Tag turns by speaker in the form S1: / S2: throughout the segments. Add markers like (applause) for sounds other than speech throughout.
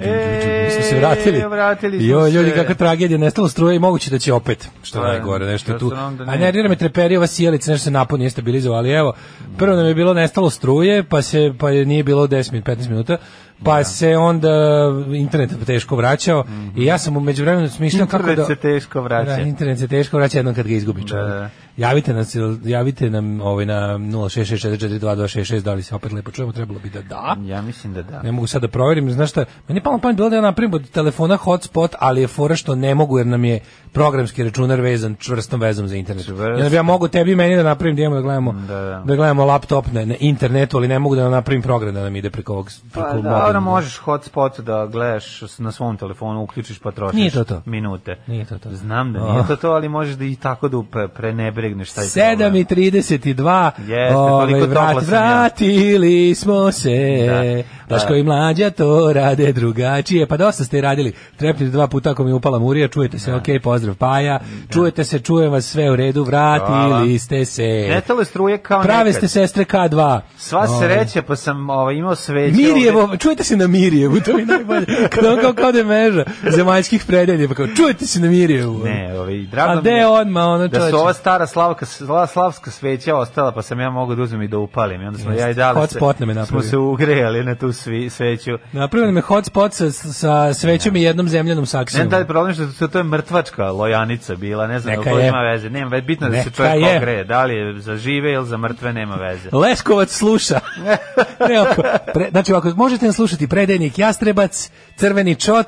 S1: E, smo se vratili.
S2: vratili smo
S1: jo, ljudi,
S2: se.
S1: kakva tragedija, nestalo struje i moguće da će opet, što je
S2: Pa,
S1: najgore, nešto
S2: ja
S1: tu.
S2: sam onda
S1: A
S2: nije.
S1: nervira me treperi ova sjelica, nešto se napon nije stabilizovao, ali evo, prvo nam je bilo nestalo struje, pa se pa je nije bilo 10 min, 15 minuta, pa
S2: Da.
S1: se onda internet teško vraćao i ja sam u međuvremenu smišljao kako
S2: Internet
S1: da...
S2: se teško vraća.
S1: Da, internet se teško vraća jednom kad ga izgubi čovjek.
S2: da.
S1: Javite, nas, javite nam ovaj, na 066442266, da li se opet lepo čujemo, trebalo bi da da.
S2: Ja mislim da da.
S1: Ne mogu sad da proverim, znaš šta, meni je palo na pamet bilo da ja napravim od telefona hotspot, ali je fora što ne mogu jer nam je programski računar vezan čvrstom vezom za internet.
S2: Čvrsto.
S1: Ja, ja mogu tebi i meni da napravim da imamo da gledamo, da,
S2: Da, da.
S1: gledamo laptop na, na internetu, ali ne mogu da napravim program da nam ide preko ovog preko
S2: Pa dobro,
S1: mobilnog.
S2: možeš hotspot da gledaš s- na svom telefonu, uključiš pa trošiš
S1: Nije to to.
S2: minute.
S1: Nije to to.
S2: Znam da nije
S1: Ah.
S2: to to, ali možeš da i tako da upre- prenebregneš taj problem.
S1: 7 i 32.
S2: Jeste, toliko topla sam ja.
S1: vratili smo se. Da,
S2: Da,
S1: Daško
S2: da.
S1: i mlađa to rade drugačije. Pa dosta ste i radili. Trepnite dva puta ako mi je upala murija, čujete
S2: Da.
S1: se, ok, pozdrav Paja. Čujete se, čujem vas sve u redu, vratili
S2: Hvala.
S1: ste se.
S2: Nestalo je struje kao
S1: Prave
S2: nekad.
S1: ste sestre K2.
S2: Sva
S1: Ovaj.
S2: sreća, pa sam ovaj, imao sveće. ovde.
S1: Mirjevo, čujete se na Mirjevu, to mi je
S2: (laughs)
S1: najbolje. Kada on kao, kao da je meža zemaljskih predelja, pa kao, čujete se na Mirjevu.
S2: Ne, ovaj, drago
S1: A
S2: mi je
S1: de on, ma ono
S2: da
S1: čoveče.
S2: su ova stara slavka, sla, slavska sveća ostala, pa sam ja mogao da uzmem i da upalim. I onda smo
S1: Jeste.
S2: ja i dali
S1: Hotspot nam je
S2: se, smo
S1: napravio.
S2: se ugrejali na tu svi, sveću.
S1: Napravio nam je hotspot sa, sa svećom i jednom zemljanom
S2: Ne znam
S1: saksijom.
S2: da je problem što to, to je mrtvačka lojanica bila, ne znam
S1: Neka
S2: da li to
S1: je.
S2: ima veze. Nema, veze, bitno je da se
S1: Neka
S2: čovjek
S1: je.
S2: ogreje, da li je za žive ili za mrtve, nema veze.
S1: Leskovac
S2: (laughs)
S1: sluša. ne, ako, pre, znači, ako možete nas slušati, predajnik Jastrebac, Crveni čot,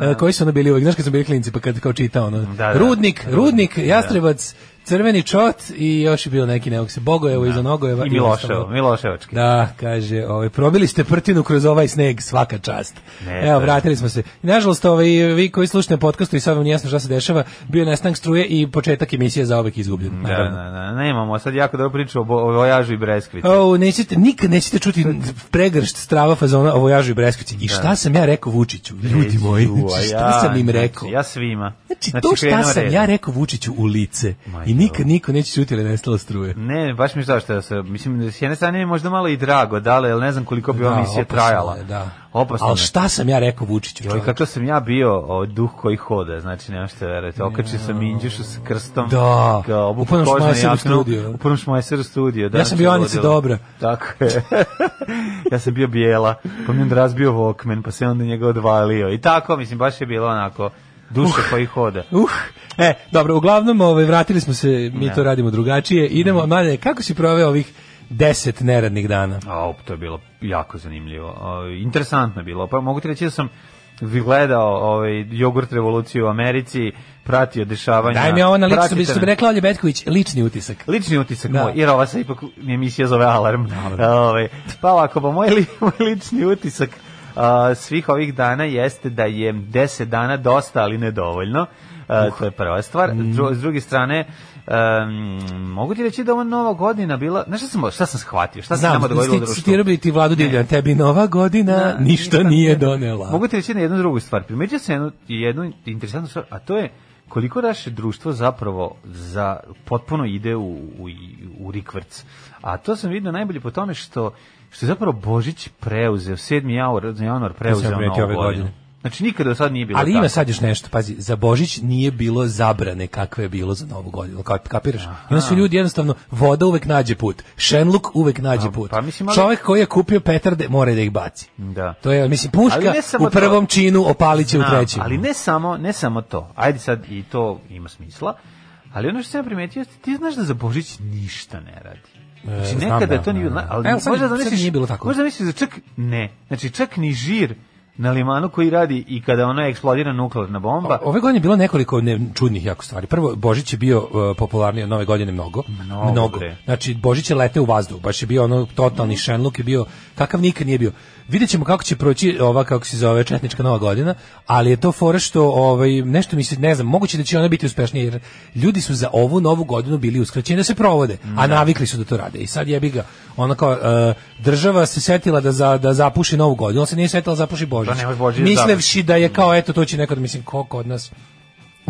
S1: e, koji su ono bili uvijek, znaš kad su bili klinici, pa kad kao čitao, ono,
S2: da.
S1: Rudnik, Rudnik, Jastrebac, Crveni čot i još je bio neki, nekog se, Bogojevo iza Nogojeva.
S2: Da. I
S1: ostalo.
S2: Miloševo, Miloševački.
S1: Da, kaže, ovaj, probili ste prtinu kroz ovaj sneg, svaka čast.
S2: Ne,
S1: Evo,
S2: to je-
S1: vratili smo se. I, Nažalost, ovaj, vi koji slušate podcastu i sad vam nije jasno šta se dešava, bio je nestanak struje i početak emisije za uvek izgubljen.
S2: Da,
S1: naravno.
S2: da, da, nemamo, sad jako dobro priču o, bo- o vojažu i breskvici.
S1: O, nećete, nikad nećete čuti pregršt strava fazona o vojažu i breskvici. I šta sam ja rekao Vučiću, ljudi moji,
S2: Ju, Da. a
S1: znači,
S2: ja,
S1: šta sam im
S2: znači,
S1: rekao?
S2: Ja svima.
S1: Znači, to šta
S2: krenuo
S1: sam
S2: redom.
S1: ja rekao Vučiću u lice
S2: Ma,
S1: i nikad niko neće čuti ili nestala struje.
S2: Ne, baš mi je žao što ja se, mislim, s jedne strane mi je možda malo i drago, da li, jer ne znam koliko bi ova misija
S1: opasno je,
S2: trajala.
S1: Da.
S2: Opasno
S1: Ali
S2: je.
S1: šta sam ja rekao Vučiću?
S2: Joj,
S1: čovječe?
S2: kako sam ja bio o, duh koji hoda, znači nema što verujete. Okačio sam Indjušu s krstom.
S1: Da.
S2: Kao
S1: U
S2: obuku
S1: prvom
S2: kožne
S1: Šmajseru
S2: jaknu.
S1: studiju.
S2: U prvom šmajseru studiju. Da,
S1: Ja sam bio Anica Dobra.
S2: Tako je. (laughs) ja sam bio bijela, pa mi je onda razbio Walkman, pa se onda njega odvalio. I tako, mislim, baš je bilo onako duše koji hoda.
S1: Uh, e, dobro, uglavnom, ovaj, vratili smo se,
S2: Da.
S1: mi to radimo drugačije.
S2: Mhm.
S1: Idemo, mlade, kako si proveo ovih deset neradnih dana?
S2: A, op, to je bilo jako zanimljivo. O, interesantno je bilo. Pa mogu ti reći da sam gledao ovaj jogurt revoluciju u Americi, pratio dešavanja.
S1: Daj mi ovo na lični, što
S2: pratite
S1: bi, što bi
S2: na-
S1: rekla Olja Betković, lični utisak.
S2: Lični utisak
S1: Da.
S2: moj, jer ova se ipak emisija zove Alarm. Ovaj, pa ovako, pa moj, li, (laughs) moj lični utisak a, svih ovih dana jeste da je 10 dana dosta, ali nedovoljno. A, To je prva stvar.
S1: Mm.
S2: Dru- s druge strane, em, mogu ti reći da ova nova godina bila... Znaš šta sam, šta sam shvatio? Šta se
S1: Znam,
S2: nama dogodilo da u
S1: sti-
S2: društvu?
S1: citirao bi ti Vladu Divljan, tebi nova godina
S2: Da,
S1: ništa, nije donela.
S2: Mogu ti reći na jednu drugu stvar. Primećio sam jednu, jednu interesantnu stvar, a to je koliko naše društvo zapravo za potpuno ide u, u, u rikvrc. A to sam vidio najbolje po tome što što je zapravo Božić preuzeo, 7. januar, januar
S1: sam
S2: preuzeo
S1: primetio
S2: novu
S1: ove
S2: godinu.
S1: godine.
S2: Znači nikada do sad nije bilo
S1: Ali
S2: tako.
S1: ima sad još nešto, pazi, za Božić nije bilo zabrane kakve je bilo za Novu godinu, kap, kapiraš? I onda su ljudi jednostavno, voda uvek nađe put, šenluk uvek nađe put.
S2: pa mislim, ali-
S1: Čovek koji je kupio petarde mora da ih baci.
S2: Da.
S1: To je, mislim,
S2: Ali
S1: puška
S2: ne samo
S1: u prvom
S2: to.
S1: činu opalit će u
S2: Znam,
S1: trećem.
S2: Ali ne samo, ne samo to. Ajde sad i to ima smisla. Ali ono što sam ja primetio, jeste, ti znaš da za Božić ništa ne radi. Znači,
S1: E, znam
S2: nekada
S1: da,
S2: to nije
S1: da,
S2: bilo,
S1: da.
S2: ali
S1: Evo, sad-
S2: možda da
S1: sad
S2: misliš,
S1: nije bilo tako.
S2: Možda misliš da čak ne. Znači, čak ni žir na limanu koji radi i kada ona eksplodira nuklearna bomba.
S1: O- Ove godine je bilo nekoliko ne, čudnih jako stvari. Prvo, Božić je bio e, popularniji od nove godine mnogo.
S2: Mnogo, bre.
S1: Znači, Božić je lete u vazduh. Baš je bio ono totalni šenluk je bio, kakav nikad nije bio. Vidjet ćemo kako će proći ova, kako se zove, Četnička nova godina, ali je to fora što ovaj, nešto mi se, ne znam, moguće da će ona biti uspešnija, jer ljudi su za ovu novu godinu bili uskraćeni da se provode, a navikli su da to rade. I sad jebi ga, ona kao, e, država se setila da, za, da zapuši novu godinu, ona se nije setila da zapuši Božić.
S2: Da, ne može Božić da
S1: Mislevši da je kao, eto, to će nekad, mislim, ko kod nas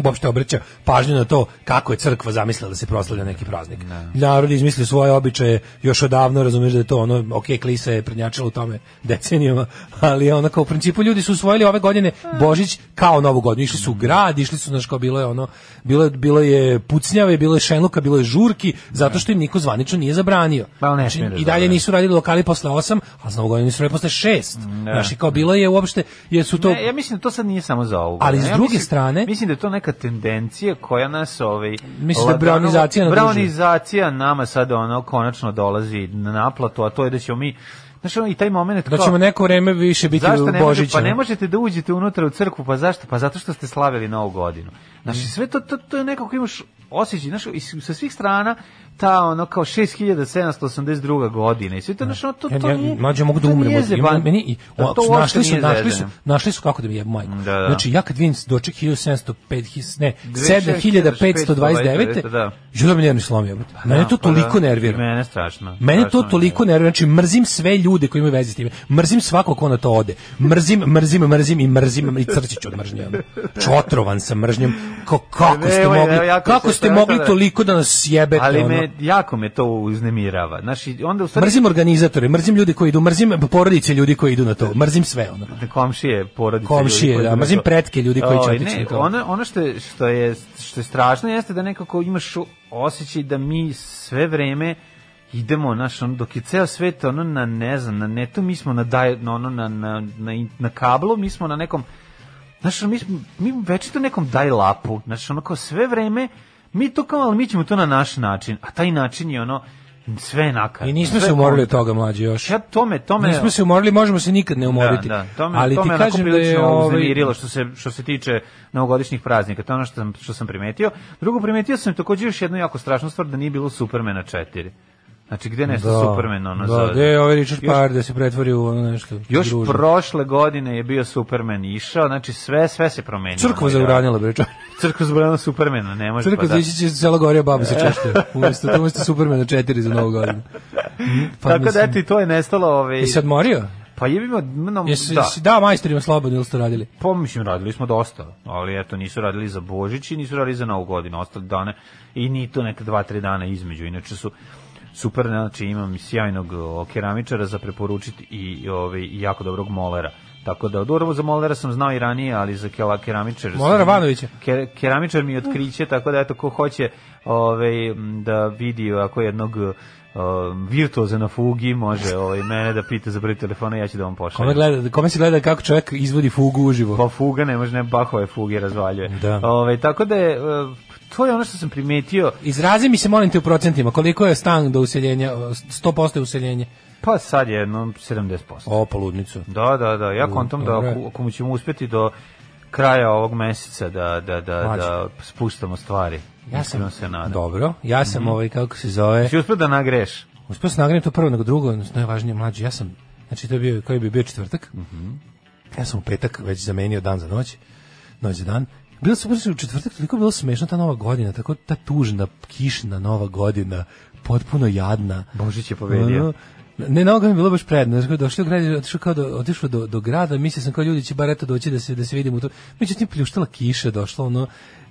S1: uopšte obraća pažnju na to kako je crkva zamislila da se proslavlja neki praznik. Narod je izmislio svoje običaje još odavno, razumiješ da je to ono, ok, klisa je prednjačila u tome decenijama, (laughs) ali ono kao u principu ljudi su usvojili ove godine Božić kao novu godinu. Išli su u grad, išli su, znaš, kao bilo je ono, bilo, je- bilo je pucnjave, bilo je šenluka, bilo je žurki, zato što im niko zvanično nije zabranio.
S2: Pa, ne
S1: Znači,
S2: smije da
S1: I dalje
S2: zabrani.
S1: nisu radili lokali posle 8, a za novu godinu nisu radili posle 6. Znaš, i kao bilo je uopšte, jer su to...
S2: Ne, ja mislim da to sad nije samo za ovu.
S1: Ali s
S2: godinu. Ja
S1: druge
S2: mislim-
S1: strane-
S2: mislim da je to neka tendencija koja nas ovaj
S1: Mislim da je braunizacija na druži.
S2: braunizacija nama sad ono konačno dolazi na naplatu, a to je da ćemo mi Znaš, ono, i taj moment
S1: Da ćemo neko vreme više biti
S2: Zašto ne možete,
S1: Božića.
S2: pa ne možete da uđete unutra u crkvu, pa zašto? Pa zato što ste slavili Novu godinu.
S1: Mhm.
S2: Znači, sve to, to, to je nekako imaš osjećaj, znaš, i s- sa svih strana, ta ono kao 6782. godina i sve to, znaš, ono, to, to
S1: Da. ja,
S2: nije...
S1: ja, mlađe, ja mogu da
S2: to
S1: umrem.
S2: nije
S1: od- ja
S2: zeban-
S1: mogu- meni, i,
S2: to
S1: ovako,
S2: uopšte
S1: našli, su,
S2: nije
S1: našli, su,
S2: zezanje.
S1: našli su kako da mi jebu majku.
S2: Da, da.
S1: Znači, ja kad vidim doček 1705, his- ne, 7529,
S2: Da.
S1: jo da me nervni slomi. jebote. Mene to
S2: Pa da,
S1: toliko nervira.
S2: i Mene strašno.
S1: Mene to
S2: strašno
S1: toliko nervira, znači mrzim sve ljude koji imaju veze s time. Mrzim svako ko na to ode. Mrzim, mrzim, mrzim i mrzim i crčiću od mržnje. ono. Čotrovan sam mržnjom. Ko, kako ste
S2: Evo,
S1: mogli,
S2: evo, jako
S1: kako
S2: se
S1: ste
S2: strašno
S1: mogli
S2: da-
S1: toliko da nas jebete?
S2: Ali
S1: ono?
S2: me, jako me to uznemirava. Znači, onda u stvari
S1: Mrzim organizatore, mrzim ljudi koji idu, mrzim porodice ljudi koji idu na to, mrzim sve ono.
S2: komšije, porodice.
S1: Komšije,
S2: ljudi koji
S1: da,
S2: idu na
S1: mrzim
S2: to.
S1: pretke ljudi koji će
S2: Ovaj,
S1: otići
S2: ne,
S1: na to.
S2: Ono, ono što, je, što, je, što je strašno jeste da nekako imaš osjećaj da mi sve vreme idemo, naš, ono, dok je ceo svet ono na, ne znam, na netu, mi smo na, daj, na, ono, na, na, na, in- na kablu, mi smo na nekom Znaš, mi, smo- mi večito nekom daj lapu. Znaš, ono kao sve vreme, mi to kao, ali mi ćemo to na naš način. A taj način je ono, sve je nakaradno.
S1: I nismo
S2: Sve
S1: se
S2: je
S1: umorili
S2: kontra.
S1: od toga mlađi još.
S2: Ja tome, tome...
S1: Nismo se umorili, možemo se nikad ne umoriti.
S2: Da, da. To me,
S1: Ali
S2: to
S1: ti
S2: me onako
S1: kažem da je
S2: prilično
S1: ovaj
S2: uznemirilo što se, što se tiče novogodišnjih praznika. To je ono što sam, što sam primetio. Drugo, primetio sam takođe još jednu jako strašnu stvar da nije bilo Supermana 4. Znači, gde nešto Superman ono
S1: da,
S2: za...
S1: gde je ovaj Richard
S2: Još-
S1: Parr da se pretvori u ono nešto.
S2: Još
S1: družno.
S2: prošle godine je bio Superman išao, znači sve sve se promenilo.
S1: Crkva zauranila bre čovječe.
S2: Crkva zabranila Supermana, ne može
S1: Crkva
S2: pa da.
S1: zići će cela gorija baba se češlja. Umesto umesto Supermana 4 za novu godinu. Pa
S2: Tako da
S1: mislim-
S2: eto i to je nestalo, ovaj.
S1: I sad morio?
S2: Pa jebimo, no,
S1: Jesi
S2: da.
S1: da, da majstorima slobodno ili ste radili?
S2: Pa mislim, radili smo dosta, ali eto, nisu radili za Božić i nisu radili za Novu godinu, ostali dane i ni to neka dva, tri dana između, inače su super, znači imam sjajnog o, keramičara za preporučiti i ovaj, i jako dobrog molera. Tako da, dobro, za molera sam znao i ranije, ali za kela keramičar... sam-
S1: Molera Vanovića?
S2: Ke- keramičar mi je otkriće, tako da, eto, ko hoće ovaj, m, da vidi ovako jednog o, virtuoza na fugi, može ovaj, mene da pita za broj telefona, ja ću da vam
S1: Kome,
S2: pošaljem.
S1: gleda, kome se gleda kako čovjek izvodi fugu uživo?
S2: Pa fuga ne može, ne bahove fuge razvaljuje.
S1: Da.
S2: Ovaj, tako da je, e, to je ono što sam primetio,
S1: Izrazi mi se molim te u procentima, koliko je stan do useljenja, 100% je useljenje?
S2: pa sad je jedno 70%.
S1: O, poludnicu.
S2: Da, da, da, ja kontam da
S1: dobro je.
S2: ako, ako mu ćemo uspeti do kraja ovog meseca da, da, da,
S1: Mlađe.
S2: da spustamo stvari.
S1: Ja sam,
S2: Iskreno se nadam. Mhm.
S1: dobro, ja sam ovaj, kako se zove,
S2: Si uspio da nagreš?
S1: uspio sam nagrijem to prvo nego drugo, odnosno najvažnije mlađe, ja sam, znači to je bio, koji bi bio četvrtak, ja sam u petak već zamenio dan za noć, noć za dan, bilo sam u četvrtak, toliko je bilo smešno ta nova godina, tako ta tužna, kišna nova godina, potpuno jadna.
S2: Božić je pobedio.
S1: Ono, Ne, na mi je bilo baš predno. Znaš, kao došli u grad, otišao kao do, otišao do, do grada, mislio sam kao ljudi će bar eto doći da se, da se vidimo tu. Međutim, pljuštala kiša, došla ono,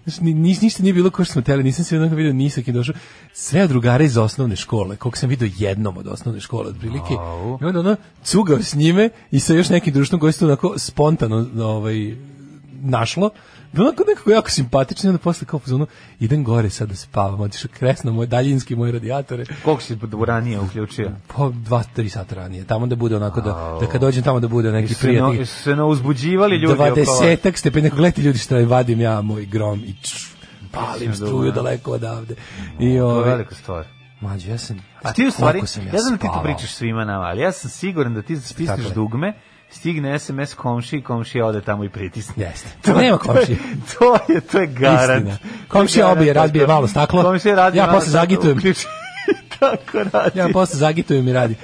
S1: znaš, ni, ni, ništa nije bilo kao što smo teli, nisam se jednog vidio, nisam kim došao. Sve drugare iz osnovne škole, koliko sam vidio jednom od osnovne škole, otprilike.
S2: Au.
S1: I onda ono, cugao s njime i sa još nekim društvom koji se tu onako spontano ovaj, našlo. Bilo onako nekako jako simpatično, i onda posle kao pozvano, idem gore sad da se pavam, otišao kresno moje daljinski moje radijatore,
S2: Koliko si ranije uključio?
S1: po dva, tri sata ranije, tamo da bude onako da, da kad dođem tamo da bude neki
S2: Se, no,
S1: prijatni
S2: se no uzbuđivali ljudi oko vas.
S1: dvadesetak stepeni, ako gledajte ljudi šta je, vadim ja moj grom i čš, palim
S2: Mislim,
S1: struju
S2: dobro.
S1: daleko odavde. I
S2: To je
S1: ove,
S2: velika stvar.
S1: mađo, ja sam,
S2: A Pa ti u stvari,
S1: koliko sam ja,
S2: ja znam da ti to
S1: spavao.
S2: pričaš svima nama, ali ja sam siguran da ti stisneš
S1: Tako je.
S2: dugme, stigne SMS komši i komšija ode tamo i pritisne.
S1: Jeste. Nema komšije.
S2: To je, (laughs) to je, to je garant.
S1: Istina.
S2: To je
S1: Komšija
S2: garant.
S1: obije, razbije malo staklo.
S2: Komšija razbije
S1: Ja
S2: malo
S1: posle
S2: staklo,
S1: zagitujem.
S2: uključi- (laughs) Tako radi.
S1: Ja posle zagitujem i radi.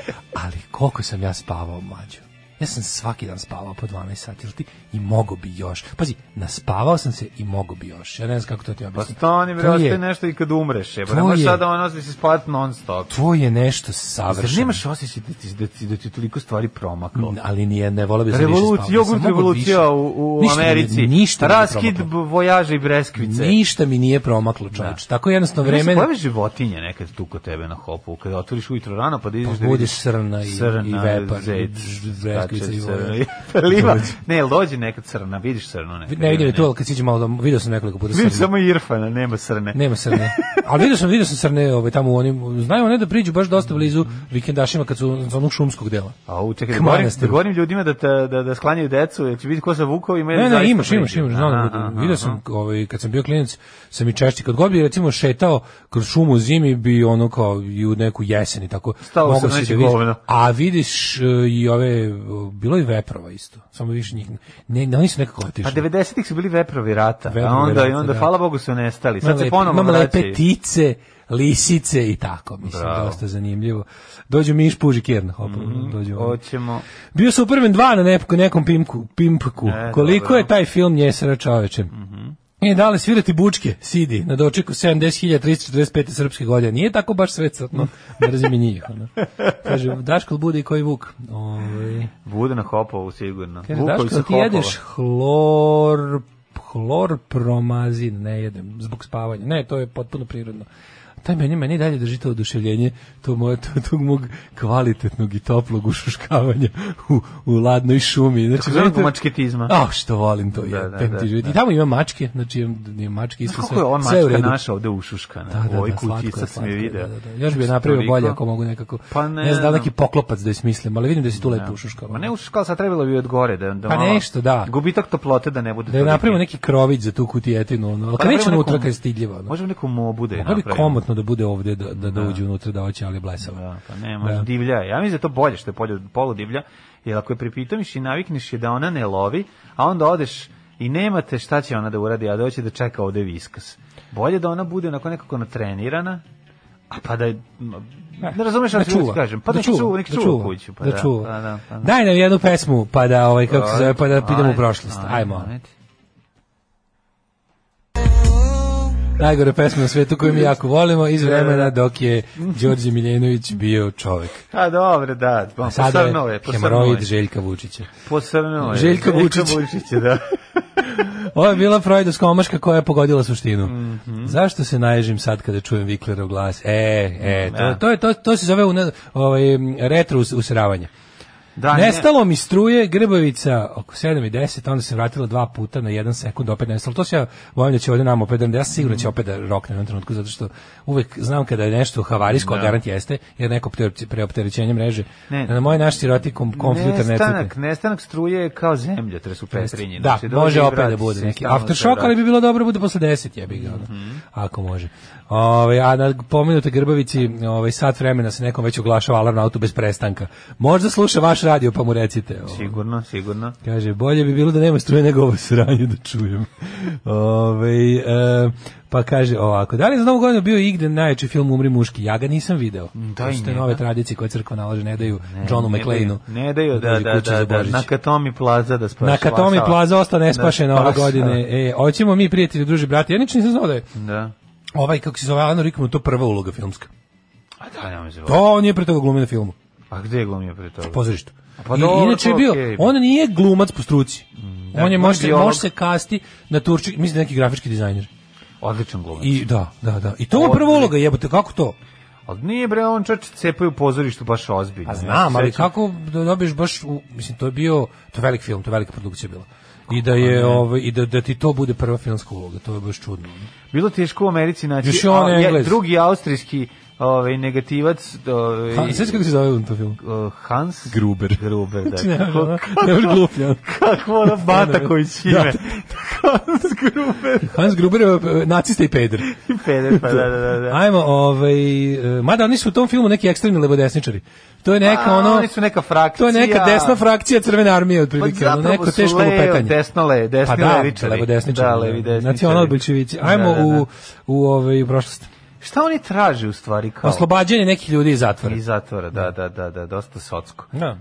S1: Ali koliko sam ja spavao, mlađo. Ja sam svaki dan spavao po 12 sati. Jel ti, i mogo bi još. Pazi, naspavao sam se i mogo bi još. Ja ne znam kako to ti
S2: Pa
S1: objasnim.
S2: stani, bre,
S1: To je-
S2: ostaje nešto i kad umreš, je.
S1: To
S2: Ne možeš
S1: je-
S2: sada ono da se spavati non stop.
S1: To je nešto
S2: Zar
S1: savršeno.
S2: nemaš osjećaj da ti, da ti, da ti toliko stvari promaklo?
S1: ali nije, ne vola bi da sam više
S2: Revolucija,
S1: spavao. Sam
S2: jogurt
S1: mogao
S2: revolucija
S1: više.
S2: u, u
S1: Ništa mi nije-
S2: Americi.
S1: ništa mi nije
S2: Raskid Da.
S1: promaklo.
S2: b- vojaža i breskvice.
S1: Ništa mi nije promaklo, čoveč. Tako jednostavno
S2: Vreme... Se
S1: vreme...
S2: pojavi životinje nekad tu kod tebe na hopu, kada otvoriš ujutro rano pa da ideš da
S1: Bude
S2: vidiš
S1: srna i,
S2: srna,
S1: i vepar,
S2: zec,
S1: i breskvica
S2: skače
S1: i
S2: srna
S1: voja.
S2: (laughs) i peliva.
S1: Dođe.
S2: Pa Ne, jel dođe nekad srna, vidiš srnu nekad.
S1: Ne vidim
S2: ili
S1: je tu, ali kad siđe malo, da, vidio sam nekoliko puta
S2: Vidim
S1: srne.
S2: samo Irfana, nema srne.
S1: Nema srne. Ali vidio sam, vidio sam srne ovaj, tamo u onim, znaju one da priđu baš dosta blizu vikendašima kad su sa onog šumskog dela.
S2: A u čekaj, da
S1: K
S2: govorim, da
S1: manastiru.
S2: govorim ljudima da, te, da, da sklanjaju decu, jer će biti ko sa vukovima. ili
S1: Ne, ne,
S2: zaista
S1: imaš, imaš,
S2: priđe.
S1: imaš, znam,
S2: Aha,
S1: da
S2: aha,
S1: budu. vidio sam, ovaj, kad sam bio klinac, sam i češće, kad god bi, recimo, šetao kroz šumu zimi, bi ono kao i u neku jesen i tako,
S2: Stalo
S1: mogao
S2: sam
S1: si
S2: neće
S1: da vidiš.
S2: govno.
S1: a vidiš e, i ove, o, bilo je veprova isto, samo više njih, ne, ne, oni su nekako
S2: Pa
S1: otišli.
S2: 90-ih su bili veprovi rata, a
S1: Veprovi
S2: onda, i
S1: rata,
S2: onda,
S1: da.
S2: hvala Bogu, su nestali. Sad
S1: Imam
S2: se
S1: lepe-
S2: ponovno
S1: imam lepe
S2: vraćaju.
S1: tice, lisice i tako, mislim,
S2: Bravo. Mhm.
S1: dosta zanimljivo. Dođu Miš Puži Kjerna, hopa, dođu oni.
S2: Hoćemo...
S1: Bio su u prven dva na nekom, nekom pimku, pimpku.
S2: E,
S1: Koliko
S2: dobro. Mhm.
S1: je taj film njesera čoveče? I da li svirati bučke, sidi, na dočeku 70.345. srpske godine. Nije tako baš sve crtno, mrzim i njih.
S2: (laughs)
S1: Ono. Kaže, Daško bude i koji vuk. Ovaj.
S2: Bude na Hopovu sigurno.
S1: Kaže,
S2: Vukovi
S1: Daško, da
S2: sa
S1: ti
S2: Hopova.
S1: jedeš hlor, hlor promazin, ne jedem, zbog spavanja. Ne, to je potpuno prirodno. Taj meni, meni dalje drži to oduševljenje, to moje, to, tog mog kvalitetnog i toplog ušuškavanja u, u ladnoj šumi. Znači,
S2: Kako zovem
S1: meni to-
S2: ga mačketizma?
S1: A, što volim to je.
S2: Da, da,
S1: pem ti
S2: da,
S1: život. I tamo ima mačke, znači ima, ima mačke isto
S2: Kako
S1: sve.
S2: je ova
S1: sve u
S2: mačka
S1: redu.
S2: naša ovde ušuškana?
S1: Da, da,
S2: u ovoj
S1: da,
S2: kući,
S1: slatko je,
S2: sad sam je
S1: slatko je,
S2: video.
S1: da, da, da. Još bi je napravio
S2: Toliko.
S1: bolje ako mogu nekako.
S2: Pa
S1: ne,
S2: ne
S1: znam da li
S2: znam.
S1: neki poklopac da ismislim, ali vidim da si tu lepo ušuškao.
S2: Ma ne ušuškala, sad trebalo bi od gore. Da, da
S1: Pa
S2: malo-
S1: nešto, da.
S2: Gubitak toplote da ne bude
S1: Da je
S2: toliki.
S1: napravimo neki krović za tu kutijetinu, ono. Ali kad
S2: napravimo
S1: već
S2: Pa neku-
S1: unutra kad je stidljiva, ono.
S2: Možemo neku mobu da je
S1: Mogla bi
S2: napravimo.
S1: komotno da bude ovde, da, da, da uđe unutra, da oće, ali blesava.
S2: Da, pa ne, može divlja. je. Ja mislim da je to bolje što je polje, poludivlja, jer ako je pripitomiš i navikneš je da ona ne lovi, a onda odeš i nemate šta će ona da uradi, a doće da čeka ovde viskas. Bolje da ona bude onako nekako natrenirana, a pa da je- ne razumeš šta
S1: Da
S2: ću ti kažem. Pa da čuva, nek
S1: da
S2: čuva kuću. Pa
S1: da,
S2: da,
S1: čuva.
S2: Pa da, pa da.
S1: Daj nam jednu pesmu, pa da, ovaj, kako se zove, pa da idemo u
S2: Ajde,
S1: prošlost.
S2: ajde,
S1: Ajmo.
S2: ajde.
S1: Najgore pesme na svetu koju mi jako volimo
S2: Da,
S1: iz vremena dok je Đorđe Miljenović bio čovek.
S2: A dobro, da. Pa,
S1: Sada je
S2: posrnuo je, posrnuo
S1: hemoroid
S2: je.
S1: Željka Vučića.
S2: Posrnuo je.
S1: Željka Vučić.
S2: Vučića, da.
S1: Ovo je bila Freudovska omaška koja je pogodila suštinu.
S2: Mhm.
S1: Zašto se naježim sad kada čujem Viklerov glas? E, e,
S2: Mm,
S1: to, to, je- to, to se zove une- ovaj, m, retro us- useravanje. (laughs)
S2: da ne-
S1: Nestalo mi struje, Grbavica oko 7 i 10, onda se vratila dva puta na jedan sekund, opet nestalo. To se ja bojim da će ovdje nam opet, da ja sam siguran da
S2: Mhm.
S1: će opet da rokne na jednom trenutku, zato što uvek znam kada je nešto havarijsko, a garant jeste, jer neko preopte- preopterećenje mreže.
S2: Da. Ne.
S1: Na moj naš siroti kom- kompjuter ne cukne.
S2: Nestanak, nestanak struje je kao zemljotres u Petrinji.
S1: Da,
S2: Znači, dođe
S1: može
S2: i
S1: opet
S2: vrati
S1: da bude
S2: se i
S1: neki
S2: stalno Mhm. se
S1: aftershock, ali
S2: vrati.
S1: bi bilo dobro da bude posle 10, jebi ga, ono, ako može. Ove, a na pomenute Grbavici ovaj, sat vremena se nekom već oglašava alarm na auto bez prestanka. Možda sluša vaš radio pa mu recite. Ovo.
S2: Sigurno, sigurno.
S1: Kaže, bolje bi bilo da nema struje nego ovo sranje da čujem. Ove, e, pa kaže ovako, da li je za novu godinu bio igde najjači film Umri muški? Ja ga nisam video.
S2: da, i
S1: Pošto te
S2: njega.
S1: nove tradicije koje crkva nalaže ne daju Johnu
S2: Ne
S1: McLeanu.
S2: daju- Ne daju, da,
S1: dođe
S2: da,
S1: kući
S2: da,
S1: za
S2: da,
S1: Božić.
S2: na Katomi plaza da spašava.
S1: Na Katomi plaza osta nespašena
S2: Da,
S1: ove
S2: spasa.
S1: godine. E, hoćemo mi prijatelji, druži, brati. Ja ničim nisam znao da je
S2: Da.
S1: ovaj, kako se zove, Alan Rickman, to prva uloga filmska.
S2: A da, nema se
S1: To on je pre toga glumio na filmu,
S2: A gde je glumio pre toga?
S1: pozorištu.
S2: pa
S1: I-
S2: dobro,
S1: inače je
S2: to
S1: bio,
S2: okej. da. Mm,
S1: on nije glumac po struci. on je
S2: on
S1: može, se-
S2: biolog.
S1: može se kasti na Turčik, mislim da je neki grafički dizajner.
S2: Odličan glumac.
S1: I da, da, da. I to mu je prva
S2: Znači. Odlično.
S1: uloga, jebote, kako to?
S2: Ali nije bre, on čoč cepaju u pozorištu baš ozbiljno.
S1: Pa
S2: Ja se
S1: znam, ali
S2: sećam-
S1: kako da dobiješ baš, u, mislim, to je bio, to je velik film, to je velika produkcija bila. I da je ovaj i da, da ti to bude prva filmska uloga, to je baš čudno.
S2: Bilo teško u Americi naći
S1: Još je on
S2: a, je-
S1: Englez.
S2: drugi austrijski ovaj, negativac. Ovaj,
S1: Ha, sveći kako se zove u tom filmu?
S2: eh, Hans
S1: Gruber. Znači,
S2: Gruber,
S1: (laughs)
S2: da.
S1: Ne, ne,
S2: Kako-
S1: ne, ne, glupljan.
S2: Kako ono bata
S1: Da.
S2: koji čime. Hans Gruber.
S1: Hans Gruber je e, nacista i peder.
S2: I Peder, pa da, da, da. da.
S1: Ajmo, ovaj, e, mada oni su u tom filmu neki ekstremni lebodesničari. To je neka
S2: A,
S1: ono,
S2: oni su neka frakcija. Pa
S1: to je neka desna frakcija crvene armije, otprilike, ono, neko teško lupetanje.
S2: Desno le,
S1: Pa
S2: desni
S1: da,
S2: levičari.
S1: levodesničari.
S2: Da, levi desničari.
S1: Nacional bolševici. Ajmo
S2: Da, da, da.
S1: u, u, ovaj, u prošlost.
S2: Šta oni traže u stvari kao?
S1: Oslobađanje nekih ljudi iz zatvora.
S2: Da. Iz zatvora, da, da, da, da, dosta socko.
S1: Da.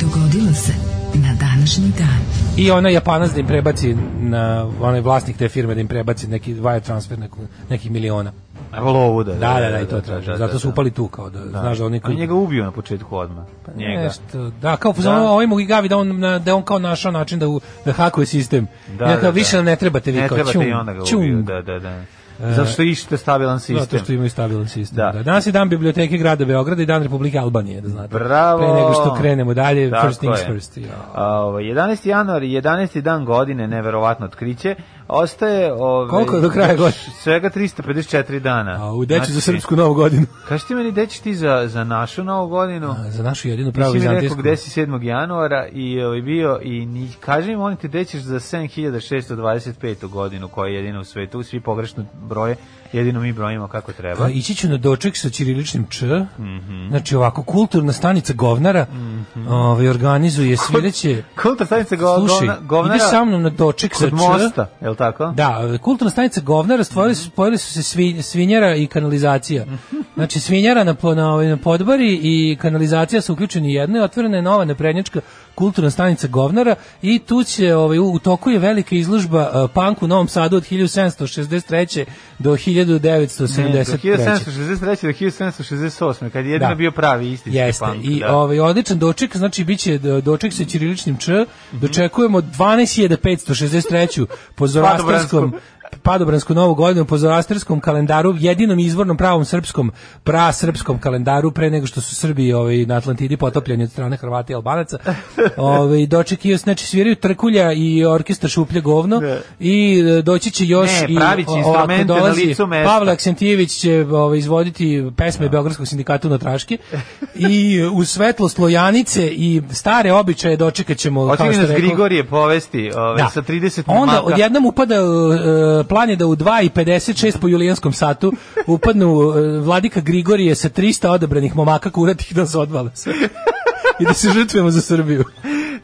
S3: Dogodilo se na današnji dan.
S1: I ona Japanac da im prebaci na onaj vlasnik te firme da im prebaci neki wire transfer neku, nekih miliona.
S2: Evo lovu da.
S1: Da, da, da, i to traže. Zato su upali tu kao da, znaš da oni
S2: A
S1: koji
S2: njega ubio na početku odmah. Pa njega.
S1: Nešto, da, kao da. ovaj mu gavi da on, na- da on kao našao način da, u, da hakuje sistem.
S2: Da,
S1: Da, ja
S2: da,
S1: kao,
S2: da.
S1: više ne trebate vi
S2: Ne
S1: kao,
S2: trebate
S1: čum,
S2: i onda ga
S1: čum.
S2: ubiju, da, da, da. Zato što ište stabilan sistem.
S1: Zato što imaju stabilan sistem.
S2: Da.
S1: Da. Danas je dan biblioteke grada Beograda i dan Republike Albanije, da znate.
S2: Bravo!
S1: Pre nego što krenemo dalje,
S2: Tako
S1: first things
S2: je.
S1: first. Ja.
S2: A, ovaj, 11. januar, 11. dan godine, neverovatno otkriće, ostaje... Ovaj,
S1: Koliko je do kraja godine?
S2: (laughs) Svega 354 dana.
S1: A u deči za
S2: Znači,
S1: srpsku novu godinu.
S2: Kaži ti meni, gde ćeš ti za, za našu novu godinu?
S1: A, Za našu jedinu pravu
S2: Pravi Nisi mi rekao
S1: vizantijsku.
S2: gde si 7. januara i ovaj, bio i ni, kaži mi molim te gde ćeš za 7625. godinu koja je jedina u svetu, svi pogrešno broje, jedino mi brojimo kako treba.
S1: Pa, ići ću na doček sa ćiriličnim č.
S2: Mhm.
S1: Znači ovako kulturna stanica govnara ovaj organizuje sledeće
S2: Kulta stanica go,
S1: Slušaj,
S2: Mhm. govna, govnara
S1: ideš sa mnom na doček sa
S2: kod
S1: č.
S2: mosta, je li tako?
S1: Da, kulturna stanica govnara stvorili su, spojili su se svi, svinjera i kanalizacija. Znači svinjera na, po- na, ovaj, na podbari i kanalizacija su uključeni jedno i otvorena je nova naprednjačka kulturna stanica govnara i tu će ovaj, u, u toku je velika izložba uh, punk u Novom Sadu od 1763. do 1973.
S2: 1763. do 1768. kad je jedino
S1: Da.
S2: bio pravi istinski
S1: Jeste,
S2: punk.
S1: i
S2: da.
S1: ovaj, odličan doček, znači bit će do- doček sa ćiriličnim č, dočekujemo 12.563. po zoroastarskom padobransku novu godinu po zoroastarskom kalendaru, jedinom izvornom pravom srpskom, prasrpskom kalendaru, pre nego što su Srbi ovaj, na Atlantidi potopljeni od strane Hrvata i
S2: (laughs)
S1: Albanaca. Ovaj, doček je, znači sviraju trkulja i orkestar šuplje govno
S2: Da.
S1: i e, doći će još
S2: Ne,
S1: i
S2: pravit će
S1: o- ovako
S2: instrumente na
S1: dolazi
S2: licu mesta.
S1: Pavle Aksentijević će ovaj, izvoditi
S2: Da.
S1: pesme Beogradskog sindikata na Traške i e, u svetlo slojanice i stare običaje dočekat ćemo kao
S2: Otivi
S1: što
S2: nas
S1: rekao- Da.
S2: Grigorije povesti ove, sa 30
S1: Onda
S2: momaka.
S1: odjednom upada e, plan je da u 2.56 po julijanskom satu upadnu e, vladika Grigorije sa 300 odabranih momaka kuratih da se odvale sve. I da se žrtvujemo za
S2: (laughs)
S1: Srbiju.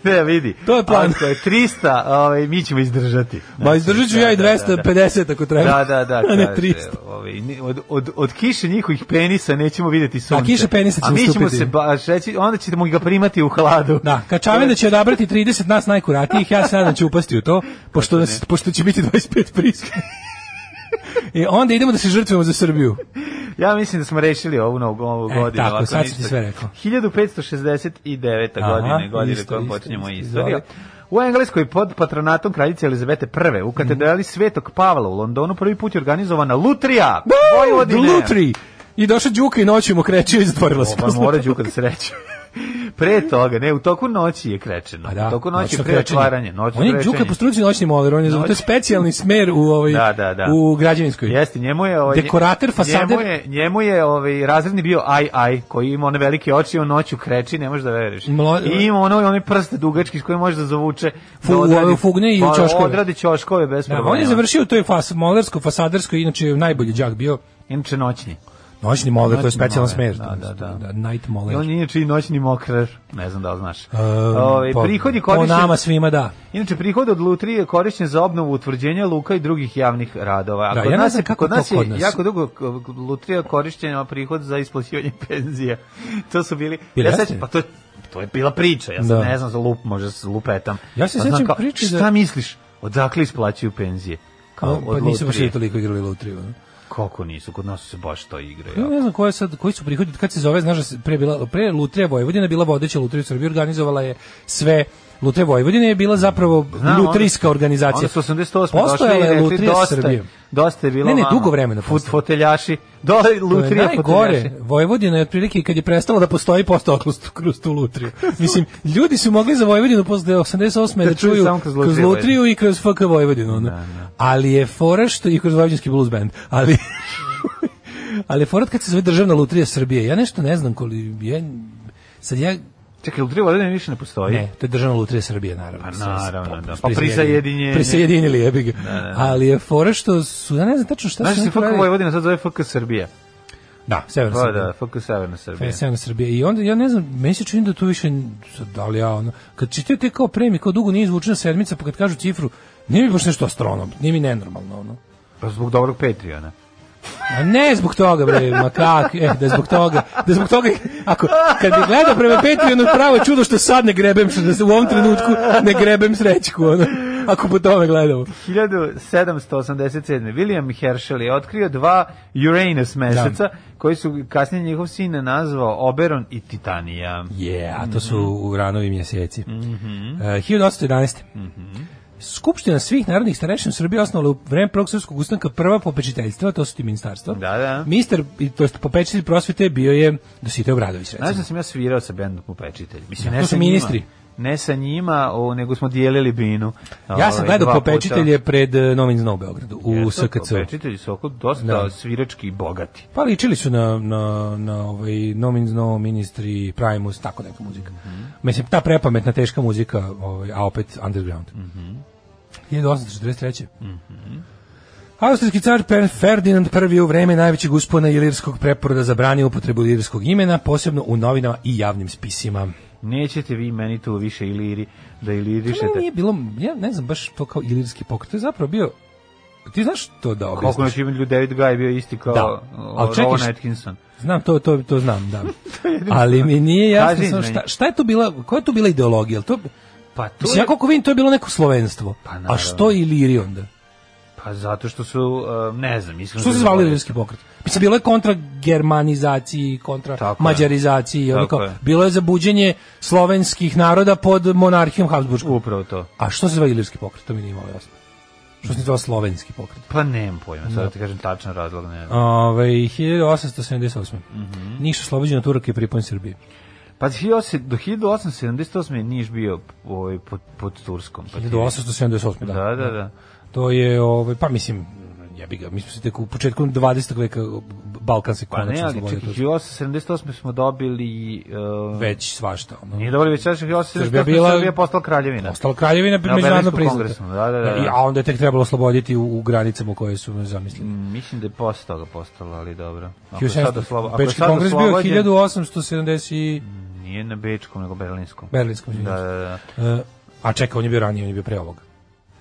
S2: Ne, vidi.
S1: To je plan.
S2: Ako je 300, ovaj, mi ćemo izdržati. Znači,
S1: Ma izdržat ću ja i 250 ako treba.
S2: Da, da, da.
S1: A (laughs) ne
S2: kaže,
S1: 300.
S2: ovaj, ni- od, od, od kiše njihovih penisa nećemo videti sunce.
S1: kiše penisa
S2: A
S1: će
S2: mi ćemo
S1: ustupiti.
S2: se baš reći, onda ćemo ga primati u hladu.
S1: Da, Kačavenda će odabrati 30 nas najkuratijih, ja se nadam da će upasti u to, pošto, nas, pošto će biti 25 priska. I onda idemo da se žrtvujemo za Srbiju.
S2: Ja mislim da smo rešili ovu novu ovu
S1: E,
S2: godinu.
S1: tako,
S2: ovako
S1: sad si
S2: ništa.
S1: ti sve rekao.
S2: 1569.
S1: Aha,
S2: godine, godine
S1: isto,
S2: kojom
S1: isto,
S2: počinjemo
S1: isto,
S2: istoriju.
S1: izvolite.
S2: U Engleskoj pod patronatom kraljice Elizabete I u
S1: Mhm.
S2: katedrali Svetog Pavla u Londonu prvi put je organizovana Lutrija. Da, Vojvodine.
S1: Glutri! I došao Đuka i noću mu krećio i zatvorila se.
S2: Pa mora Đuka da se reče. Pre toga, ne, u toku noći je krečeno.
S1: Pa
S2: u toku noći
S1: noćno
S2: je pre
S1: krečenje.
S2: otvaranje. Noćno
S1: on je
S2: krečenje.
S1: Đuka po struci noćni moler, on je za to je specijalni smer u, ovaj,
S2: Da, da, da.
S1: u građevinskoj.
S2: Jeste, njemu je ovaj
S1: Dekorator fasade-
S2: Njemu je, njemu je ovaj razredni bio aj aj koji ima one velike oči, on noću kreči, ne možeš da veruješ.
S1: Mlo-
S2: I ima ono one prste dugački s kojim može da zavuče
S1: Fu-
S2: da
S1: u ove fugne i u
S2: Pa,
S1: ćoškove.
S2: Odradi ćoškove bez
S1: Da,
S2: problema.
S1: on je završio u toj fas, molersko, fasadersko, inače najbolji đak bio.
S2: inače noćni.
S1: Noćni moler, to je
S2: Noćni
S1: specijalan
S2: moler,
S1: smer.
S2: da, da, da.
S1: Night
S2: I
S1: moler.
S2: on je inače i noćni mokrar, ne znam da li znaš.
S1: Ovaj
S2: Ovaj, prihodi
S1: po
S2: korišćeni-
S1: nama svima da.
S2: Inače, prihod od lutrije je korišćen za obnovu utvrđenja luka i drugih javnih radova. A
S1: Da,
S2: kod
S1: ja ne
S2: nas
S1: znam
S2: je-
S1: kako
S2: kod
S1: to
S2: nas je
S1: kod nas.
S2: jako dugo k- lutrija korišćena prihod za isplaćivanje (laughs) penzija. to su bili...
S1: Jel
S2: Ja
S1: jeste?
S2: sećam, pa to, to je bila priča, ja sam
S1: Da.
S2: ne znam za lup, možda se lupetam.
S1: Ja se
S2: Pa znam
S1: sećam
S2: kao,
S1: priče
S2: Šta
S1: da-
S2: misliš? Odakle isplaćuju penzije? Kao,
S1: Pa,
S2: od
S1: pa nisu baš
S2: lutrije.
S1: i toliko igrali lutriju. ono.
S2: Koliko nisu, kod nas su se baš to igre.
S1: Ja ne znam koje sad, koji su prihodi, kad se zove, znaš da se pre, bila, pre Lutrija Vojvodina bila vodeća Lutrija u Srbiji, organizovala je sve Lutrija Vojvodina je bila zapravo
S2: Znam,
S1: lutrijska
S2: onda-
S1: organizacija.
S2: Onda su 88.
S1: Postojala
S2: došli i
S1: je
S2: rekli,
S1: Lutrija
S2: dosta, je-
S1: Srbije.
S2: Dosta je bilo
S1: Ne, ne,
S2: vama.
S1: dugo vremena
S2: Fut,
S1: posle.
S2: foteljaši. Do,
S1: To je
S2: lutrija
S1: najgore.
S2: foteljaši.
S1: Vojvodina je otprilike kad je prestala da postoji postala kroz, tu- kroz tu Lutriju. Mislim, ljudi su mogli za Vojvodinu posle 88. da,
S2: Da čuju
S1: čuju
S2: samo kroz
S1: kroz,
S2: Lutriju Da,
S1: Lutriju i kroz FK Vojvodinu. ono. Ali je fora što i kroz Vojvodinski blues band. Ali... (laughs) Ali je fora kad se zove državna lutrija Srbije. Ja nešto ne znam koli... Ja, sad ja
S2: Čekaj, Lutrija Vojvodina više ne postoji.
S1: Ne, to je državna lutrija Srbije, naravno.
S2: Pa
S1: Sve-
S2: naravno, da.
S1: s-
S2: Pa prisajedinjenje.
S1: Prisajedinili, jebi ga. Ali je fora što su, ja ne znam tačno šta
S2: da, Znaš
S1: su
S2: da se
S1: neki
S2: FK
S1: radili.
S2: Vojvodina sad zove FK Srbija.
S1: Da, severna
S2: Pa
S1: Srbija.
S2: da, FK Severna Srbija.
S1: E, Severna Srbija. I onda, ja ne znam, meni se čini da to više, sad, da li ja, ono, kad čitaju te kao premi, kao dugo nije izvučena sedmica, pa kad kažu cifru, nije mi baš nešto astronom, nije mi nenormalno, ono.
S2: Pa zbog dobrog Patreona.
S1: A ne zbog toga, bre, ma kak, eh, da zbog toga, da zbog toga, ako, kad bi gledao prema Patreonu, pravo je čudo što sad ne grebem, što da se u ovom trenutku ne grebem srećku, ono, ako po tome gledamo.
S2: 1787. William Herschel je otkrio dva Uranus meseca,
S1: Da.
S2: koji su kasnije njihov sin nazvao Oberon i Titanija.
S1: Je, a to su uranovi mjeseci. Mm
S2: Mhm.
S1: 1811. Skupština svih narodnih starešina Srbije osnovala u vreme Prvog srpskog ustanka prva popečiteljstva, to su ti ministarstva.
S2: Da, da.
S1: Ministar, i- to jest popečitelj prosvete bio je Dositej Obradović, recimo.
S2: Znaš da sam ja svirao sa bendom Popečitelj? Mislim,
S1: Da,
S2: ne
S1: to
S2: sa
S1: su
S2: njima.
S1: ministri.
S2: Ne sa njima, o, nego smo dijelili binu.
S1: ja sam
S2: Ovaj,
S1: gledao
S2: dva puta.
S1: popečitelje pred eh, Novim Zna u Beogradu, u
S2: Jesu,
S1: SKC.
S2: Popečitelji su oko dosta
S1: Da.
S2: svirački i bogati.
S1: Pa ličili su na, na, na ovaj Nomin's No, Ministry, Primus, tako neka muzika.
S2: Mhm.
S1: Mislim, ta prepametna, teška muzika, ovaj, a opet underground.
S2: Mhm.
S1: 1843. Austrijski car Per- Ferdinand I u vreme najvećeg uspona ilirskog preporoda zabranio upotrebu ilirskog imena, posebno u novinama i javnim spisima.
S2: Nećete vi meni tu više iliri,
S1: To
S2: da
S1: meni
S2: ilirišete.
S1: nije bilo, ja ne znam baš to kao ilirski pokret, to je zapravo bio, ti znaš to da
S2: Koliko
S1: objasniš?
S2: noć ima ljudi, David Guy je bio isti kao
S1: Da.
S2: da.
S1: Ali čekaj,
S2: Rowan
S1: šta-
S2: Atkinson.
S1: Znam, to, to, to znam,
S2: (laughs)
S1: da. Ali mi nije jasno
S2: Kaži
S1: samo
S2: meni.
S1: šta, šta je to bila, koja je to bila ideologija? Jel To,
S2: Pa to
S1: mislim, ja
S2: je,
S1: koliko vidim, to je bilo neko slovenstvo.
S2: Pa,
S1: A
S2: naravno.
S1: što Iliri onda?
S2: pa zato što su, e, ne znam, iskreno.
S1: Što se zvali ilirski pokret? Mislim, bilo je kontra germanizaciji, kontra
S2: Tako je.
S1: mađarizaciji. i ono
S2: Tako
S1: kao-
S2: je.
S1: bilo je za buđenje slovenskih naroda pod monarhijom Habsburgskom.
S2: Upravo to.
S1: A što se zva ilirski pokret? To mi nije malo jasno. Što se zva slovenski pokret? Ovaj,
S2: Pa nemam pojma, sad da ti kažem tačan razlog, ne znam.
S1: Ove, 1878.
S2: Mhm.
S1: Niš oslobođen od Turaka i pripojen Srbiji.
S2: Pa 1800 do 1878 je Niš bio ovaj, pod, pod Turskom. Pa ti-
S1: 1878. Da,
S2: Da, da, da.
S1: To je, ovaj, pa mislim, ja bi ga, mi smo se tek u početku 20. veka Balkan se
S2: Pa ne,
S1: konačno
S2: ali čekaj,
S1: slobodio.
S2: 1878 smo dobili... Uh,
S1: Već svašta. Ono.
S2: Nije dobili već, češće, 1878
S1: Srbija
S2: Srbija,
S1: bila-
S2: bila... Srbija postala kraljevina.
S1: Ostala kraljevina
S2: Na
S1: međunarodno
S2: Berlinskom
S1: priznata.
S2: kongresu, da, da, da, da.
S1: I- A onda je tek trebalo osloboditi u, u granicama koje su zamislili.
S2: Mm, Mislim da je posle toga postala, ali dobro. Ako je sad
S1: 1700.
S2: oslobo- ako je
S1: Bečki
S2: sad
S1: kongres bio
S2: oslobođen-
S1: 1870 i
S2: Nije na Bečkom, nego Berlinskom.
S1: Berlinskom.
S2: Da,
S1: izvinjavam
S2: da, da.
S1: se. E, a čekaj, on je bio ranije, on je bio pre ovoga.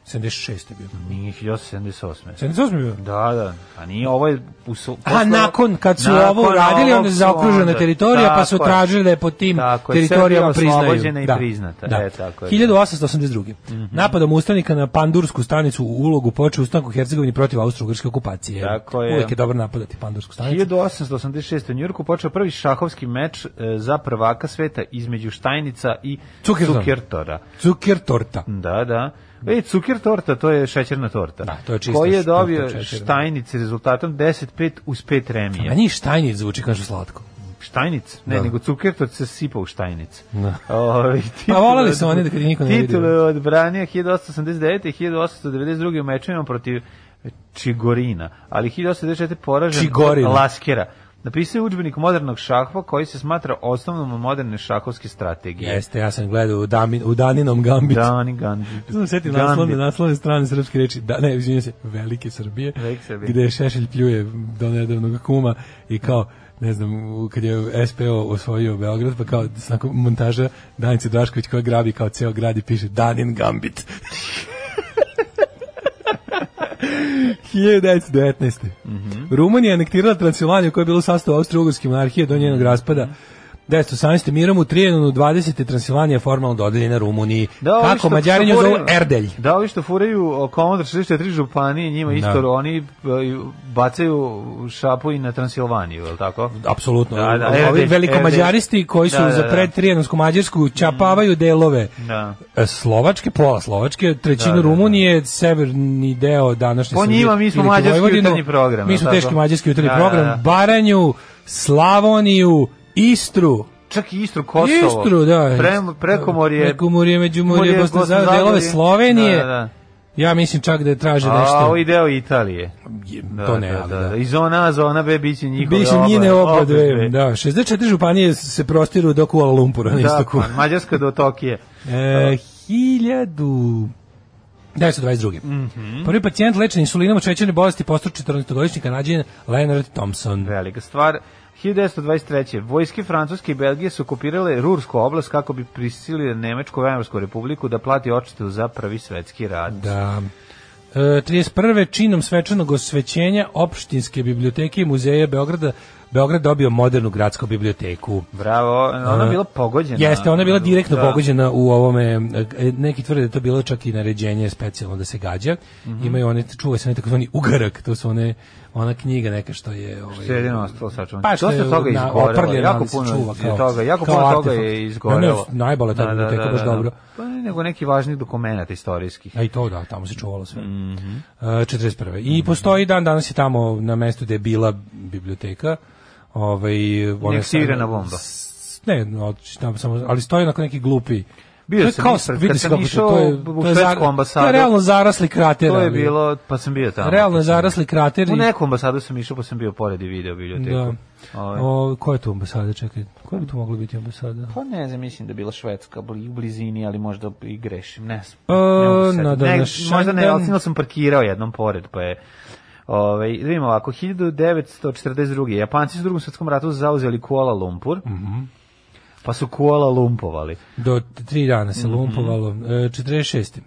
S1: 76. je bio.
S2: Nije 1878.
S1: 78. je bio.
S2: Da, da. Pa nije ovo je... U su,
S1: A
S2: posle-
S1: nakon kad su
S2: nakon
S1: ovo uradili,
S2: ovog
S1: onda je
S2: su
S1: zaokružena
S2: onda-
S1: teritorija, pa su
S2: Tako je.
S1: tražili da je po tim
S2: Tako je,
S1: teritorijama
S2: Srbija
S1: priznaju. Da.
S2: oslobođena i priznata, e, tako je. Mhm.
S1: 1882. Napadom ustanika na pandursku stanicu u ulogu počeo ustanak u Hercegovini protiv austro-ugrške okupacije.
S2: Tako je.
S1: Uvijek je dobro napadati pandursku stanicu.
S2: 1886. u Njurku počeo prvi šahovski meč e, za prvaka sveta između Štajnica i
S1: Cukertora.
S2: Cukertora.
S1: Cuker torta.
S2: Da, da. E, cuker torta, to je šećerna torta.
S1: Da, to je čista
S2: Koji je
S1: torta
S2: dobio
S1: šećerna.
S2: Štajnic rezultatom 10-5 uz 5 remija.
S1: A njih štajnic zvuči, kaže slatko.
S2: Štajnic? Ne,
S1: Da.
S2: nego Cukertort se sipa u Štajnic.
S1: Da.
S2: Ovaj,
S1: Pa
S2: titulu-
S1: voleli su oni da kad ih niko ne vidi.
S2: Titulu je odbranio 1889. i 1892. u mečevima protiv Čigorina, ali 1894. poražen
S1: Čigorina.
S2: od Laskera. Napisao je udžbenik modernog šahva koji se smatra osnovnom moderne šahovske strategije.
S1: Jeste, ja sam gledao u, Damin, u Daninom Gambitu.
S2: Dani Gandhi.
S1: Sam da se setio naslovne, naslovne strane srpske reči, da, ne, izvinjam se, Velike Srbije,
S2: Velike Srbije.
S1: gde je Šešelj pljuje do nedavnog kuma i kao, ne znam, u- kad je SPO osvojio Beograd, pa kao s nakon montaža Danice Drašković koja grabi kao ceo grad i piše Danin Gambit. (laughs) 1919.
S2: Mhm.
S1: Rumunija je anektirala Transilvaniju koja je bila u sastavu Austro-Ugrske monarhije do
S2: Mhm.
S1: njenog raspada. 1918. mirom u Trijenonu 20. Transilvanija je formalno dodeljena Rumuniji.
S2: Da, ovi
S1: Kako
S2: što-
S1: Mađarinju
S2: što
S1: zovu
S2: furaju-
S1: Erdelj.
S2: Da, ovi što furaju o, Commodore 63 županije, njima isto,
S1: Da.
S2: oni e, bacaju šapu i na Transilvaniju, je li tako?
S1: Apsolutno.
S2: Da, da,
S1: Ovi
S2: Erdelj,
S1: velikomađaristi koji su
S2: Da, da,
S1: za
S2: da.
S1: pred Trijenonsku Mađarsku čapavaju delove
S2: Da.
S1: e, Slovačke, pola Slovačke, trećinu
S2: Da, da, da.
S1: Rumunije, severni deo današnje
S2: Po
S1: Srbije
S2: njima mi smo
S1: ili
S2: mađarski
S1: Vojvodinu.
S2: jutarnji program,
S1: Mi
S2: jel
S1: smo
S2: tako?
S1: teški mađarski jutarnji
S2: Da, da,
S1: program.
S2: da.
S1: Baranju, Slavoniju, Istru,
S2: Čak i Istru Kosovo.
S1: Istru, da.
S2: Pre, prekomorje.
S1: Prekomorje, Međumorje,
S2: Morje,
S1: Bosna,
S2: Bosna,
S1: Zagorje, delove
S2: Zagorje.
S1: Slovenije.
S2: Da, da,
S1: Ja mislim čak da je traže
S2: da. A
S1: nešto.
S2: ovo i deo Italije.
S1: Je,
S2: Da,
S1: to ne,
S2: da,
S1: ali
S2: da,
S1: da.
S2: da. I zona A, zona B, bit će njihove
S1: Biše njine oba dve,
S2: Da,
S1: da. 64 županije se prostiru do Kuala Lumpura na
S2: da
S1: istoku.
S2: pa, Mađarska do Tokije.
S1: E, 1000... 1922. Prvi pacijent lečen insulinom od šećerne bolesti postao 14-godišnji kanadjan Leonard Thompson.
S2: Velika stvar. 1923. Vojske Francuske i Belgije su okupirale Rursku oblast kako bi prisilile Nemačku Weimarsku republiku da plati odštetu za prvi svetski rad.
S1: Da. E, 31. činom svečanog osvećenja opštinske biblioteke i muzeja Beograda Beograd dobio modernu gradsku biblioteku.
S2: Bravo, ona je bila pogođena.
S1: Jeste, ona je bila direktno
S2: Da.
S1: pogođena u ovome, e, neki tvrde da je to bilo čak i naređenje specijalno da se gađa.
S2: Mhm.
S1: Imaju one, čuva se onaj takozvani ugarak, to su one, ona knjiga neka što je... Ovaj,
S2: Što je jedino ostalo sačuvano.
S1: Pa što
S2: Dosta
S1: je
S2: toga
S1: na-
S2: izgorelo,
S1: oprljeno,
S2: jako
S1: ali se
S2: puno
S1: čuva kao-
S2: je toga, jako
S1: kao
S2: puno toga
S1: artefakt.
S2: je
S1: Da,
S2: izgorelo.
S1: ne, najbolje ta biblioteka, baš dobro.
S2: Pa ne, nego neki važni dokumenata istorijskih.
S1: A i to da, tamo se čuvalo sve. Mm
S2: Mhm.
S1: 41. I postoji dan, danas je tamo na mestu gde je bila biblioteka. Ovaj, ona je
S2: Neaktivirana
S1: sad-
S2: bomba.
S1: s- Ne, no, tamo samo, ali stoji onako neki glupi.
S2: Bio
S1: to je
S2: sam
S1: kao,
S2: ispred,
S1: vidi
S2: kad
S1: se
S2: sam
S1: kako to-
S2: išao
S1: to je,
S2: u
S1: to je,
S2: švedsku
S1: zar- to
S2: ambasadu,
S1: je realno zarasli krater.
S2: To je
S1: Da, ali-
S2: bilo, pa sam bio tamo.
S1: Realno je zarasli krater.
S2: U
S1: i-
S2: nekom ambasadu sam išao, pa sam bio pored i video biblioteku.
S1: Da.
S2: Ovaj.
S1: O, ko je tu ambasada, čekaj? Koja bi tu mogla biti ambasada?
S2: Pa ne znam, mislim da je bila Švedska bli- u blizini, ali možda i grešim, ne znam.
S1: E,
S2: Ne mogu se
S1: na
S2: setiti. ne,
S1: današnji
S2: možda ne,
S1: dan-
S2: ali sigurno sam parkirao jednom pored, pa je Ove, da vidimo ovako, 1942. Japanci su u drugom svjetskom ratu zauzeli Kuala Lumpur,
S1: Mhm.
S2: pa su Kuala Lumpovali.
S1: Do t- tri dana se
S2: Mhm.
S1: lumpovalo. E, 46.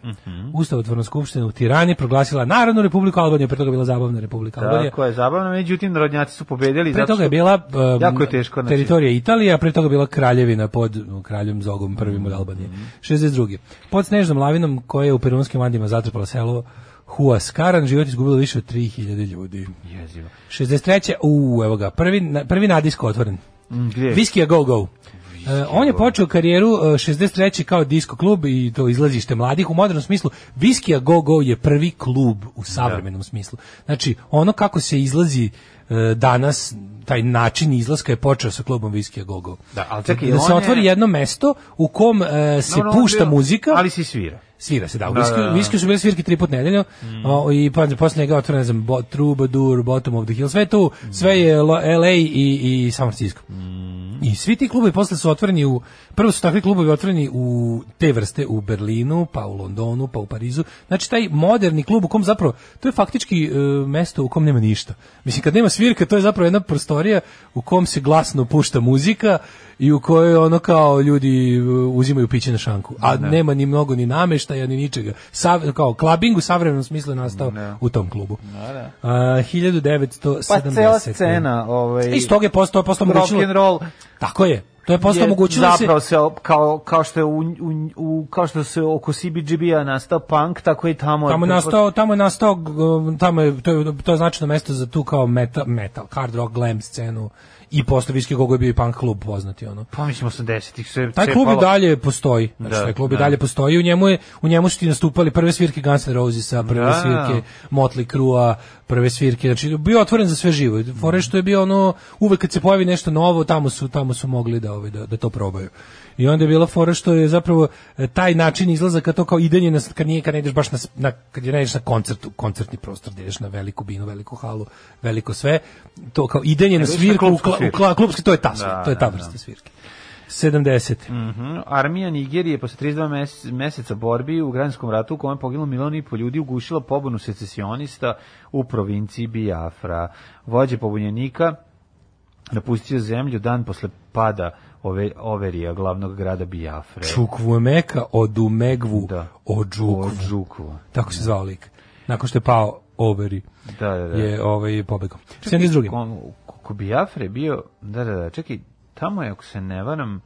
S1: Ustavotvorna skupština u Tirani proglasila Narodnu republiku Albanije, pre toga bila zabavna republika Albanija.
S2: Tako je zabavno, međutim, narodnjaci su pobedili.
S1: Pre
S2: zato
S1: toga
S2: što-
S1: je bila um,
S2: Jako je teško, znači.
S1: teritorija Italije, a pre toga je bila kraljevina pod um, kraljem Zogom prvim
S2: Mhm.
S1: od Albanije. 62. Pod snežnom lavinom koja je u perunskim Andima zatrpala selo Huascaran, život izgubilo više od 3000 ljudi.
S2: Jezivo.
S1: 63. U, evo ga, prvi, na- prvi nadisko otvoren.
S2: Mm, Gdje? je?
S1: Viskija Go Go. E, on je počeo karijeru e, 63. kao disko klub i to izlazište mladih u modernom smislu. Viskija Go Go je prvi klub u
S2: Da.
S1: savremenom smislu. Znači, ono kako se izlazi e, danas, taj način izlaska je počeo sa klubom Viskija Go Go.
S2: Da, ali čekaj,
S1: se
S2: on je-
S1: otvori jedno mesto u kom e, se
S2: Dobro, ono je
S1: pušta
S2: bio-
S1: muzika.
S2: Ali se i svira.
S1: Svira se, da. U
S2: Da,
S1: Viski,
S2: da, Mm. da.
S1: Viski su bile svirke tri put nedeljno o, i pa posle njega otvore, ne znam, bo, Troubadour, Bottom of the Hill, sve je tu, sve je Lo- LA i, i San Francisco.
S2: Mm.
S1: I svi ti klubovi posle su otvoreni u, prvo su takvi klubovi otvoreni u te vrste u Berlinu, pa u Londonu, pa u Parizu. Znači taj moderni klub u kom zapravo, to je faktički e, mesto u kom nema ništa. Mislim, kad nema svirke, to je zapravo jedna prostorija u kom se glasno pušta muzika i u kojoj ono kao ljudi e, uzimaju piće na šanku. A
S2: Da.
S1: nema ni mnogo ni nameštaja, ni ničega. Sav, kao klabing u savremenom smislu je nastao
S2: Da.
S1: u tom klubu. A, 1970.
S2: Pa cela scena, ovaj...
S1: Iz toga je postao, postao
S2: rock
S1: omogućilo-
S2: and roll
S1: Tako je. To je postao
S2: je
S1: omogućilo da se...
S2: zapravo se op- kao kao što je u, u, u kao što se oko CBGB-a nastao punk, tako i tamo
S1: Tamo je
S2: tako-
S1: nastao, tamo je nastao, g- tamo je, to je, to je značajno mesto za tu kao metal, metal hard rock, glam scenu i posle Viski Gogo je bio i punk klub poznati ono.
S2: pa mislim 80-ih sve
S1: Taj
S2: sve
S1: klub i
S2: palo.
S1: dalje postoji. Znači,
S2: Da,
S1: taj klub i
S2: da.
S1: dalje postoji. U njemu, je, u njemu su ti nastupali prve svirke Guns N' Rosesa, prve
S2: Da.
S1: svirke Motley Crue-a, prve svirke. Znači, bio je otvoren za sve živo. Fore što je bio ono, uvek kad se pojavi nešto novo, tamo su, tamo su mogli da, ovaj, da, da to probaju. I onda je bila fora što je zapravo e, taj način izlazaka to kao idenje na, kad nije kad ne ideš baš na, s- na kad je ne ideš na koncert, u koncertni prostor, gdje ideš na veliku binu, veliku halu, veliko sve, to kao idenje na
S2: ideš na
S1: svirku, u,
S2: klupsku
S1: kla- u
S2: svirku.
S1: kla- klupski, to je ta, svir-
S2: Da,
S1: to je ta
S2: da,
S1: vrsta svirke. 70.
S2: Mhm. Armija Nigerije posle 32 mes- meseca borbi u građanskom ratu u kome je poginulo milion i po ljudi ugušila pobunu secesionista u provinciji Biafra. Vođe pobunjenika napustio zemlju dan posle pada ove, Overija, glavnog grada Biafre.
S1: Čukvumeka od Umegvu
S2: Da.
S1: od Žukvu.
S2: Od Žukova.
S1: Tako se zvao lik. Nakon što je pao Overi
S2: Da, da, da.
S1: je ovaj pobegao. 72.
S2: Ko- Kako Biafre bio, da, da, da, čekaj, tamo je, ako se ne varam,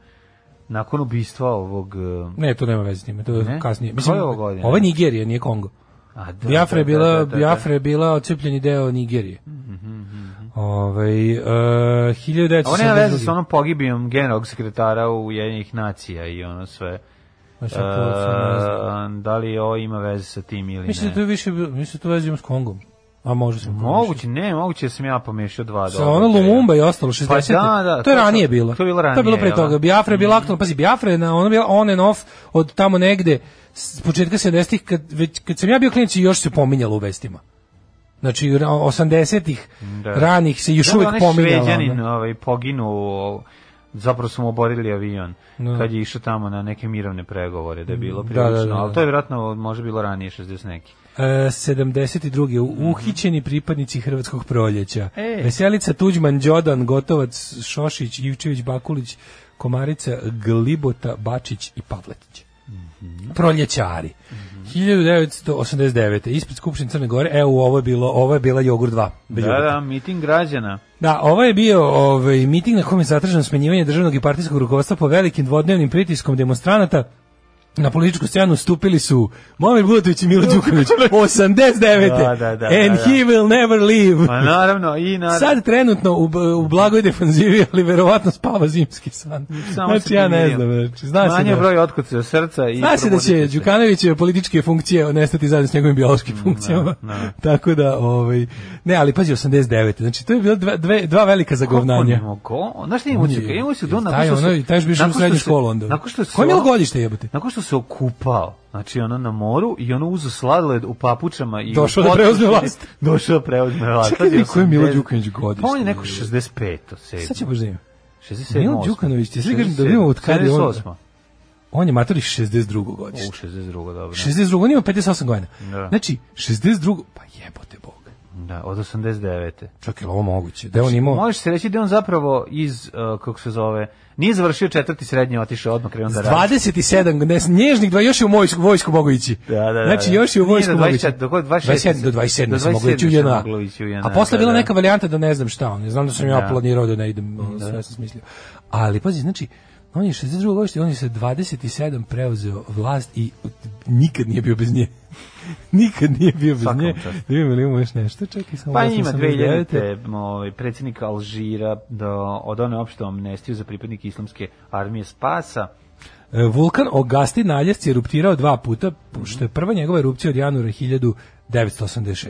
S2: nakon ubistva ovog... e,
S1: Ne, to nema veze s time, to je
S2: Ne?
S1: kasnije.
S2: Koja
S1: Mislim,
S2: je ovo godina?
S1: ovo je Nigerija, nije Kongo.
S2: A, da,
S1: Biafra je
S2: da, da,
S1: bila,
S2: da, da, Mhm, da.
S1: Biafra je bila odcepljeni deo Nigerije. Ovaj e,
S2: A da. Ovo nema veze s
S1: 1972.
S2: onom pogibijom generalnog sekretara Ujedinjenih nacija i ono sve.
S1: Ma
S2: E,
S1: sad to sam ne znam.
S2: da li ovo ima veze sa tim ili
S1: Mislim da to
S2: ne?
S1: je više, bilo- mislim da to veze ima s Kongom. A može se.
S2: Moguće, ne, moguće da sam ja pomiješao dva
S1: Sa ono Lumumba i ostalo 60.
S2: Pa da, da,
S1: to je
S2: to-
S1: ranije
S2: to-
S1: bilo.
S2: to je bilo
S1: To je bilo
S2: ranije,
S1: pre
S2: jel
S1: toga.
S2: da?
S1: Biafra je bila aktualna. Pazi, Biafra je na, ona bila on and off od tamo negde s početka 70-ih kad već kad sam ja bio klinac i još se pominjalo u vestima. Znači ra- 80-ih
S2: Da.
S1: ranih se još da.
S2: Da,
S1: uvijek
S2: onaj
S1: pominjalo.
S2: Šveđanin
S1: ono.
S2: ovaj, poginuo, zapravo su mu oborili avion
S1: Da.
S2: kad je išao tamo na neke mirovne pregovore, da je bilo
S1: Da,
S2: prilično,
S1: da, da, da.
S2: ali to je vjerojatno može bilo ranije 60 neki.
S1: E, 72. u- uhićeni pripadnici Hrvatskog proljeća.
S2: Mhm. E.
S1: Veselica Tuđman, Đodan, Gotovac, Šošić, Ivčević, Bakulić,
S2: Mhm.
S1: Komarica, Glibota, Bačić i Pavletić. Proljećari. 1989. ispred Skupštine Crne Gore, evo ovo je bilo, ovo je bila jogurt 2.
S2: Da, da, miting građana.
S1: Da, ovo je bio ovaj miting na kome je zatraženo smenjivanje državnog i partijskog rukovodstva po velikim dvodnevnim pritiskom demonstranata. Na političku scenu stupili su Momir Butović i Milo
S2: (laughs)
S1: Đuković 89.
S2: Da, da, da,
S1: And
S2: da, da.
S1: he will never leave.
S2: Pa naravno, i naravno.
S1: Sad trenutno u, b- u blagoj defanzivi, ali verovatno spava zimski san.
S2: Samo
S1: znači
S2: se
S1: ja ne
S2: pomirio.
S1: znam, znači, zna se
S2: Manje
S1: da,
S2: broj otkuca od srca i
S1: zna se da će
S2: probudite se.
S1: Đukanovićeve političke funkcije nestati zajedno s njegovim biološkim funkcijama.
S2: da.
S1: (laughs) Tako da, ovaj, ne, ali pazi, 89. Znači, to je bilo dva, dve, dva velika zagovnanja.
S2: Kako Mogo, znaš šta imamo
S1: On je-
S2: čekaj, imamo se do
S1: Taj
S2: nakon što
S1: ono,
S2: se-
S1: i taj još bi išao u
S2: nakon što
S1: srednju
S2: se-
S1: školu onda.
S2: Nakon što se
S1: Koje je bilo
S2: ono-
S1: godište jebate?
S2: Nakon što se okupao, znači ono na moru i ono uzo sladoled u papučama i u
S1: Došao da preuzme vlast.
S2: (laughs) Došao da preuzme vlast.
S1: Čekaj,
S2: Sad je
S1: koji je Milo
S2: 80
S1: Đukanović godište?
S2: Pa on je neko 65. sedmo.
S1: Sad će baš da ima.
S2: 67.
S1: Milo
S2: osmo.
S1: Đukanović, ti svi kažem da vidimo od kada je on-
S2: 78..
S1: On je matori 62.
S2: U,
S1: godište.
S2: 62. dobro.
S1: 62. On ima 58 godina.
S2: Da.
S1: Znači, 62. Pa jebote Bog.
S2: Da, od 89.
S1: Čak je li ovo moguće? Da je on imao...
S2: Možeš se reći da je on zapravo iz, uh, kako se zove, nije završio četvrti srednje, otišao odmah krenuo da radi.
S1: 27, ne, nježnih dva, još je u vojsku, vojsku mogu ići.
S2: Da, da, da,
S1: znači,
S2: da.
S1: još je u
S2: Nije
S1: vojsku
S2: do
S1: mogu
S2: 24,
S1: ići.
S2: do kod 26
S1: 27 do 27,
S2: do
S1: sam mogao ići u
S2: 27
S1: JNA.
S2: sam moglo ići u JNA,
S1: A posle je
S2: da,
S1: bila
S2: da.
S1: neka varijanta da ne znam šta on je. Znam da sam ja
S2: Da.
S1: planirao da ne idem, ono, sve sam smislio. Ali, pazi, znači, on je 62. godište, on je sa 27 preuzeo vlast i nikad nije bio bez nje. (laughs) nikad nije bio bez
S2: Svaka mu
S1: nje.
S2: čast.
S1: Da vidimo li imamo još nešto, čekaj samo.
S2: Pa
S1: da sam
S2: ima
S1: sam izgledao.
S2: 2000. Ovaj, predsjednik Alžira do, od one opšte amnestiju za pripadnike islamske armije Spasa.
S1: E, Vulkan Ogasti naljevci je eruptirao dva puta, što je prva njegova erupcija od januara 1986.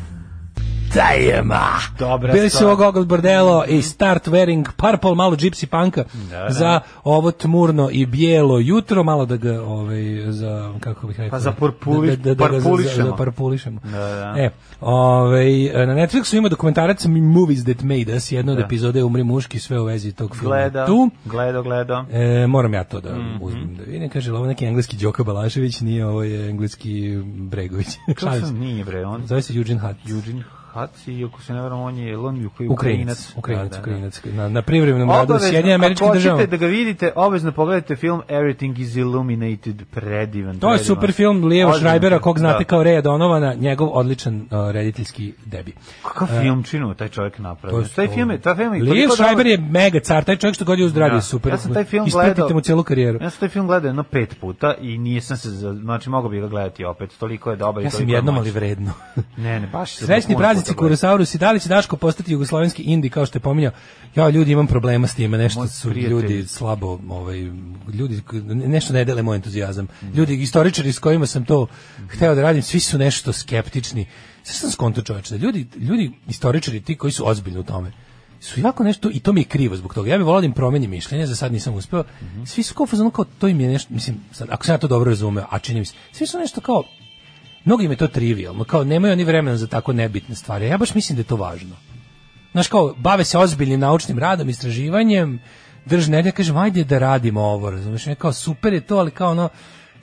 S1: Dajema!
S2: Dobra
S1: Bili su
S2: stvar.
S1: Ogog Bordello
S2: Mhm.
S1: i Start Wearing Purple, malo gypsy punka
S2: Da,
S1: za ovo tmurno i bijelo jutro, malo da ga ovaj, za, kako bih rekao, da,
S2: Pa za purpuli-
S1: ga za-
S2: parpulišemo.
S1: za- za parpulišemo.
S2: Da, da.
S1: E, ovaj, na Netflixu ima dokumentarac Movies That Made Us, jedna od epizode je Umri muški, sve u vezi tog filma
S2: Da. Gleda,
S1: tu.
S2: gleda, gleda.
S1: E, moram ja to da
S2: Mhm.
S1: uzmem da vidim. Kaže, ovo je neki engleski Đoka Balašević, nije ovo je engleski Bregović.
S2: (laughs) Kako
S1: Šalim se.
S2: sam nije bre, on
S1: Zove se Eugene Hutt.
S2: Eugene Haci, ako se ne varam, on je Elon koji
S1: Ukrajinac, Ukrajinac, Ukrajinac. Na, na privremenom radu u Sjedinjenim
S2: Da, Obavezno,
S1: američkim
S2: ako
S1: državama.
S2: hoćete da ga vidite, obavezno pogledajte film Everything is Illuminated, predivan.
S1: To je
S2: predivan.
S1: super film Lijevo
S2: Ozbiljno,
S1: Šrajbera, kog znate
S2: da.
S1: kao Reja Donovana, njegov odličan uh, rediteljski debi.
S2: Kakav
S1: E.
S2: film činu taj čovjek napravio? Znači, Taj film je, taj film je...
S1: Lijev
S2: toliko
S1: Šrajber
S2: dobar-
S1: je mega car, taj čovjek što god je uzdradio,
S2: Da.
S1: super.
S2: Ja sam taj film
S1: Ispratite
S2: gledao.
S1: mu cijelu karijeru.
S2: Ja sam taj film gledao jedno pet puta i nisam se, za- znači mogao bih ga gledati opet, toliko je dobar i
S1: Ja
S2: toliko
S1: sam
S2: je
S1: jednom,
S2: moćan.
S1: ali vredno.
S2: Ne, ne, baš sam
S1: Srećni praznici
S2: puno puta gledao.
S1: Kurosaurus i da li će Daško postati jugoslovenski indi kao što je pominjao? Ja ljudi imam problema s time, nešto
S2: Moj
S1: su
S2: prijatelj.
S1: ljudi slabo, ovaj ljudi nešto ne dele moj entuzijazam. Ljudi istoričari s kojima sam to hteo da radim, svi su nešto skeptični. Sve sam skonto čoveče, da ljudi ljudi istoričari ti koji su ozbiljni u tome su jako nešto i to mi je krivo zbog toga. Ja bih volao da im promenim mišljenje, za sad nisam uspeo.
S2: Mhm.
S1: Svi su kao u fazonu kao to im je nešto, mislim, sad, ako sam ja to dobro razumeo, a čini mi se, svi su nešto kao mnogim je to trivialno, kao nemaju oni vremena za tako nebitne stvari. a Ja baš mislim da je to važno. Znaš, kao, bave se ozbiljnim naučnim radom, istraživanjem, drž nedelja, kažem, ajde da radimo ovo, razumiješ, ne, kao, super je to, ali kao ono,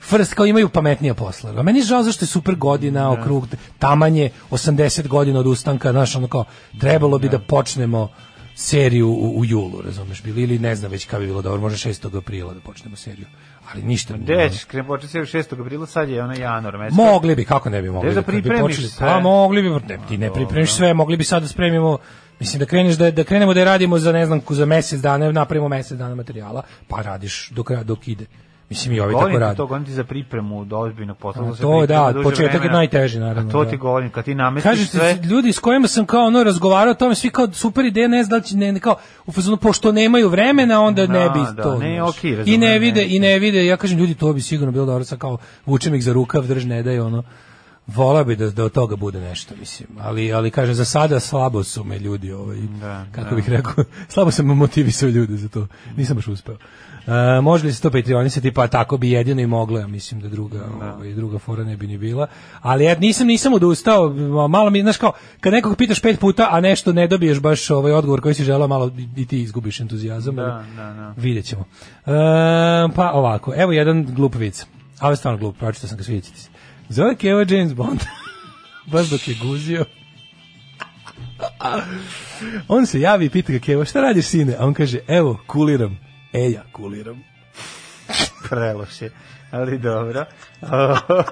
S1: first, kao imaju pametnija posla. A meni je žao zašto je super godina, okrug, tamanje, 80 godina od ustanka, znaš, ono kao, trebalo bi da počnemo seriju u, u julu, razumeš, bili, ili ne znam već kada bi bilo dobro, možda 6. aprila da počnemo seriju, ali ništa.
S2: Gde ćeš, krem početi se 6. aprila, sad je ono januar mesec.
S1: Mogli bi, kako ne bi mogli.
S2: Jel da
S1: Kad bi
S2: pripremiš
S1: počeli-
S2: sve?
S1: Pa mogli bi, ne, ti ne pripremiš sve, mogli bi sad da spremimo, mislim da kreneš da, da krenemo da je radimo za ne znam, za mesec dana, napravimo mesec dana materijala, pa radiš do kraja dok ide. Mislim i ovi tako
S2: Govorim ti
S1: radi.
S2: to, govorim ti za pripremu do ozbiljnog posla.
S1: A
S2: se
S1: to,
S2: priprema
S1: da,
S2: duže
S1: početak je
S2: vremena.
S1: najteži, naravno,
S2: A to
S1: da.
S2: ti govorim, kad ti namestiš
S1: Kažete,
S2: sve...
S1: ljudi s kojima sam kao ono razgovarao o tome, svi kao super ideja, ne znam da li će, ne, ne, kao, u fazonu, pošto nemaju vremena, onda ne
S2: Da,
S1: bi
S2: da,
S1: to.
S2: ne,
S1: znaš.
S2: okej, razumem,
S1: I ne
S2: ne.
S1: vide, i ne vide, ja kažem, ljudi, to bi sigurno bilo dobro, sad kao, vučem ih za rukav, drž, ne daj, ono, vola bi da, da od toga bude nešto, mislim, ali, ali kažem, za sada slabo su me ljudi, ovaj,
S2: Da,
S1: kako bih rekao, (laughs) slabo sam motivisao ljude za to, nisam baš uspeo. E, može li se to patrionisati, pa tako bi jedino i moglo, ja mislim da druga, ovaj, druga fora ne bi ni bila, ali ja nisam, nisam odustao, ma- malo mi, znaš kao, kad nekog pitaš pet puta, a nešto ne dobiješ baš ovaj odgovor koji si želeo, malo i- i ti izgubiš entuzijazam, ali
S2: Da, da, da.
S1: vidjet ćemo. E, pa ovako, evo jedan glup vic, ali stvarno glup, pročitao sam ga, svidjet ćete se. Zove Keva James Bond. (laughs) baš dok je guzio. (laughs) On se javi i pita ga Kevo, šta radiš sine? A on kaže, evo, kuliram. E, ja kuliram.
S2: (laughs) preloše, ali dobro.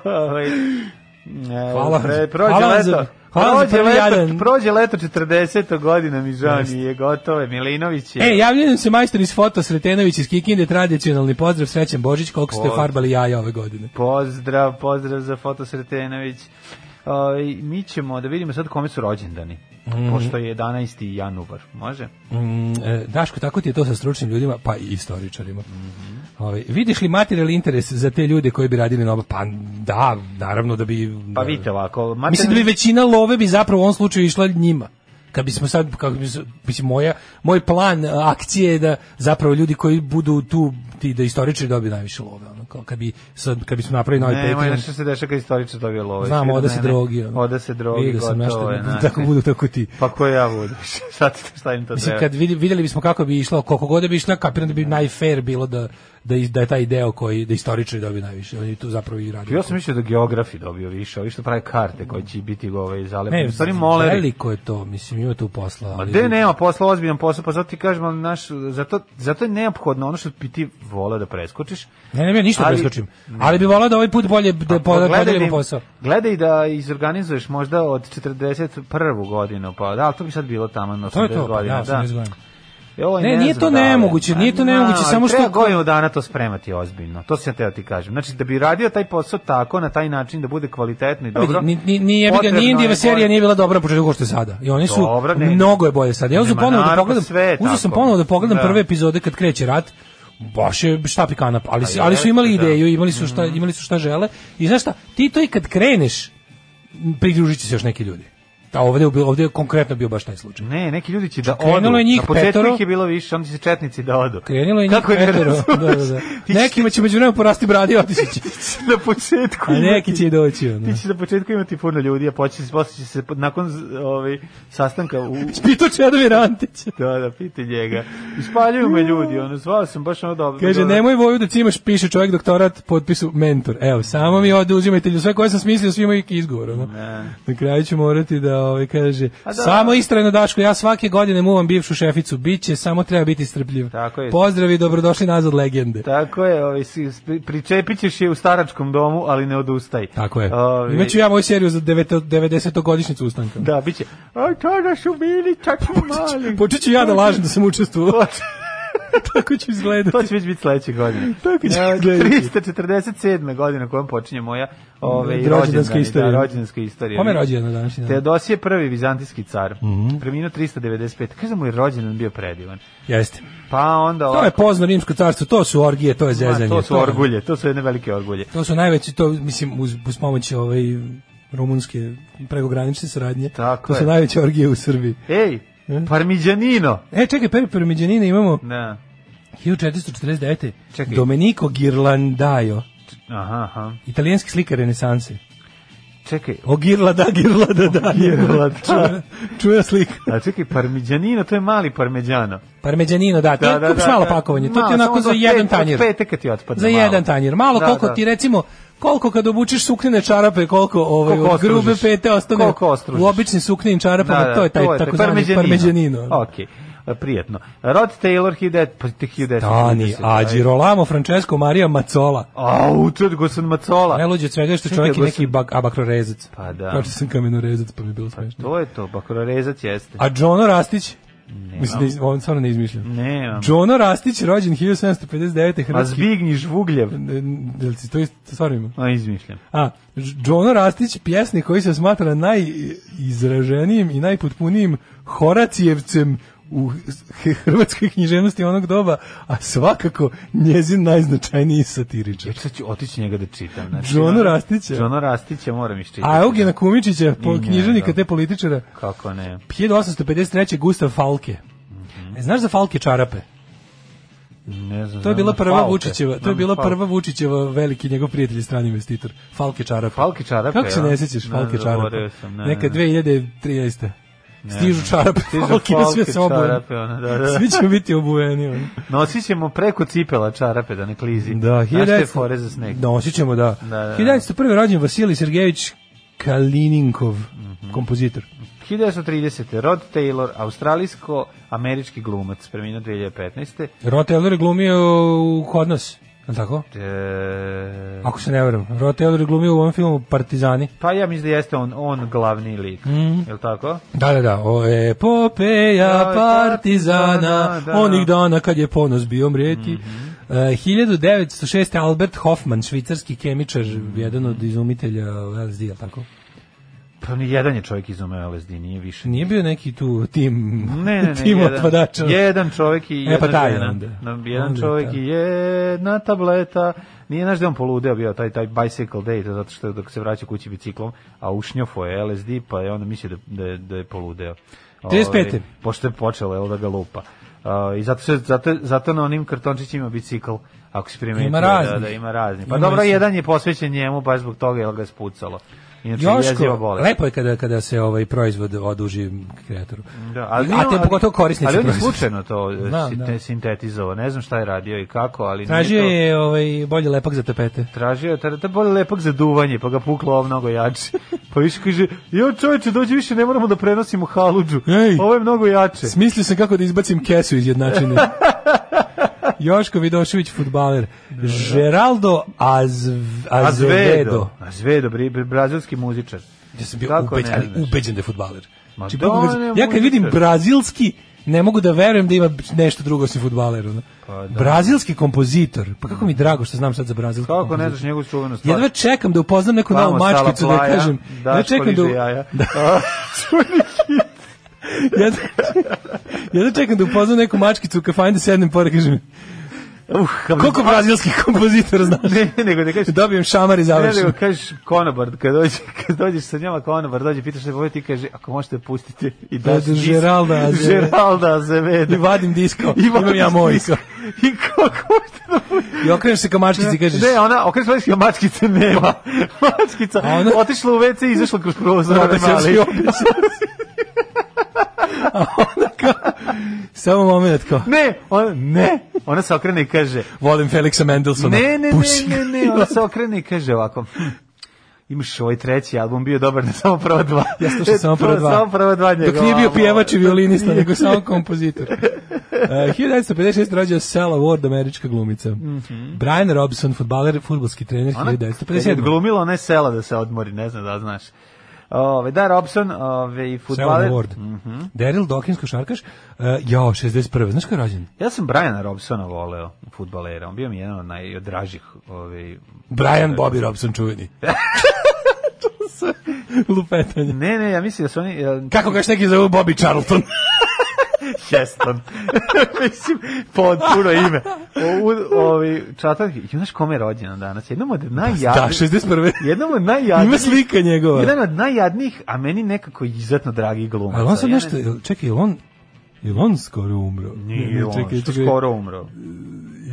S2: Ovaj, e,
S1: Hvala.
S2: pre- prođe
S1: Hvala vam
S2: leto.
S1: za- hvala vam za
S2: prođe,
S1: prvi
S2: leto,
S1: jadan.
S2: prođe leto 40. godina mi žao nije gotovo je Milinović je
S1: E, javljaju se majstor iz foto Sretenović iz Kikinde, tradicionalni pozdrav, srećan Božić, koliko ste
S2: Pozdrav.
S1: farbali jaja ove godine.
S2: pozdrav pozdrav za Foto Sretenović Ovaj, mi ćemo da vidimo sad kome su rođendani
S1: Mhm.
S2: pošto je 11. januar može?
S1: Mm, e, Daško, tako ti je to sa stručnim ljudima, pa i istoričarima.
S2: Mhm.
S1: Ovaj, vidiš li materijalni interes za te ljude koji bi radili na oba? Pa da, naravno da bi...
S2: pa
S1: da-
S2: vidite ovako
S1: Mislim da bi
S2: materijalni-
S1: većina love bi zapravo u ovom slučaju išla njima. Kad bismo sad, kako bi, mislim, moja, moj plan e, akcije je da zapravo ljudi koji budu tu, ti da istoričari dobiju najviše love. Ono, kao kad, bi, sad, kad bismo napravili novi
S2: Ne, moj
S1: Patreon,
S2: nešto se dešava kad istoričar dobije lovo.
S1: Znam, oda se drogi. ono.
S2: Oda se drogi,
S1: Vidio sam na
S2: gotovo
S1: šta
S2: je. znači.
S1: da-
S2: znaš.
S1: Tako budu, tako ti.
S2: Pa ko ja budu? (laughs) šta, ti- šta im to
S1: Mislim,
S2: treba?
S1: kad vidi- vidjeli bismo kako bi išlo, koliko god da bi išlo, kapiram da bi najfair bilo da, da, is- da je taj deo koji, da istoričari dobiju najviše. Oni tu zapravo i radi.
S2: Ja sam mislio da geografi dobio više, ovi što prave karte koje će biti ovaj zalepljene.
S1: Ne,
S2: Ne, stvari moleri.
S1: veliko je to, mislim, ima tu posla.
S2: Ma
S1: ali-
S2: gde nema posla, ozbiljan posao, pa zato ti kažem, ali naš, zato, zato je neophodno ono što bi ti volao da preskočiš.
S1: Ne, ne, ne, ništa
S2: Ali-
S1: preskočim. Ali bi volao da ovaj put bolje da
S2: A
S1: poda-
S2: pogledaj
S1: podelimo
S2: im-
S1: posao.
S2: Gledaj da izorganizuješ možda od 41. godinu, pa da, ali to bi sad bilo tamo na
S1: To je
S2: 80
S1: to, pa,
S2: godina. da.
S1: ja sam izgojem.
S2: Joj,
S1: Ne, nije
S2: znam
S1: to
S2: da li.
S1: nemoguće, nije to
S2: Ma,
S1: nemoguće,
S2: ali
S1: samo
S2: Treba
S1: što-
S2: godinu dana to spremati ozbiljno, to sam ja teo ti kažem. Znači, da bi radio taj posao tako, na taj način, da bude kvalitetno i dobro...
S1: Pa Ni, ni, ni, jebi ga,
S2: potrebno
S1: ni
S2: je
S1: Indijeva
S2: godinu-
S1: serija nije bila dobra na početku kao što je sada. I oni su,
S2: Dobro, ne.
S1: mnogo je bolje sada. Ja uzem
S2: Nema,
S1: ponovo da
S2: naravno,
S1: pogledam,
S2: sve je
S1: uzeo sam
S2: tako.
S1: ponovo da pogledam
S2: Da.
S1: prve epizode kad kreće rat. Baš je štap i kanap, ali, su-
S2: je,
S1: ali su imali
S2: da.
S1: ideju, imali su, šta, imali su šta žele. I znaš šta, ti to i kad kreneš, pridružit će se još neki ljudi. A ovdje je, bio- ovdje je konkretno bio baš taj slučaj.
S2: Ne, neki ljudi će da
S1: Krenulo
S2: odu.
S1: je njih
S2: na početku
S1: petoro.
S2: ih je bilo više, onda će se četnici da odu.
S1: Krenulo je njih
S2: Kako je (laughs) Znači,
S1: petoro. Da, da, da. Nekima će među vremenom porasti bradi i otići će.
S2: na početku
S1: A
S2: imati-
S1: neki će i doći. Ono.
S2: Ti ćeš na početku imati puno ljudi, a poće se, posle će se, nakon z- ovaj, sastanka u, (laughs)
S1: Pitao Čedomir Antić.
S2: Da, da, piti njega. Ispaljuju me ljudi, ono, zvao sam baš ono dobro.
S1: Kaže,
S2: dobro.
S1: nemoj voju da cimaš, piše čovjek doktorat, potpisu mentor. Evo, samo mi oduzimajte lju- sve koje sam smislio, svi imaju izgovor. Ono.
S2: Ne.
S1: Na kraju ću morati da ovaj, kaže,
S2: A da.
S1: samo istrajno Daško, ja svake godine muvam bivšu šeficu, bit će, samo treba biti strpljiv.
S2: Tako je.
S1: Pozdrav i dobrodošli nazad legende.
S2: Tako je, ovaj, si, pri- pričepit ćeš je u staračkom domu, ali ne odustaj.
S1: Tako je.
S2: Ovaj,
S1: Imaću ja moju seriju za 90-godišnicu ustanka.
S2: Da, bit će, a tada su bili tako mali.
S1: Počet ću ja da
S2: (laughs)
S1: lažem da sam učestvovao. (laughs) Tako ću izgledati.
S2: To će već biti sledeće
S1: (laughs)
S2: godine. Da,
S1: Tako će
S2: Evo,
S1: izgledati.
S2: 347. godina kojom počinje moja ovaj,
S1: Rođendanska
S2: rođendanska
S1: istorija.
S2: istorija. Da, rođendanska istorija.
S1: Kome je Mhm. rođen na današnji dan?
S2: Teodos je prvi vizantijski car. Preminuo 395. Kaže da mu je rođendan bio predivan.
S1: Jeste.
S2: Pa onda...
S1: To je
S2: ovako-
S1: pozno rimsko carstvo, to su orgije, to je
S2: Ma,
S1: zezanje.
S2: to su
S1: je-
S2: orgulje, to su jedne velike orgulje.
S1: To su najveći, to mislim, uz, uz pomoć ovaj, rumunske pregogranične saradnje.
S2: Tako
S1: to su
S2: je.
S1: najveće orgije u Srbiji.
S2: Ej, parmiđanino.
S1: E, čekaj, prvi Parmigianina imamo
S2: Ne.
S1: 1449.
S2: Čekaj.
S1: Domenico Ghirlandaio,
S2: Aha, aha.
S1: italijanski slikar renesanse.
S2: Čekaj.
S1: O Girlada, Girlada, da.
S2: Girlada.
S1: Čuvena, čuvena slika.
S2: A čekaj, parmiđanino, to je mali parmiđano.
S1: Parmigianino, da, to je kupiš malo pakovanje, to ti je onako za jedan tanjir.
S2: Od pete kad ti otpadne.
S1: Za
S2: malo.
S1: jedan tanjir. Malo
S2: Da,
S1: koliko
S2: da.
S1: ti recimo koliko kad obučeš suknene čarape, koliko ovaj
S2: Koliko
S1: od grube
S2: ostružiš?
S1: pete ostane
S2: Koliko ostružiš?
S1: u običnim suknenim
S2: Da,
S1: čarapama, pa to je taj takozvani parmeđanino.
S2: Ok, prijetno. Rod Taylor, 1900, pa te 1900.
S1: Tani,
S2: da
S1: a Girolamo Francesco Maria Mazzola.
S2: Au, čud, Gosan Macola.
S1: Najluđe od svega je što
S2: Čekaj,
S1: čovjek je
S2: go
S1: neki
S2: sam-
S1: bak, abakrorezac.
S2: Pa da.
S1: Kao što sam kamenorezac, pa mi je bilo smešno.
S2: To je to, bakrorezac jeste.
S1: A Džono Rastić? Mislim, ne, iz- on stvarno ne izmišljam.
S2: Nemam.
S1: Džono Rastić, rođen 1759.
S2: A
S1: Hrvatski...
S2: Zbignji Žvugljev.
S1: N- Jel si to, isto- to stvarno ima?
S2: A izmišljam.
S1: A, Ž- Džono Rastić, pjesnik koji se smatra najizraženijim i najpotpunijim Horacijevcem u h- hrvatskoj književnosti onog doba, a svakako njezin najznačajniji satiričar.
S2: Ja sad ću otići njega da čitam. Znači,
S1: Džono
S2: ono-
S1: Rastića.
S2: Džono Rastića moram iščitati.
S1: A Eugena Kumičića, po
S2: I njega.
S1: književnika te političara,
S2: Kako ne?
S1: 1853. Gustav Falke.
S2: Mhm.
S1: E, Znaš za Falke čarape?
S2: Ne znam.
S1: To je
S2: znam
S1: bila
S2: da
S1: prva
S2: Falke.
S1: Vučićeva, to je
S2: Znam
S1: bila
S2: Falke.
S1: prva Vučićeva veliki njegov prijatelj i strani investitor, Falke čarape.
S2: Falke čarape,
S1: Kako se
S2: ja?
S1: ne sećaš
S2: Ne,
S1: Falke čarape?
S2: zaboravio sam, ne,
S1: Neka
S2: ne.
S1: 2013. Stižu čarape,
S2: Stižu
S1: Falke na sve
S2: Falke
S1: sobe.
S2: čarape, ono, da, da.
S1: (laughs) Svi ćemo biti obuveni. ono.
S2: Nosit ćemo preko cipela čarape da ne klizi.
S1: Da,
S2: Znaš te
S1: 1900
S2: fore za sneg?
S1: Nosit ćemo, da.
S2: da, da.
S1: 1901. rođen Vasilij Sergejević K- Kalininkov,
S2: Mhm.
S1: kompozitor.
S2: 1930. Rod Taylor, australijsko-američki glumac, preminuo 2015.
S1: Rod Taylor je glumio u Kod nas, je li tako?
S2: E,
S1: Ako se ne varam. Rod Taylor je glumio u ovom filmu Partizani.
S2: pa ja mislim da jeste on, on glavni lik, je li tako?
S1: Da, da, da. O epopeja
S2: Da,
S1: partizana,
S2: partizana, da. Mhm.
S1: onih dana kad je ponos bio mrijeti. E, 1906. Albert Hoffman, švicarski kemičar,
S2: Mhm.
S1: jedan od izumitelja LSD, je li tako?
S2: Pa ni jedan je čovjek izumeo LSD, nije više.
S1: Nije bio neki tu tim,
S2: Ne, ne, ne.
S1: (laughs) tim
S2: jedan-
S1: otpadača.
S2: Jedan čovjek i jedna
S1: E, pa taj
S2: žena.
S1: onda.
S2: Na- Jedan
S1: Onda
S2: čovjek
S1: taj.
S2: i jedna tableta. Nije znaš da je on poludeo bio taj taj bicycle day, to zato što je dok se vraća kući biciklom, a ušnjofo je LSD, pa je onda mislio da, da, je- da je poludeo.
S1: 35..
S2: Ovaj, pošto je počelo, jel, da ga lupa. Uh, I zato, se, zato, zato na onim kartončićima ima bicikl, ako si primetio.
S1: Ima
S2: Da,
S1: raznih.
S2: da, ima razni. Pa
S1: Ima
S2: dobro,
S1: i-
S2: jedan je posvećen njemu baš zbog toga, jer ga je spucalo. Inače, jeziva
S1: Joško,
S2: bolest.
S1: lepo je kada, kada se ovaj proizvod oduži kreatoru.
S2: Da,
S1: ali,
S2: ali
S1: a te pogotovo korisnici
S2: Ali on je
S1: proizvoda.
S2: slučajno to e,
S1: Znam,
S2: sin-
S1: da.
S2: sintetizovao, ne znam šta je radio i kako, ali nije
S1: Tražio
S2: to-
S1: je ovaj, bolje lepak za tapete.
S2: tražio je tada bolje lepak za duvanje, pa ga puklo ovo mnogo jače. (laughs) Pa više kaže, jo čoveče, dođi više, ne moramo da prenosimo haludžu.
S1: Ej.
S2: Ovo je mnogo jače.
S1: Smislio sam kako da izbacim kesu iz jednačine.
S2: (laughs)
S1: Joško Vidošević, futbaler.
S2: Da,
S1: Geraldo Azv, Azevedo.
S2: Azvedo. Azvedo, bri- bri- brazilski muzičar.
S1: Ja sam bio
S2: Kako ne
S1: ubeđen, ali
S2: znaš?
S1: ubeđen da je futbaler.
S2: Ma
S1: Znači,
S2: da,
S1: kako ga-
S2: on je
S1: ja kad
S2: muzičar.
S1: vidim brazilski, ne mogu da verujem da ima nešto drugo osim futbaler. ono.
S2: da.
S1: Brazilski kompozitor. Pa kako mi je drago što znam sad za brazilski
S2: Kako ne
S1: kompozitor.
S2: znaš njegovu čuvenu stvar?
S1: Jedva čekam da upoznam neku
S2: Vamo
S1: novu
S2: stala
S1: mačkicu da
S2: plaja,
S1: kažem. Jedva
S2: Daško
S1: čekam da, (laughs)
S2: liže jaja. (laughs)
S1: da jedva, jedva čekam da upoznam neku mačkicu u kafani da sednem pored kažem
S2: Uh, kako-
S1: koliko brazilskih kompozitora znaš?
S2: (laughs) Ne, nego da ne kažeš,
S1: Dobijem šamar i
S2: Ne, nego
S1: završim.
S2: kažeš konobar, kad, dođe, kad dođeš sa njima konobar, dođe, pitaš te povedi, ti kaže, ako možete pustiti i daš
S1: Od Da, Geralda Azevedo.
S2: Žeralda Azevedo.
S1: I vadim disko.
S2: I
S1: Imam ja moj.
S2: disko. (laughs) I kako možete da pustite?
S1: I okreneš se ka mačkici i kažeš
S2: Ne, ona, okreći mačkice, mačkice nema. (laughs) Mačkica
S1: A ona-
S2: otišla u WC i izašla kroz prozor.
S1: Obećao si,
S2: mali.
S1: obećao si. (laughs) A onda kao, samo moment kao,
S2: Ne, ona, ne. Ona se okrene i kaže,
S1: volim Felixa Mendelsona.
S2: Ne, ne,
S1: Puši.
S2: ne, ne, ne, ona se okrene i kaže ovako, "Hm, imaš ovaj treći album, bio dobar na samo prva dva.
S1: Ja slušam samo
S2: To
S1: prva
S2: je
S1: dva.
S2: (laughs) Samo prva dva njegova.
S1: Dok nije bio
S2: albuma.
S1: pjevač i violinista, nego samo kompozitor. Uh, 1956. rođena Sela Ward, američka glumica. Brian Robson, futbaler, futbolski trener,
S2: Mhm. Ona, kad je
S1: 1957.
S2: glumila ona je sela da se odmori, ne znam da znaš. Ove, da, Robson, ove, i
S1: Sela
S2: futbaler.
S1: Ward.
S2: Mhm.
S1: Daryl Dawkins, košarkaš. Uh, jao, 61. Znaš ko je rođen?
S2: Ja sam Briana Robsona voleo, futbalera. On bio mi jedan od ovaj- najdražih. Ove,
S1: Brian Bobby Robson,
S2: (laughs)
S1: čuveni. Lupetanje.
S2: ne, ne, ja mislim da su oni... jel,
S1: Kako ga još neki zovu Bobby
S2: (laughs)
S1: Charlton?
S2: Heston. (laughs) Mislim, potpuno ime. O, u, ovi, čatan, i znaš kome je rođena danas? Jednom od
S1: da,
S2: najjadnijih...
S1: 61.
S2: jednom od
S1: Ima
S2: najjadnijih...
S1: slika njegova.
S2: Jedan od najjadnijih, a meni nekako izuzetno dragi glumac.
S1: Ali on sad nešto, jel- čekaj, jel on, jel on skoro umro?
S2: Nije on,
S1: čekaj,
S2: što
S1: čekaj.
S2: skoro umro.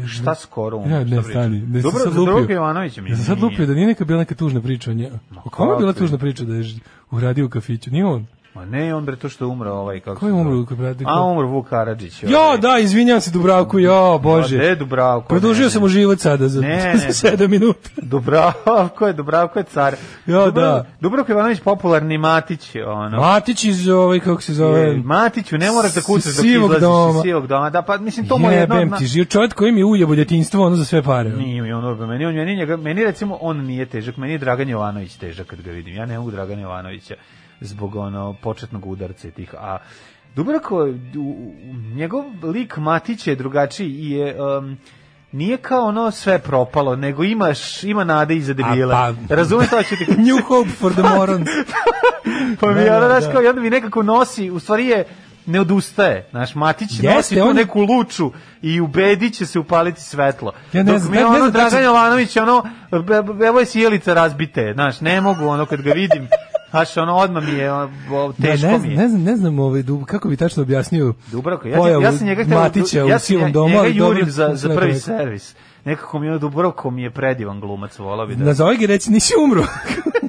S2: Šta skoro umro?
S1: Ja, ne,
S2: Šta pričaš?
S1: stani, ne, sam
S2: Dobro,
S1: sad
S2: za
S1: lupio.
S2: drugog Jovanovića mi
S1: Ja sam sad lupio da nije neka bila neka tužna priča o njemu. O kome je bila
S2: kakve?
S1: tužna priča da je ž- uradio u kafiću? Nije on.
S2: Ma ne, on bre to što je umro ovaj kako.
S1: Ko je
S2: se
S1: umro
S2: zove?
S1: u kafiću?
S2: A umro Vuk Karadžić. ovaj. Pa
S1: Jo, da, izvinjam se Dubravku, jo, bože.
S2: Gde Dubravko?
S1: Produžio
S2: Ne,
S1: sam
S2: ne.
S1: mu život sada (laughs) za,
S2: Ne,
S1: za
S2: ne.
S1: 7 minuta.
S2: Dubravko je, Dubravko je car.
S1: Jo,
S2: Dubra-
S1: da.
S2: Dubravko Jovanović popularni Matić, ono.
S1: Matić iz ovaj, kako se
S2: E,
S1: zove...
S2: Matiću, ne moraš da kucaš dok
S1: Sivog
S2: izlaziš
S1: doma.
S2: iz sivog doma. Da, pa mislim, to mu je jedno... od
S1: Jebem
S2: na-
S1: ti, živ čovjek koji mi ujebo djetinjstvo, ono za sve pare.
S2: Nije mi on dobro, meni, on, meni, njega, meni recimo on nije težak, meni je Dragan Jovanović težak kad ga vidim. Ja ne mogu Dragana Jovanovića zbog ono početnog udarca i tih, a Dubravko, u- u- njegov lik Matić je drugačiji i je... em, nije kao ono sve propalo, nego imaš, ima nade iza debila.
S1: A, pa-
S2: Razumeš
S1: (laughs)
S2: šta ću ti
S1: New hope for the morons.
S2: Pa mi
S1: Da, da,
S2: ono, znaš,
S1: da.
S2: kao, i onda mi nekako nosi, u stvari je, ne odustaje. Znaš, Matić
S1: Jeste,
S2: nosi tu
S1: on je-
S2: neku luču i ubedit će se upaliti svetlo.
S1: Ja ne
S2: Dok
S1: znam, da
S2: mi
S1: ne- ne
S2: ono,
S1: znam
S2: Dragan
S1: tačno-
S2: Jovanović, ono, be- be- evo je sjelica razbite, znaš, ne mogu, ono, kad ga vidim, znaš, ono, odmah mi je, ono, bo-
S1: Da,
S2: (laughs) teško
S1: ne,
S2: mi
S1: znam,
S2: je.
S1: ne znam, ne znam ovaj dub, kako bi tačno objasnio.
S2: Dubravko, ja,
S1: pojavu
S2: ja sam njega htio,
S1: Matića
S2: ja
S1: u
S2: sam
S1: sivom
S2: nje-
S1: domu,
S2: njega
S1: ali dobro
S2: jurim za,
S1: sam
S2: za
S1: sve
S2: prvi
S1: rekao.
S2: servis. Nekako mi je, ono, Dubrovko mi je predivan glumac, volao bi da...
S1: Nazovi ga i reci, nisi umro. (laughs)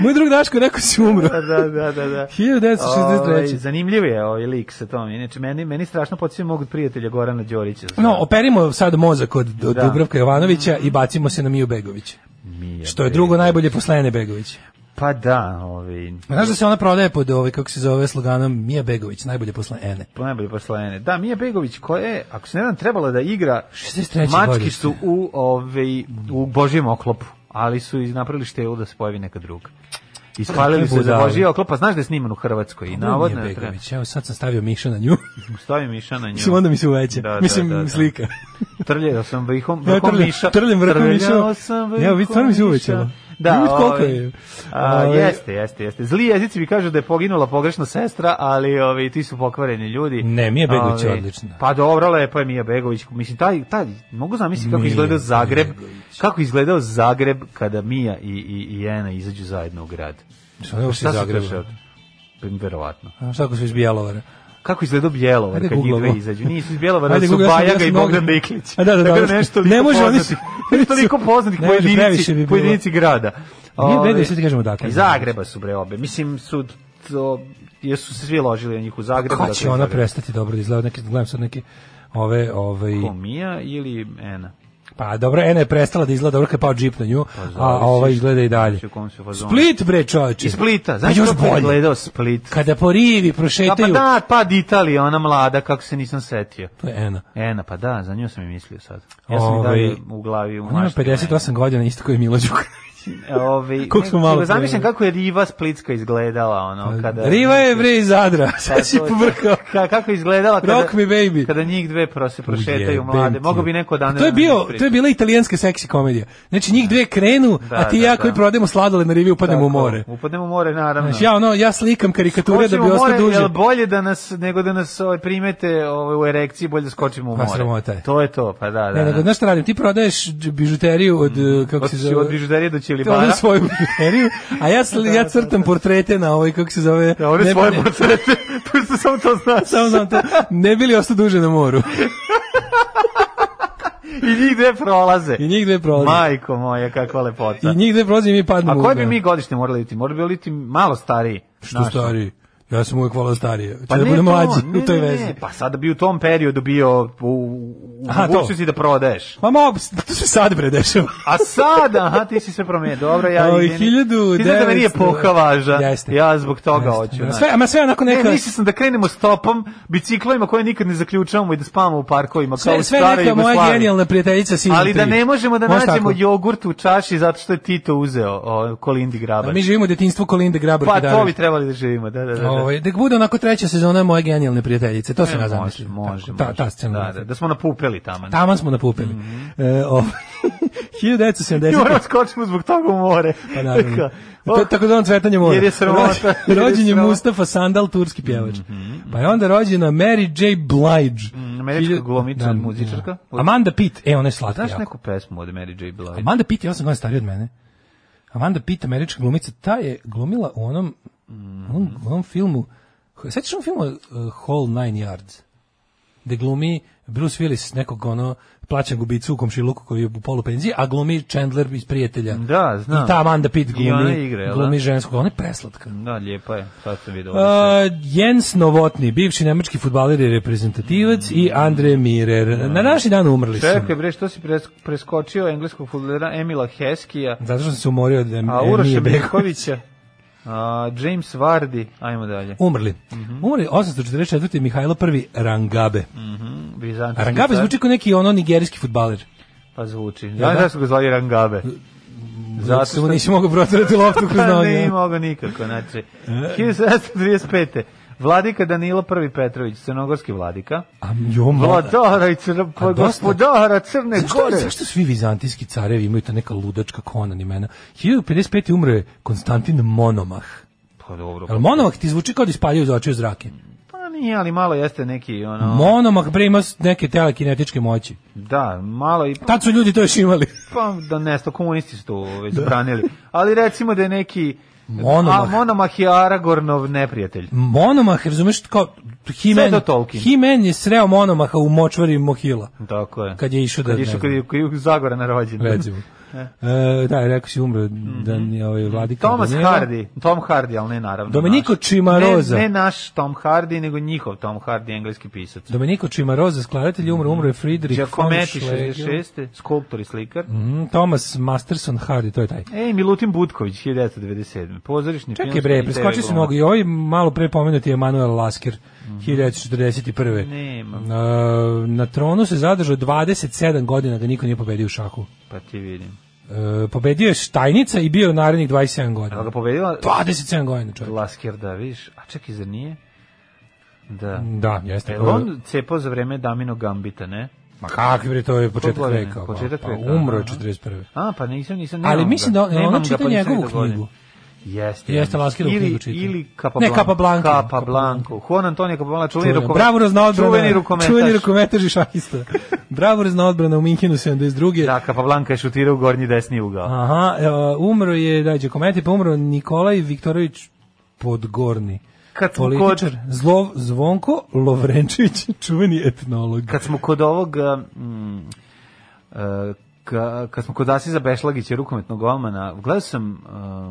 S1: Moj drug Daško rekao si umro.
S2: Da, da, da, da,
S1: (laughs)
S2: da.
S1: 1963.
S2: Ovaj, zanimljiv je ovaj lik sa tom. Inače, meni, meni strašno podsjeća mog prijatelja Gorana Đorića.
S1: No, operimo sad mozak od od
S2: Da.
S1: Dubravka Jovanovića i bacimo se na Miju Begović.
S2: Mija
S1: Što je drugo najbolje posle Ane Begović.
S2: Pa da, ovi...
S1: Znaš da se ona prodaje pod ovaj, kako se zove, sloganom Mija Begović, najbolje posle Ene.
S2: Pa najbolje poslane. Da, Mija Begović koja je, ako se ne znam, trebala da igra
S1: 63.
S2: mački
S1: godište.
S2: su u, ovaj, u Božijem oklopu, ali su iz- napravili štelu da se pojavi neka druga. Ispalili su za
S1: budale.
S2: Božije oklop, pa znaš da je sniman u Hrvatskoj i navodno
S1: Mija
S2: je treba.
S1: Begović, evo sad sam stavio Miša na nju.
S2: Stoji Miša na
S1: Mislim,
S2: nju.
S1: onda mi se uveća.
S2: Da, da,
S1: Mislim,
S2: da, da.
S1: slika.
S2: Trljao sam vrhom,
S1: Ja
S2: vrhom
S1: trljam,
S2: Miša.
S1: trljam vrhom
S2: Trljao
S1: Miša.
S2: sam vrhom
S1: Evo, vidi, stvarno mi se
S2: Miša.
S1: uvećalo.
S2: Da,
S1: Vidi koliko
S2: ovaj,
S1: je.
S2: A,
S1: Ovaj,
S2: jeste, jeste, jeste. Zli jezici mi kažu da je poginula pogrešna sestra, ali ovi, ti su pokvareni ljudi.
S1: Ne, Mija Begović je
S2: Ovaj,
S1: odlična.
S2: Pa dobro, lepo je Mija Begović. Mislim, taj, taj, mogu zamisliti kako
S1: Mija
S2: izgledao Zagreb,
S1: Begović.
S2: kako izgledao Zagreb kada Mija i, i, i Ena izađu zajedno u grad.
S1: Šta je uopšte
S2: Šta
S1: iz
S2: se
S1: Zagreba?
S2: dešava? Pa, Verovatno.
S1: A Šta ako su iz Bjelovara?
S2: Kako izgledao Bjelovar
S1: Ajde,
S2: kad njih dve
S1: googlamo.
S2: izađu? Nisu iz Bjelovara,
S1: Ajde,
S2: su
S1: Google, ja sam- ja
S2: Bajaga
S1: sam
S2: i
S1: mogu-
S2: Bogdan Niklić.
S1: A da, da,
S2: Tako
S1: dobro.
S2: nešto
S1: Ne
S2: toliko
S1: može, oni
S2: poznatih-
S1: (laughs) su-
S2: nešto toliko poznatih
S1: Ne
S2: po
S1: može, previše
S2: jedinici,
S1: bi bilo.
S2: po jedinici grada.
S1: Nije
S2: Ove,
S1: bedno, sad ti kažem odakle.
S2: Iz Zagreba su bre obe. Mislim, su to, jesu se svi ložili na njih u Zagrebu.
S1: Kada
S2: dakle,
S1: će ona
S2: iz Zagreba.
S1: prestati dobro da izgleda? Neki, gledam sad neke ove, ove,
S2: Ko, Mija ili Ena?
S1: pa dobro, Ena je prestala da izgleda dobro kad je pao džip na nju, a
S2: Pa zavisi
S1: ova
S2: što-
S1: izgleda i dalje.
S2: Znači, u kom su fazonu.
S1: Split bre čovječe.
S2: Iz Splita. Znaš
S1: Pa još
S2: kako je
S1: bolje.
S2: gledao Split?
S1: Kada po rivi
S2: Da, pa
S1: prošetaju,
S2: da, pad Italija, ona mlada, kako se nisam setio.
S1: to je Ena.
S2: Ena, pa da, za nju sam i mislio sad. Ja sam i
S1: Ove,
S2: dalje u glavi u
S1: Ovaj, Ona ima 58 godina, isto koji Milo Đukanović. (laughs)
S2: Ovi,
S1: Koliko smo malo
S2: Ovaj, nego Zamišljam
S1: pre-
S2: kako je Riva Splitska izgledala, ono, Pa kada... Pa
S1: Riva je bre iz Zadra, sad si
S2: to-
S1: povrkao.
S2: Ka, kako je izgledala kada...
S1: Rock me baby.
S2: Kada njih dve prose prošetaju
S1: Ujebem
S2: mlade.
S1: ti.
S2: Mogu bi neko dan...
S1: To je bio, to je bila italijanska seksi komedija. Znači njih dve krenu,
S2: Da,
S1: a ti i
S2: da,
S1: ja
S2: da.
S1: koji prodajemo sladole na rivi upadnemo u more.
S2: Upadnemo u more, naravno.
S1: Znači ja ono, ja slikam karikature da
S2: Skočimo
S1: bi
S2: u
S1: ostao
S2: more,
S1: duže.
S2: Jel bolje da nas, nego da nas ovaj, primete ovaj, u erekciji, bolje da skočimo u
S1: Pa,
S2: more.
S1: sramota je.
S2: To je to, pa da, da.
S1: Ne, nego,
S2: da.
S1: znaš šta radim? Ti prodaješ dž- bižuteriju od, eh, kako
S2: Od,
S1: se zove?
S2: od bižuterije do
S1: Te ovde
S2: Ćilibara.
S1: svoju bižuteriju, a ja, sl- ja crtam portrete na ovoj, kako se zove...
S2: Da, one
S1: ne-
S2: svoje
S1: ne-
S2: (laughs) portrete. Tu što samo to
S1: (laughs)
S2: znaš.
S1: Samo znam to, ne bili ostao duže na moru.
S2: I njih dve prolaze.
S1: I njih dve prolazi.
S2: Majko moja, kakva lepota.
S1: I njih dve prolazi i mi padnemo.
S2: da. A
S1: u
S2: koje bi
S1: more.
S2: mi godište morali biti? Morali bi biti malo stariji.
S1: Što
S2: znaš.
S1: stariji? Ja sam uvek volao starije. Pa
S2: Pa
S1: da
S2: ne
S1: budem
S2: to,
S1: mlađi
S2: ne,
S1: u toj
S2: ne, ne.
S1: vezi.
S2: Pa sada bi u tom periodu bio u, u
S1: Aha, to.
S2: mogućnosti da prodaješ.
S1: Ma mogu, to se sad bre dešava.
S2: A sada, aha, ti si sve promenio. Dobro, ja
S1: Oj,
S2: idem. Ti znaš da meni je
S1: 1900.
S2: poha važa.
S1: Jeste.
S2: Ja zbog toga
S1: Jeste. da.
S2: hoću. znaš.
S1: Sve, ama sve onako neka...
S2: Ne, mislio sam da krenemo stopom, biciklovima koje nikad ne zaključavamo i da spavamo u parkovima kao u
S1: sve, sve
S2: staroj
S1: neka moja
S2: Jugoslaviji.
S1: genijalna prijateljica Season
S2: Ali da
S1: 3.
S2: ne možemo da
S1: Može
S2: nađemo
S1: tako?
S2: jogurt u čaši zato što je Tito uzeo o, Kolindi
S1: A
S2: Grabar.
S1: Pa mi živimo u detinjstvu Kolinde Grabar
S2: Pa to
S1: Kitarović.
S2: bi trebali da živimo, da, da, da. da.
S1: Ovaj da bude onako treća sezona moje genijalne prijateljice, to se ja
S2: Može,
S1: zamislio.
S2: Može,
S1: Tako, ta
S2: može.
S1: ta scena.
S2: Da, da, da smo napupeli tamo. (laughs) Da.
S1: Taman smo napupili. E, ovaj (laughs) 1970.
S2: Moramo skočimo zbog toga u more.
S1: Pa (laughs) naravno. To, tako da on cvetanje mora.
S2: Oh, Jer je sramota. (laughs) Jer je
S1: Rođen je
S2: sramota. Mhm.
S1: Mustafa Sandal, turski pjevač. Pa je onda rođena Mary J. Blige.
S2: oh, američka
S1: Hilju-
S2: glumica, muzičarka.
S1: Amanda Pitt, e, ona je slatka.
S2: Znaš
S1: da. jako.
S2: neku pesmu od Mary J. Blige?
S1: Amanda Pitt je 8 godina starija od mene. Amanda Pitt, američka glumica, ta je glumila u onom, onom, onom filmu, sećaš onom filmu uh, Hall Nine Yards, gde glumi Bruce Willis, nekog ono, plaćan gubicu u komšiluku koji je u polu penziji, a glumi Chandler iz prijatelja.
S2: Da, znam.
S1: I ta Amanda Pitt
S2: I
S1: glumi,
S2: ona igra, jel da?
S1: glumi ženskog, ona je preslatka.
S2: Da, lijepa je. Sad sam vidio. ovdje
S1: Uh, Jens Novotni, bivši nemački futbaler i reprezentativac i Andre Mirer. Na naši dan umrli su.
S2: sve. Da. Čekaj bre, što si pres- preskočio engleskog futbolera Emila Heskija,
S1: Zato što sam se umorio od Em-
S2: a
S1: Emije
S2: Uroša
S1: Begović.
S2: Bekovića, a, James Vardy, ajmo dalje.
S1: Umrli. Umrli 844. Mihajlo I Rangabe.
S2: Mhm, Bizantinski
S1: A Rangabe
S2: car.
S1: zvuči kao neki ono nigerijski futbaler.
S2: Pa zvuči. Ja,
S1: da?
S2: da su ga zvali Rangabe.
S1: Zato što mu nisi mogao protirati
S2: (laughs)
S1: loptu kroz
S2: Pa ne
S1: noge.
S2: mogu nikako, znači.
S1: E.
S2: 1735. Vladika Danilo I Petrović, crnogorski vladika.
S1: A jo, mlada.
S2: Vladara i crna, pa
S1: dosta-
S2: gospodara Crne
S1: Zašto,
S2: Gore.
S1: zašto svi vizantijski carevi imaju ta neka ludačka konan imena? 1055. umre je Konstantin Monomah.
S2: Pa dobro.
S1: Ali Monomah ti zvuči kao da ispaljaju za očiju zrake.
S2: Pa nije, ali malo jeste neki, ono...
S1: Monomah bre ima s- neke telekinetičke moći.
S2: Da, malo i...
S1: Tad su ljudi to još imali.
S2: Pa da nesto, komunisti su to već branili. Ali recimo da je neki...
S1: Da. Monomah.
S2: A, monomah je Aragornov neprijatelj.
S1: Monomah, razumeš, kao
S2: Sve
S1: Himen,
S2: do Tolkien.
S1: Himen je sreo monomaha u močvari Mohila.
S2: Tako je.
S1: Kad je išao da-
S2: Kad je
S1: ne
S2: išao,
S1: znam.
S2: kad je, kad je Zagora na rođendan. (laughs)
S1: Recimo. E, da, rekao si umro da je ovaj vladika.
S2: Mhm. Thomas
S1: Daniela.
S2: Hardy, Tom Hardy, ali ne naravno.
S1: Domenico
S2: naš.
S1: Cimarosa.
S2: Ne, ne naš Tom Hardy, nego njihov Tom Hardy, engleski pisac. Znači,
S1: Domenico Cimarosa, skladatelj, umro, umro je Friedrich
S2: Giacometti,
S1: von Schlegel.
S2: 66. Skulptor i slikar.
S1: Mhm, Thomas Masterson Hardy, to je taj.
S2: Ej, Milutin Butković, 1997. Pozorišni
S1: Čekaj
S2: filmski
S1: bre,
S2: i
S1: preskočio
S2: TV
S1: si
S2: glumac.
S1: mnogo i ovaj malo pre pomenuti je Emanuel Lasker,
S2: Mhm.
S1: 1941.
S2: Nema.
S1: E, na tronu se zadržao 27 godina da niko nije pobedio u šahu.
S2: Pa ti vidim.
S1: E, pobedio je Štajnica i bio je narednih 27
S2: Ali ga
S1: godina.
S2: pobedila
S1: 27 godina čovjek.
S2: Lasker, da, vidiš. A čekaj, zar nije? Da.
S1: Da, jeste.
S2: Je li on cepao za vreme Damino Gambita, ne?
S1: Ma kakvi bre, to je početak
S2: godine?
S1: veka. pa,
S2: Početak
S1: pa,
S2: veka,
S1: Umro je
S2: aha.
S1: 41.
S2: A, pa nisam, nisam, nemam
S1: Ali mislim
S2: ga.
S1: da on-
S2: Nemam
S1: ono
S2: ga,
S1: čita
S2: pa nisam
S1: njegovu
S2: ni dogodio.
S1: knjigu.
S2: Jeste.
S1: Jeste, Laskirovu
S2: Ili-
S1: knjigu čita.
S2: Ili
S1: Ne,
S2: Capablanca.
S1: Capablanca.
S2: Capablanca. Juan Antonio Capablanca, čuveni
S1: Čuvena.
S2: rukometaš.
S1: Bravo razna odbrana.
S2: Čuveni rukometaš.
S1: da. Čuveni rukometaš i
S2: (laughs)
S1: šahista. Bravo razna odbrana u Minhinu 72.
S2: Da, Capablanca je šutirao u gornji desni ugao.
S1: Aha, e, umro je, da, Đakometi, pa umro Nikolaj Viktorović Podgorni.
S2: Kad smo
S1: Političar,
S2: kod-
S1: Zlov, Zvonko Lovrenčić, (laughs) čuveni etnolog.
S2: Kad smo kod ovog... mm, e, ka- kad smo kod Asiza Bešlagića, rukometnog golmana, gledao sam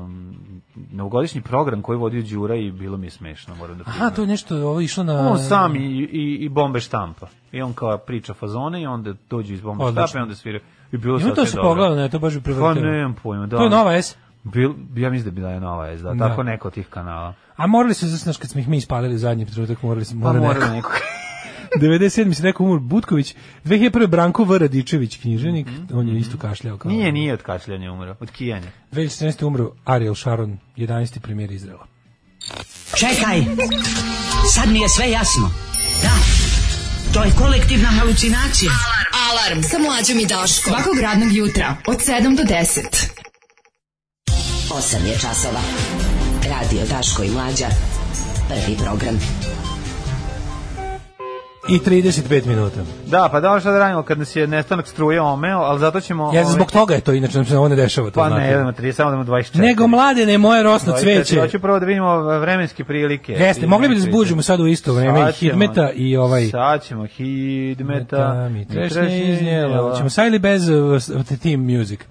S2: um, novogodišnji program koji je vodio Đura i bilo mi je smešno, moram da
S1: Aha,
S2: priznam.
S1: to je nešto ovo išlo na...
S2: On sam i, i, i bombe štampa. I on kao priča fazone i onda dođe iz bombe
S1: Odlično.
S2: štampa i onda svira. I bilo
S1: Ima to
S2: sasvim
S1: se
S2: dobro.
S1: pogledao, ne, to baš bi
S2: Pa
S1: prevrtio.
S2: nemam pojma, da.
S1: To je Nova S.
S2: Bil, ja mislim da bi da je Nova S, da,
S1: Da.
S2: tako neko od tih kanala.
S1: A morali su, znaš, kad smo ih mi ispalili u zadnji trenutak, morali
S2: Pa
S1: smo... mora da neko.
S2: da neko. (laughs)
S1: 97. se neko umor Butković, 2001. Branko V. Radičević, knjiženik, on je isto kašljao. Kao
S2: Mhm. Nije, nije od kašljanja umro, od kijanja.
S1: 2014. umro Ariel Sharon, 11. premijer Izrela.
S4: Čekaj, sad mi je sve jasno. Da, to je kolektivna halucinacija.
S3: Alarm sa mlađom i Daškom. Svakog radnog jutra od 7 do 10.
S5: 8 je časova. Radio Daško i Mlađa. Prvi program.
S1: I 35 minuta.
S2: Da, pa da ono šta da radimo kad nas je nestanak struje omeo, ali zato ćemo...
S1: Ja
S2: ovaj,
S1: zbog toga je to, inače nam se ovo ne dešava. To
S2: Pa
S1: znate.
S2: ne, jedemo 30, samo da imamo 24.
S1: Nego mladene moje rosno cveće.
S2: Pa Hoću prvo da vidimo vremenske prilike.
S1: Jeste, mogli bi da zbuđimo sad u isto vreme i
S2: Sad ćemo-
S1: Hidmeta i ovaj...
S2: Sad ćemo Hidmeta,
S1: mi trešnje iznijela. Ćemo sad ili bez uh, te team music?
S2: E,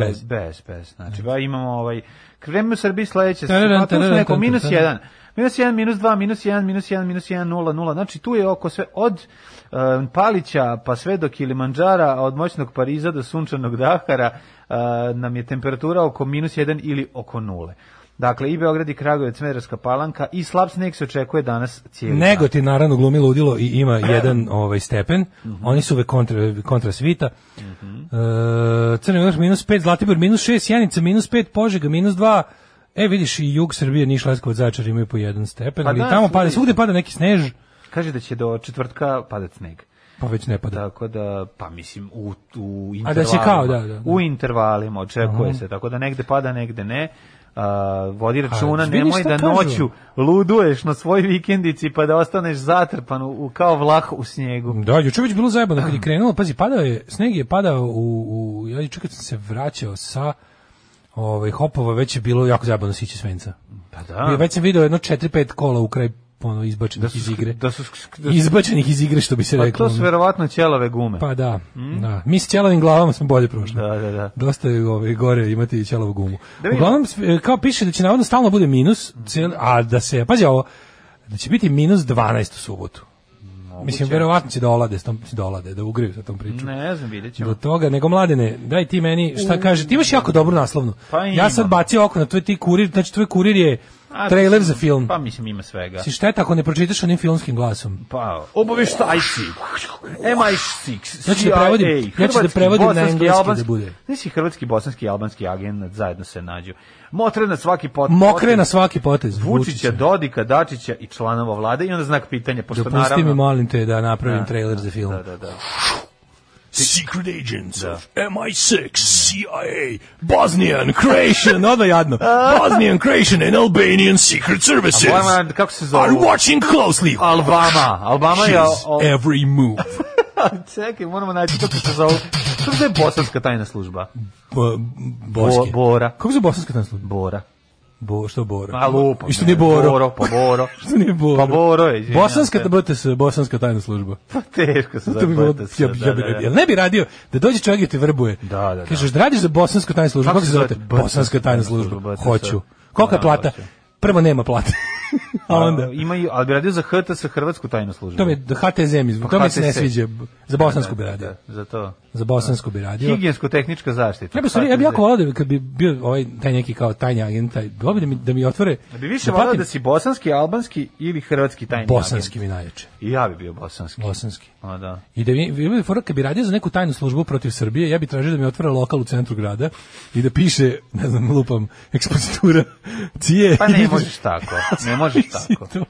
S1: Bez.
S2: bez. bez, bez. Znači, ba, imamo ovaj... Vreme u Srbiji sledeće.
S1: Tararan,
S2: Pa tu smo
S1: tararan,
S2: neko,
S1: tararan,
S2: minus
S1: tararan.
S2: 1. Minus 1, minus 2, minus 1, minus 1, minus 1, 0, 0. Znači, tu je oko sve od e, Palića pa sve do Kilimanđara, a od moćnog Pariza do sunčanog Dahara e, nam je temperatura oko minus 1 ili oko 0. Dakle, i Beograd i Kragujevac, Smederska palanka i slab sneg se očekuje danas cijeli dan.
S1: Negotin naravno glumi ludilo i
S2: (clears throat)
S1: ima jedan ovaj stepen.
S2: Mhm.
S1: Oni su uvek kontra, kontra svita. E, Crni vrh minus 5, Zlatibor minus 6, Janica minus 5, Požega minus 2, E, vidiš, i jug Srbije, Niš, Leskovac, Zaječar imaju po jedan stepen,
S2: Pa
S1: ali
S2: da,
S1: tamo
S2: svugde
S1: pada,
S2: isto.
S1: svugde pada neki snež,
S2: Kaže da će do četvrtka padati sneg.
S1: pa već ne pada.
S2: Tako da, pa mislim, u, u intervalima.
S1: A da će kao, da, da, da.
S2: U intervalima, očekuje se. Tako da negde pada, negde ne. A, vodi računa,
S1: vidiš
S2: nemoj
S1: šta
S2: da
S1: kažu?
S2: noću luduješ na svoj vikendici pa da ostaneš zatrpan u, u- kao vlah u snijegu.
S1: Da, juče je već bilo zajebano
S2: (clears throat)
S1: kad je krenulo, pazi, padao je, sneg je padao u, u ja čekaj sam se vraćao sa ovaj, hopova, već je bilo jako zajebano sići svenca.
S2: Pa
S1: Ja
S2: da.
S1: već sam video jedno 4-5 kola u kraj ono, izbačenih iz igre.
S2: Da su, sk- da su,
S1: Izbačenih iz igre, što bi se
S2: pa
S1: reklo.
S2: to su
S1: ono.
S2: verovatno ćelove gume.
S1: Pa da, da. Mi s ćelavim glavama smo bolje prošli.
S2: Da, da, da.
S1: Dosta je ovaj, gore imati ćelavu gumu.
S2: vidimo.
S1: Uglavnom, sp- kao piše da će navodno stalno bude minus, cijel, a da se, pazi ovo, da će biti minus 12 u subotu. Mislim, verovatno će da olade, s tom, da olade, da ugreju sa tom pričom.
S2: Ne znam, vidjet ćemo.
S1: Do toga, nego mladene, daj ti meni, šta kaže, ti imaš jako dobru naslovnu.
S2: Pa
S1: ja
S2: imam.
S1: sad bacio oko na tvoj ti kurir, znači tvoj kurir je
S2: A,
S1: trailer za
S2: mislim,
S1: film.
S2: Pa mislim, ima svega.
S1: Si šteta ako ne pročitaš onim filmskim glasom.
S2: Pa, obaveštajci. MI6.
S1: Ja ću da prevodim-
S2: CIA,
S1: ja ću da
S2: hrvatski,
S1: prevodim na
S2: bosanski,
S1: engleski
S2: albanski-
S1: da bude.
S2: Znaš i hrvatski, bosanski i albanski agent zajedno se nađu. Motre na svaki pot.
S1: Mokre
S2: potez
S1: na svaki potez.
S2: Vučića, Dodika, Dačića i članova vlade i onda znak pitanja, pošto
S1: Dopusti Da mi,
S2: Pa naravno...
S1: molim te, da napravim trailer za film.
S2: Da, da, da.
S1: Secret agents of MI6, CIA, Bosnian, Croatian, onda
S2: (laughs)
S1: jadno. Bosnian, Croatian and Albanian secret services
S2: A Bosman, kako se zovu?
S1: watching closely. e.
S2: Albama. Albama je... o-
S1: every move.
S2: Čekaj, moramo naći kako se zove... Kako se zove bosanska tajna služba?
S1: Bo, boske.
S2: Bo- Bora.
S1: Kako se bosanska tam služba?
S2: Bora.
S1: Bo, što Boro?
S2: A lupa.
S1: I što nije Pa Boro?
S2: Boro, pa Boro.
S1: (laughs) što nije Boro?
S2: Pa Boro je, izvinjam
S1: Bosanska
S2: se.
S1: BTS, Bosanska tajna služba.
S2: Pa (laughs) teško se
S1: To bi bilo,
S2: zabavite se,
S1: ja, bi- ja bi,
S2: da, da, da.
S1: jel ne bi radio da dođe čovjek i te vrbuje.
S2: Da, da, da.
S1: Kažeš, da radiš za bosansku tajnu službu,
S2: Kako
S1: kako se
S2: se
S1: zove?
S2: zove?
S1: Bosanska tajna služba.
S2: BTS.
S1: Hoću. Kolika je
S2: Da,
S1: plata?
S2: hoću.
S1: Prvo nema plate. (laughs) A onda?
S2: Ima, i- ali bi radio za HT sa Hrvatsku tajnu službu.
S1: To mi, da HTZ mi, to mi se ne
S2: HTZ.
S1: sviđa. Za bosansku bi radio.
S2: Da, za to.
S1: Za bosansku bi radio.
S2: Higijensko-tehnička zaštita.
S1: Ja bih stvari, ja bih jako volao da bi, kad bi bio ovaj taj neki kao tajni agent, taj, bilo bi da mi, da mi otvore...
S2: Da bi više
S1: platim-
S2: volao da si bosanski, albanski ili hrvatski tajni
S1: Bosanski
S2: agent.
S1: mi najjače.
S2: I ja bi bio bosanski.
S1: Bosanski.
S2: A, da.
S1: I da mi, bilo bi fora kad bi radio za neku tajnu službu protiv Srbije, ja bi tražio da mi otvore lokal u centru grada i da piše, ne znam, lupam, ekspozitura (laughs) cije. (laughs) da
S2: Pa ne možeš tako. Ne možeš tako.
S1: To.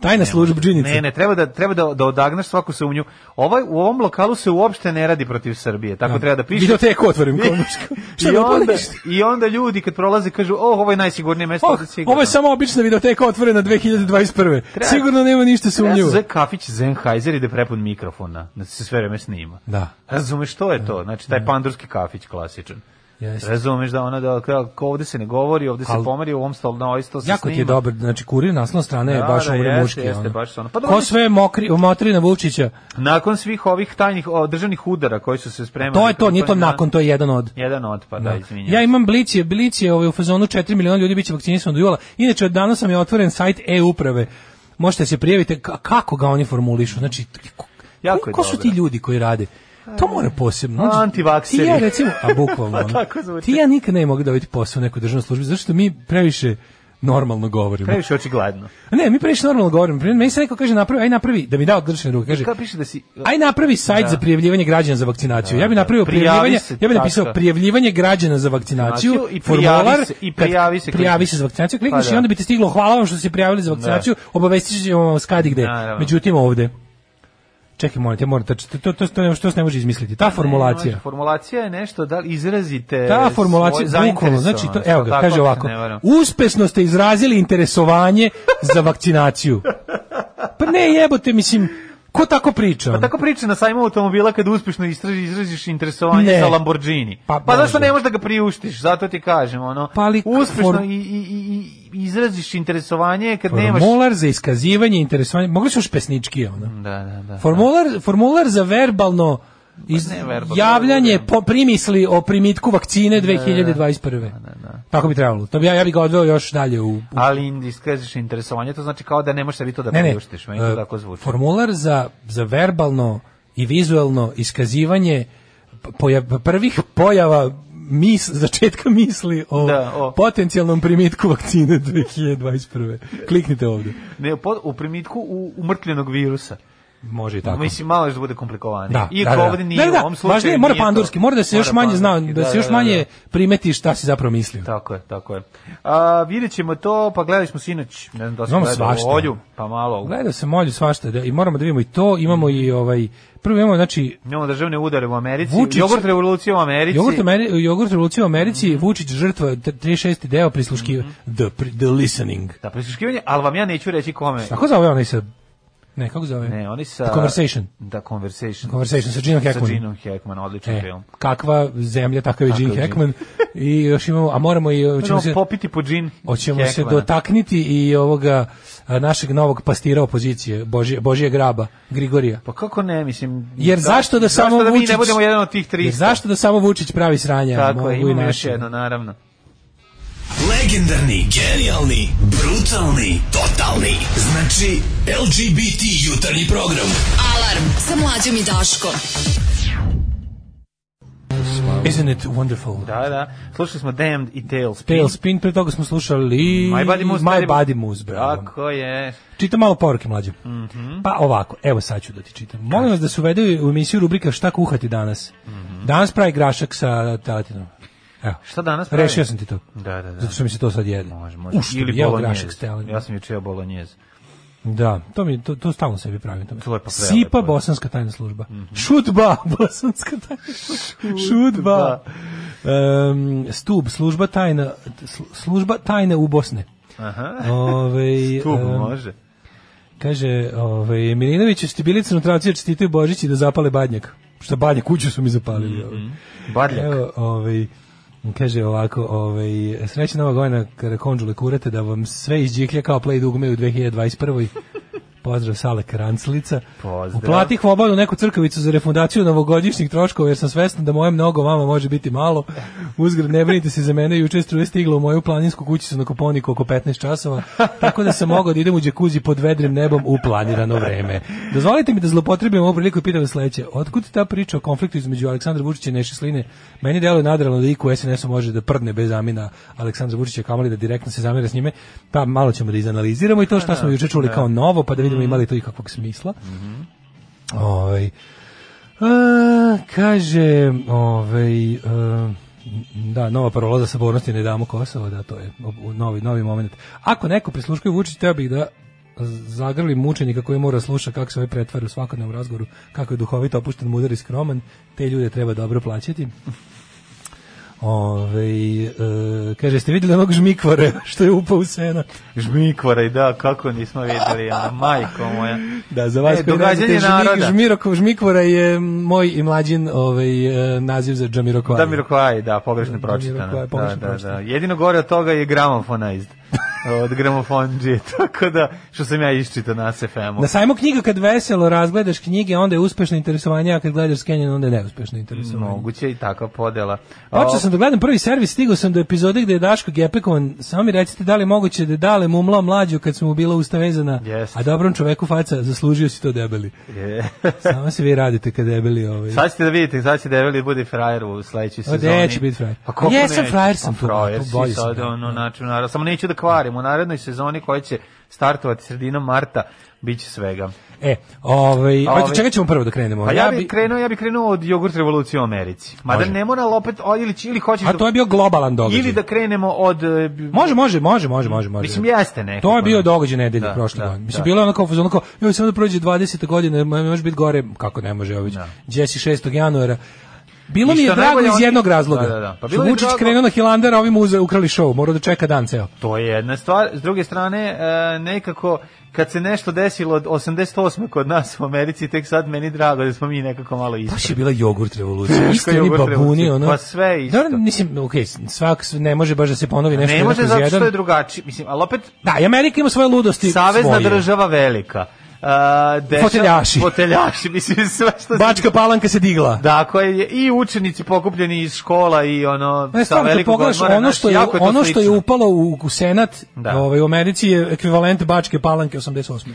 S1: Tajna služba džinica.
S2: Ne, ne, treba da treba da da odagnaš svaku sumnju. Ovaj u ovom lokalu se uopšte ne radi protiv Srbije. Tako treba da piše.
S1: Videoteku otvorim. komuška. Šta
S2: I
S1: mi
S2: onda,
S1: upališ?
S2: I onda ljudi kad prolaze kažu, "O, ovo je najsigurnije mesto
S1: Oh,
S2: za sigurno."
S1: ovo je samo obična videoteka otvorena 2021.
S2: Treba-
S1: Sigurno nema ništa sumnjivo.
S2: Za kafić Sennheiser ide prepun mikrofona, da se sve vreme snima.
S1: Da.
S2: Razumeš što je to? Znači taj pandurski kafić klasičan.
S1: Jeste.
S2: Razumeš da ona da kao ovde se ne govori, ovde se
S1: Al-
S2: pomeri, u ovom stolu na ovaj sto se snima.
S1: Jako ti je dobar, znači kurir naslovna strana je
S2: Da,
S1: baš
S2: da,
S1: umre
S2: jeste,
S1: muški.
S2: jeste,
S1: ono.
S2: baš ono. Pa dobro,
S1: Ko
S2: mi-
S1: sve mokri, motri na Vučića,
S2: Nakon svih ovih tajnih o, državnih udara koji su se spremali.
S1: to je to, nije to
S2: Na-
S1: nakon, to je jedan od.
S2: Jedan otpad, da, izvinjam.
S1: Ja imam blic je, blic je ovaj, u fazonu 4 miliona ljudi biće vakcinisano do jula. Inače, od danas sam je otvoren sajt e-uprave. Možete se prijaviti, Ka- kako ga oni formulišu? Znači, ko,
S2: Jako
S1: ko,
S2: je
S1: ko su ti
S2: dobro.
S1: ljudi koji rade? To mora posebno.
S2: A,
S1: Znači,
S2: antivakseri.
S1: Ti ja recimo, a bukvalno.
S2: (laughs) Pa
S1: ono,
S2: tako zvuči.
S1: ti ja nikad ne mogu da dobiti posao u nekoj državnoj službi, zato što mi previše normalno govorimo.
S2: Previše očigledno.
S1: A Ne, mi previše normalno govorimo. Primjer, Meni se neko kaže napravi, aj napravi, da mi da odršene ruke. Kaže,
S2: Kako piše da si...
S1: aj napravi sajt
S2: Da.
S1: za prijavljivanje građana za vakcinaciju. ja bih
S2: da.
S1: napravio
S2: Prijavi
S1: prijavljivanje,
S2: se,
S1: ja bih napisao
S2: tačka.
S1: prijavljivanje građana za vakcinaciju,
S2: Vakcinaciju i prijavi
S1: formular,
S2: se- i
S1: kad
S2: prijavi se,
S1: prijavi
S2: klikni.
S1: se za vakcinaciju, klikneš
S2: Pa da.
S1: i onda bi ti stiglo hvala vam što ste se prijavili za vakcinaciju, obavestit ćemo vas kad i gde.
S2: Naravno.
S1: Međutim ovde Čekaj, molim te, moram, to, to, to, to, to, to se ne može izmisliti. Ta formulacija.
S2: Znači, formulacija je nešto da li izrazite
S1: Ta formulacija,
S2: svoju
S1: bukvalno, znači, to,
S2: zainteresovanost,
S1: evo ga,
S2: tako ako
S1: kaže
S2: se
S1: ovako,
S2: ne varam.
S1: uspešno ste izrazili interesovanje za vakcinaciju. Pa ne jebote, mislim, ko tako priča? ono?
S2: Pa Tako priča na sajmu automobila kad uspešno istraži, izraziš interesovanje
S1: Ne.
S2: za Lamborghini.
S1: Pa
S2: Pa,
S1: može.
S2: zašto ne možeš da ga priuštiš? Zato ti kažem, ono,
S1: Pa ali
S2: uspešno
S1: form-
S2: i, i, i, i izraziš interesovanje kad nemaš...
S1: Formular za iskazivanje interesovanja, mogli su još pesnički, ono.
S2: Da, da, da.
S1: Formular, formular za verbalno iz,
S2: Pa ne verbalno,
S1: javljanje
S2: ne.
S1: po primisli o primitku vakcine 2021. Tako bi trebalo. To bi ja, ja bi ga odveo još dalje u, u
S2: Ali iskažeš interesovanje, to znači kao da ne možeš sebi to da
S1: ne, ne.
S2: priuštiš. Meni to
S1: E,
S2: tako zvuči.
S1: Formular za, za verbalno i vizuelno iskazivanje p- poja- prvih pojava mis, začetka misli o,
S2: Da, o.
S1: potencijalnom primitku vakcine 2021. Kliknite ovdje.
S2: Ne, po- u primitku u, umrtljenog virusa.
S1: Može i tako.
S2: Mislim, malo još da bude komplikovanije.
S1: Da,
S2: Iako
S1: da, da.
S2: ovdje nije,
S1: Da, da,
S2: u ovom slučaju
S1: važnije, mora
S2: nije to.
S1: pandurski, mora da se još
S2: Mora
S1: manje zna,
S2: pandurski,
S1: da, se još manje primeti šta si zapravo mislio.
S2: Tako je, tako je. A, vidjet ćemo to, pa gledali smo sinoć, ne znam da smo
S1: Imamo
S2: gledali
S1: svašta.
S2: olju, pa malo.
S1: Gledao sam molju svašta da, i moramo da vidimo i to, imamo i ovaj, prvo imamo, znači,
S2: Imamo državne udare u Americi,
S1: Vučić-
S2: jogurt revolucija u Americi.
S1: Jogurt, Ameri jogurt revolucija u Americi,
S2: Mhm.
S1: Vučić žrtva, t- 36. deo prisluškiva, the, pri- the listening.
S2: Da, prisluškivanje, ali vam ja neću reći kome.
S1: Kako zove onaj sa... Ne, kako zove?
S2: Ne, oni sa...
S1: The Conversation.
S2: Da, Conversation.
S1: Conversation sa Gene Hackmanom.
S2: Sa Gene Hackmanom, odličan
S1: E,
S2: film.
S1: kakva zemlja, takav je
S2: Takav
S1: Gene
S2: je Gene.
S1: Hackman. I još imamo, a moramo i... Hoćemo
S2: Možemo
S1: se,
S2: popiti po Gene
S1: hoćemo se
S2: Hackmana.
S1: dotakniti i ovoga a, našeg novog pastira opozicije, Božije, Božije graba, Grigorija.
S2: Pa kako ne, mislim...
S1: Jer zašto da samo
S2: zašto da mi
S1: Vučić-
S2: ne budemo jedan od tih 300?
S1: Jer zašto da samo Vučić pravi sranja?
S2: Tako je,
S1: Mogu i
S2: imamo još
S1: naši.
S2: jedno, naravno.
S6: Legendarni, genijalni, brutalni, totalni. Znači, LGBT jutarnji program.
S3: Alarm sa mlađom i Daškom.
S1: Isn't it wonderful?
S2: Da, da. Slušali smo Damned i Tailspin.
S1: Tailspin, pre toga smo slušali
S2: My Body Moves.
S1: My Body Moves, bravo.
S2: Tako Mhm. je.
S1: Čitam malo poruke mlađe. Pa ovako, evo sad ću da ti čitam. Molim vas da se uvede u emisiju rubrika šta kuhati danas. Danas pravi grašak sa teletinom. Evo.
S2: Mhm. Šta danas pravi?
S1: Rešio sam ti to.
S2: Da, da, da.
S1: Zato što mi se to sad jede.
S2: Može, može.
S1: U, što bi jeo grašak s teletinom.
S2: Ja sam juče jeo bolognese.
S1: Da, to mi to, to stalno sebi pravim. To mi-
S2: To je pa prelepo. Mhm.
S1: Sipa bosanska tajna služba. Šutba (laughs) bosanska tajna služba. Šutba. Em, stub služba tajna slu- služba tajne u
S2: (laughs)
S1: Bosne.
S2: Aha.
S1: Ovaj,
S2: Tu
S1: em,
S2: može.
S1: Kaže, ovaj, Milinović je stabilica na travci, čestitaju
S2: Mhm.
S1: Božić i da zapale badnjak. Šta badnjak, kuću su mi zapalili. ovaj.
S2: Badljak.
S1: Evo, ovaj, Kaže ovako, ovaj, sreća nova gojna karakonđule kurate da vam sve izđiklja kao play dugme u 2021. Pozdrav Sale Karanclica.
S2: Pozdrav.
S1: Uplati hvoban u neku crkavicu za refundaciju novogodišnjih troškova jer sam svestan da moje mnogo vama može biti malo. Uzgred, ne brinite se za mene, juče struje stigla u moju planinsku kućicu na Koponiku oko 15 časova, tako da sam mogao da idem u džekuzi pod vedrim nebom u planirano vreme. Dozvolite mi da zlopotrebim ovu priliku i pitam vas sledeće. Otkud ta priča o konfliktu između Aleksandra Vučića i Neše Sline? Meni deluje nadralno da iku SNS-u može da prdne bez zamina Aleksandra Vučića, kamoli da direktno se zamira s njime, pa malo ćemo da izanaliziramo i to šta smo juče čuli kao novo, pa da vidimo ima li to ikakvog smisla. Ovaj a, kaže, ovaj e, da, nova parola za sabornosti ne damo Kosovo, da to je ob- u- novi novi moment. Ako neko prisluškuje Vučić, treba bih da zagrli mučenika koji mora sluša kako se ovaj pretvara u svakodnevnom razgovoru, kako je duhovito opušten, mudar i skroman, te ljude treba dobro plaćati. Ove, e, kaže, jeste vidjeli onog žmikvare (laughs) što je upao u senat?
S2: Žmikvara i da, kako nismo videli, ona, majko moja.
S1: Da, za vas
S2: E,
S1: koji
S2: događanje
S1: radite žmi-
S2: naroda.
S1: Žmirokov- Žmikvora je moj i mlađin ovaj, e, naziv za Džamirokovaj.
S2: Da, Mirokvaj, da, pogrešno
S1: Damiroquai,
S2: pročitano. Da,
S1: pogrešno
S2: da, da.
S1: pročitano.
S2: Jedino gore od toga je gramofonized. Od gramofonđe, (laughs) tako da, što sam ja iščitao na SFM-u.
S1: Na sajmu knjiga kad veselo razgledaš knjige, onda je uspešno interesovanje, a kad gledaš Kenyan, onda je neuspešno interesovanje.
S2: Moguće i takva podela.
S1: Počeo sam da gledam prvi servis, stigao sam do epizode gde je Daško Gepekovan, samo mi recite da li je moguće da je dale mumla mlađu kad smo mu bila usta vezana,
S2: Jest.
S1: a dobrom čoveku faca, zaslužio si to debeli.
S2: Je.
S1: Samo se vi radite kad debeli ovaj.
S2: Sad ćete da vidite, sad će Develi bude frajer u sledećoj
S1: O,
S2: sezoni.
S1: neću biti frajer.
S2: Pa kako
S1: Jesam,
S2: neću?
S1: frajer sam
S2: Pa
S1: tu,
S2: frajer
S1: tu
S2: si
S1: bolji sam,
S2: sad,
S1: da.
S2: ono, znači, naravno, samo neću da kvarim. U narednoj sezoni koja će startovati sredinom marta, bit će svega.
S1: E, ovaj,
S2: Ovaj-
S1: hoćete, čega ćemo prvo da krenemo?
S2: Pa ja, bih krenuo, ja bih krenuo od jogurt revolucije u Americi. Mada
S1: Može.
S2: ne mora ali opet, o, ili, ili hoćeš da-
S1: A to je bio globalan događaj.
S2: Ili da krenemo od... e, b-
S1: Može, može, može, može, može, može.
S2: Mislim, jeste nekako.
S1: To je bio događaj nedelje
S2: E, Da,
S1: prošle
S2: da,
S1: godine. Mislim,
S2: da.
S1: bilo je onako, ono kao, joj, samo da prođe 20. godine, ma- može biti gore, kako ne može,
S2: Da.
S1: ovdje, gdje si 6. januara. Bilo
S2: I
S1: mi je
S2: što
S1: drago
S2: najbolje,
S1: iz
S2: oni-
S1: jednog razloga.
S2: Da, da, da.
S1: Što
S2: Pa bilo mi je
S1: Vučić
S2: drago-
S1: krenuo na Hilandar, a ovi mu uze- ukrali show, morao da čeka dan ceo.
S2: To je jedna stvar. S druge strane, e, nekako, kad se nešto desilo od 88. kod nas u Americi, tek sad meni drago da smo mi nekako malo ispred.
S1: Baš je bila jogurt revolucija. Isti oni
S2: jogurt
S1: babuni,
S2: revolucija.
S1: ono.
S2: Pa sve je isto.
S1: Dobro, mislim, okej, svak ne može baš da se ponovi nešto.
S2: Ne može
S1: jednako iz
S2: zato što
S1: jedan.
S2: je drugačije. Mislim, ali opet
S1: Da, i Amerika ima svoje ludosti.
S2: Savezna
S1: svoje.
S2: država velika. Uh, deša,
S1: Foteljaši.
S2: Foteljaši, mislim, (laughs) sve što...
S1: Bačka palanka se digla.
S2: Dakle, je i učenici pokupljeni iz škola i ono...
S1: Pa Ne, stvarno, kad pogledaš,
S2: odmora,
S1: ono
S2: znaš,
S1: što je,
S2: jako to
S1: ono što je
S2: slično.
S1: upalo u, u Senat
S2: Da.
S1: ovaj, u Americi je ekvivalent Bačke palanke 88.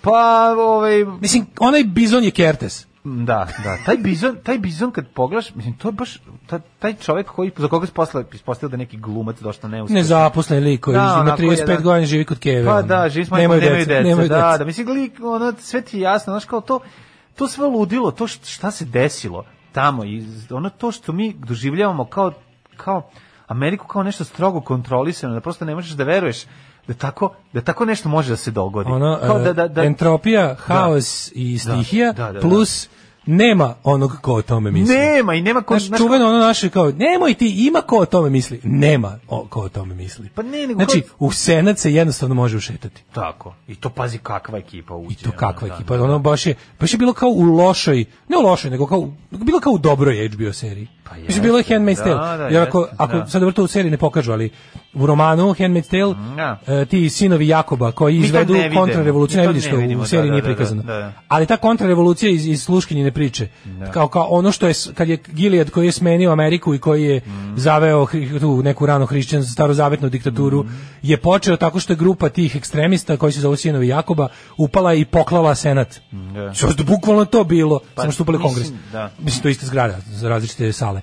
S2: Pa, ovaj...
S1: Mislim, onaj bizon je Kertes.
S2: Da, da, taj bizon, taj bizon kad pogledaš, mislim, to je baš... ta- taj čovjek koji, za koga se posle, ispostavio da je neki glumac došlo neuspešan.
S1: Nezaposlen lik koji
S2: Da,
S1: ima
S2: onako
S1: 35
S2: jedan-
S1: godina živi kod Keve.
S2: Pa
S1: ono.
S2: da, živi smo nemaju dece,
S1: nemaju
S2: da,
S1: dece.
S2: da, mislim, lik, ono, sve ti je jasno, znaš, kao to, to sve ludilo, to št- šta se desilo tamo, i z- ono to što mi doživljavamo kao, kao Ameriku kao nešto strogo kontrolisano, da prosto ne možeš da veruješ da tako, da tako nešto može da se dogodi.
S1: Ono, e,
S2: kao da, da, da,
S1: entropija, haos i stihija,
S2: da, da, da.
S1: plus nema onog ko o tome misli.
S2: nema i nema ko,
S1: Znaš,
S2: znaš,
S1: čuveno ono naše kao, nemoj ti, ima ko o tome misli. Nema o, ko o tome misli.
S2: Pa ne, nego
S1: znači,
S2: kao-
S1: u Senat se jednostavno može ušetati.
S2: tako. I to pazi kakva ekipa uđe.
S1: I to
S2: ono,
S1: kakva
S2: da,
S1: ekipa, ono baš je, baš je bilo kao u lošoj, ne u lošoj, nego kao, u- bilo kao u dobroj HBO seriji.
S2: Pa
S1: Mislim, bilo je
S2: jeste,
S1: Handmaid's
S2: da,
S1: Tale.
S2: da,
S1: Jer ako,
S2: jeste,
S1: ako
S2: da.
S1: sad dobro to u seriji ne pokažu, ali u romanu Handmaid's Tale,
S2: Da.
S1: e, ti sinovi Jakoba koji
S2: Mi to
S1: izvedu
S2: ne vidimo,
S1: kontrarevoluciju,
S2: mi
S1: ne
S2: to
S1: vidiš
S2: ne
S1: to,
S2: vidimo,
S1: u
S2: da,
S1: seriji
S2: da,
S1: nije
S2: da, da,
S1: prikazano.
S2: da, da.
S1: Ali ta kontrarevolucija iz, iz sluškinjine priče, kao, kao ono što je, s- kad je Gilead koji je smenio Ameriku i koji je
S2: Mm.
S1: zaveo hri- tu neku rano hrišćan, starozavetnu diktaturu,
S2: Mm.
S1: je počeo tako što je grupa tih ekstremista koji se zovu sinovi Jakoba upala je i poklala senat.
S2: da. Pa
S1: Što je bukvalno to bilo, samo što upali
S2: mislim,
S1: kongres.
S2: da.
S1: Mislim, to je ista zgrada, za različite sale.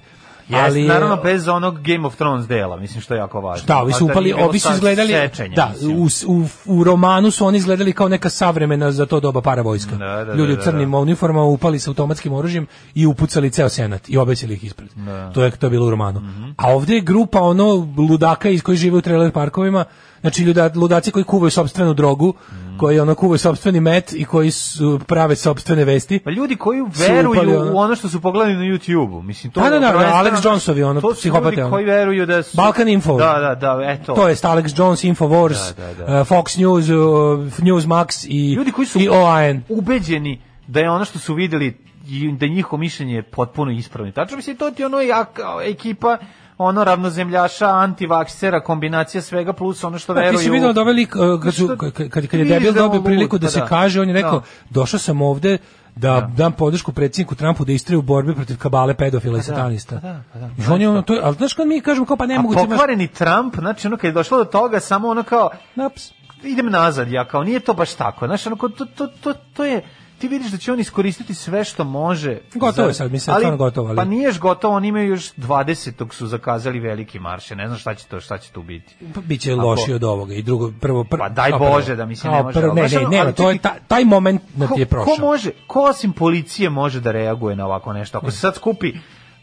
S2: Jeste,
S1: je-
S2: naravno bez onog Game of Thrones dela, mislim što je jako važno.
S1: Da, ovi su
S2: A
S1: upali,
S2: nije bilo
S1: ovi su
S2: sad
S1: izgledali,
S2: sečenja,
S1: da,
S2: mislim.
S1: u, s- u, u romanu su oni izgledali kao neka savremena za to doba paravojska.
S2: Da, da,
S1: Ljudi
S2: da,
S1: u
S2: da,
S1: crnim uniformama upali sa automatskim oružjem i upucali ceo senat i obesili ih ispred.
S2: Da.
S1: To je to je bilo u romanu.
S2: Mhm.
S1: A ovdje je grupa ono ludaka iz koji žive u trailer parkovima, znači ljuda, ludaci koji kuvaju sopstvenu drogu,
S2: Mhm.
S1: koji ono kuvaju sopstveni met i koji su, prave sopstvene vesti.
S2: Pa ljudi koji
S1: Su
S2: veruju
S1: upali, ono.
S2: u ono što su pogledali na YouTubeu, mislim to.
S1: Da, da, da,
S2: prvenstveno-
S1: Alex Jonesovi, ono,
S2: to su ljudi
S1: psihopate, ono.
S2: koji veruju da su
S1: Balkan Info.
S2: Da, da, da, eto.
S1: To je Alex Jones, Infowars,
S2: Da, da, da.
S1: eh, Fox News, eh, Newsmax i,
S2: ljudi koji su
S1: i OAN.
S2: ubeđeni da je ono što su videli i da je njihovo mišljenje potpuno ispravno. Tačno mislim to ti je ono jak, ekipa ono ravnozemljaša, antivaksera, kombinacija svega plus ono što
S1: Pa,
S2: veruju.
S1: ti si vidio da ovaj lik, uh, kad, su-
S2: Što-
S1: kad, kad, kad je
S2: vidiš
S1: debil
S2: da je on
S1: dobio
S2: lud,
S1: priliku da
S2: pa
S1: se
S2: da.
S1: kaže, on je rekao,
S2: Da.
S1: došao sam ovde da, dam podršku predsjedniku Trumpu da istraju u borbi protiv kabale pedofila i satanista.
S2: pa da, pa da.
S1: I on je ono, to, je- ali znaš kad mi kažemo, kao pa ne
S2: A
S1: mogu ti imaš...
S2: pokvareni Trump, znači ono kad je došlo do toga, samo ono kao,
S1: Naps.
S2: idem nazad, ja kao, nije to baš tako, znaš, ono, kao, to, to, to, to je, ti vidiš da će on iskoristiti sve što može.
S1: Gotovo je sad, mislim, stvarno gotovo, ali-
S2: Pa niješ gotovo, oni imaju još 20. su zakazali veliki marše, ne znam šta će to, šta će tu biti.
S1: Pa biće
S2: Ako-
S1: loši od ovoga i drugo prvo prvo
S2: Pa daj Bože da mi se ne može,
S1: ne
S2: ali znaš ono,
S1: ne, ne,
S2: ali
S1: to je
S2: čekaj,
S1: ta, taj moment na Da ti je
S2: Ko-
S1: prošao
S2: Ko može, ko osim policije može da reaguje na ovako nešto? Ako se sad skupi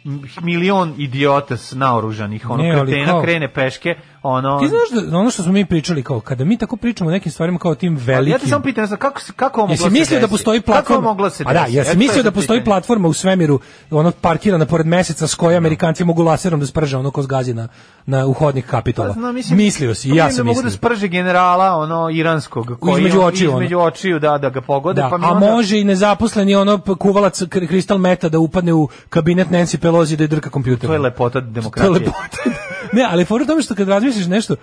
S2: m- milion idiota s naoružanih, ono,
S1: Ne, ali
S2: kretena,
S1: kao-
S2: krene peške, ono...
S1: ti znaš da ono što smo mi pričali kao kada mi tako pričamo o nekim stvarima kao o tim
S2: Ja
S1: velikim
S2: te samo pitam, znaš, kako, se- kako ovo moglo
S1: Jesi
S2: se
S1: mislio da
S2: desiti?
S1: postoji
S2: Kako ovo
S1: platforma?
S2: moglo se
S1: A da,
S2: desiti? E,
S1: jesi
S2: to
S1: mislio
S2: je
S1: da
S2: sad
S1: postoji
S2: pitanje.
S1: platforma u svemiru, ono parkirana pored meseca s koje Amerikanci mogu laserom da sprže ono ko zgazi na, na uhodnik kapitola.
S2: Pa, znam,
S1: mislio si, i
S2: pa
S1: ja
S2: vidim
S1: sam
S2: da mogu da
S1: mislio.
S2: sprže generala, ono, iranskog, koji
S1: Između
S2: on-
S1: očiju, ono.
S2: između očiju, da, da ga pogode,
S1: Da,
S2: pa mi
S1: a
S2: onda-
S1: može i nezaposleni ono p- kuvalac kr- kristal meta da upadne u kabinet Nancy Pelosi da je drka kompjuter.
S2: To je lepota demokratije.
S1: To je lepota. (laughs) ne, ali fora u tome što kad razmisliš nešto,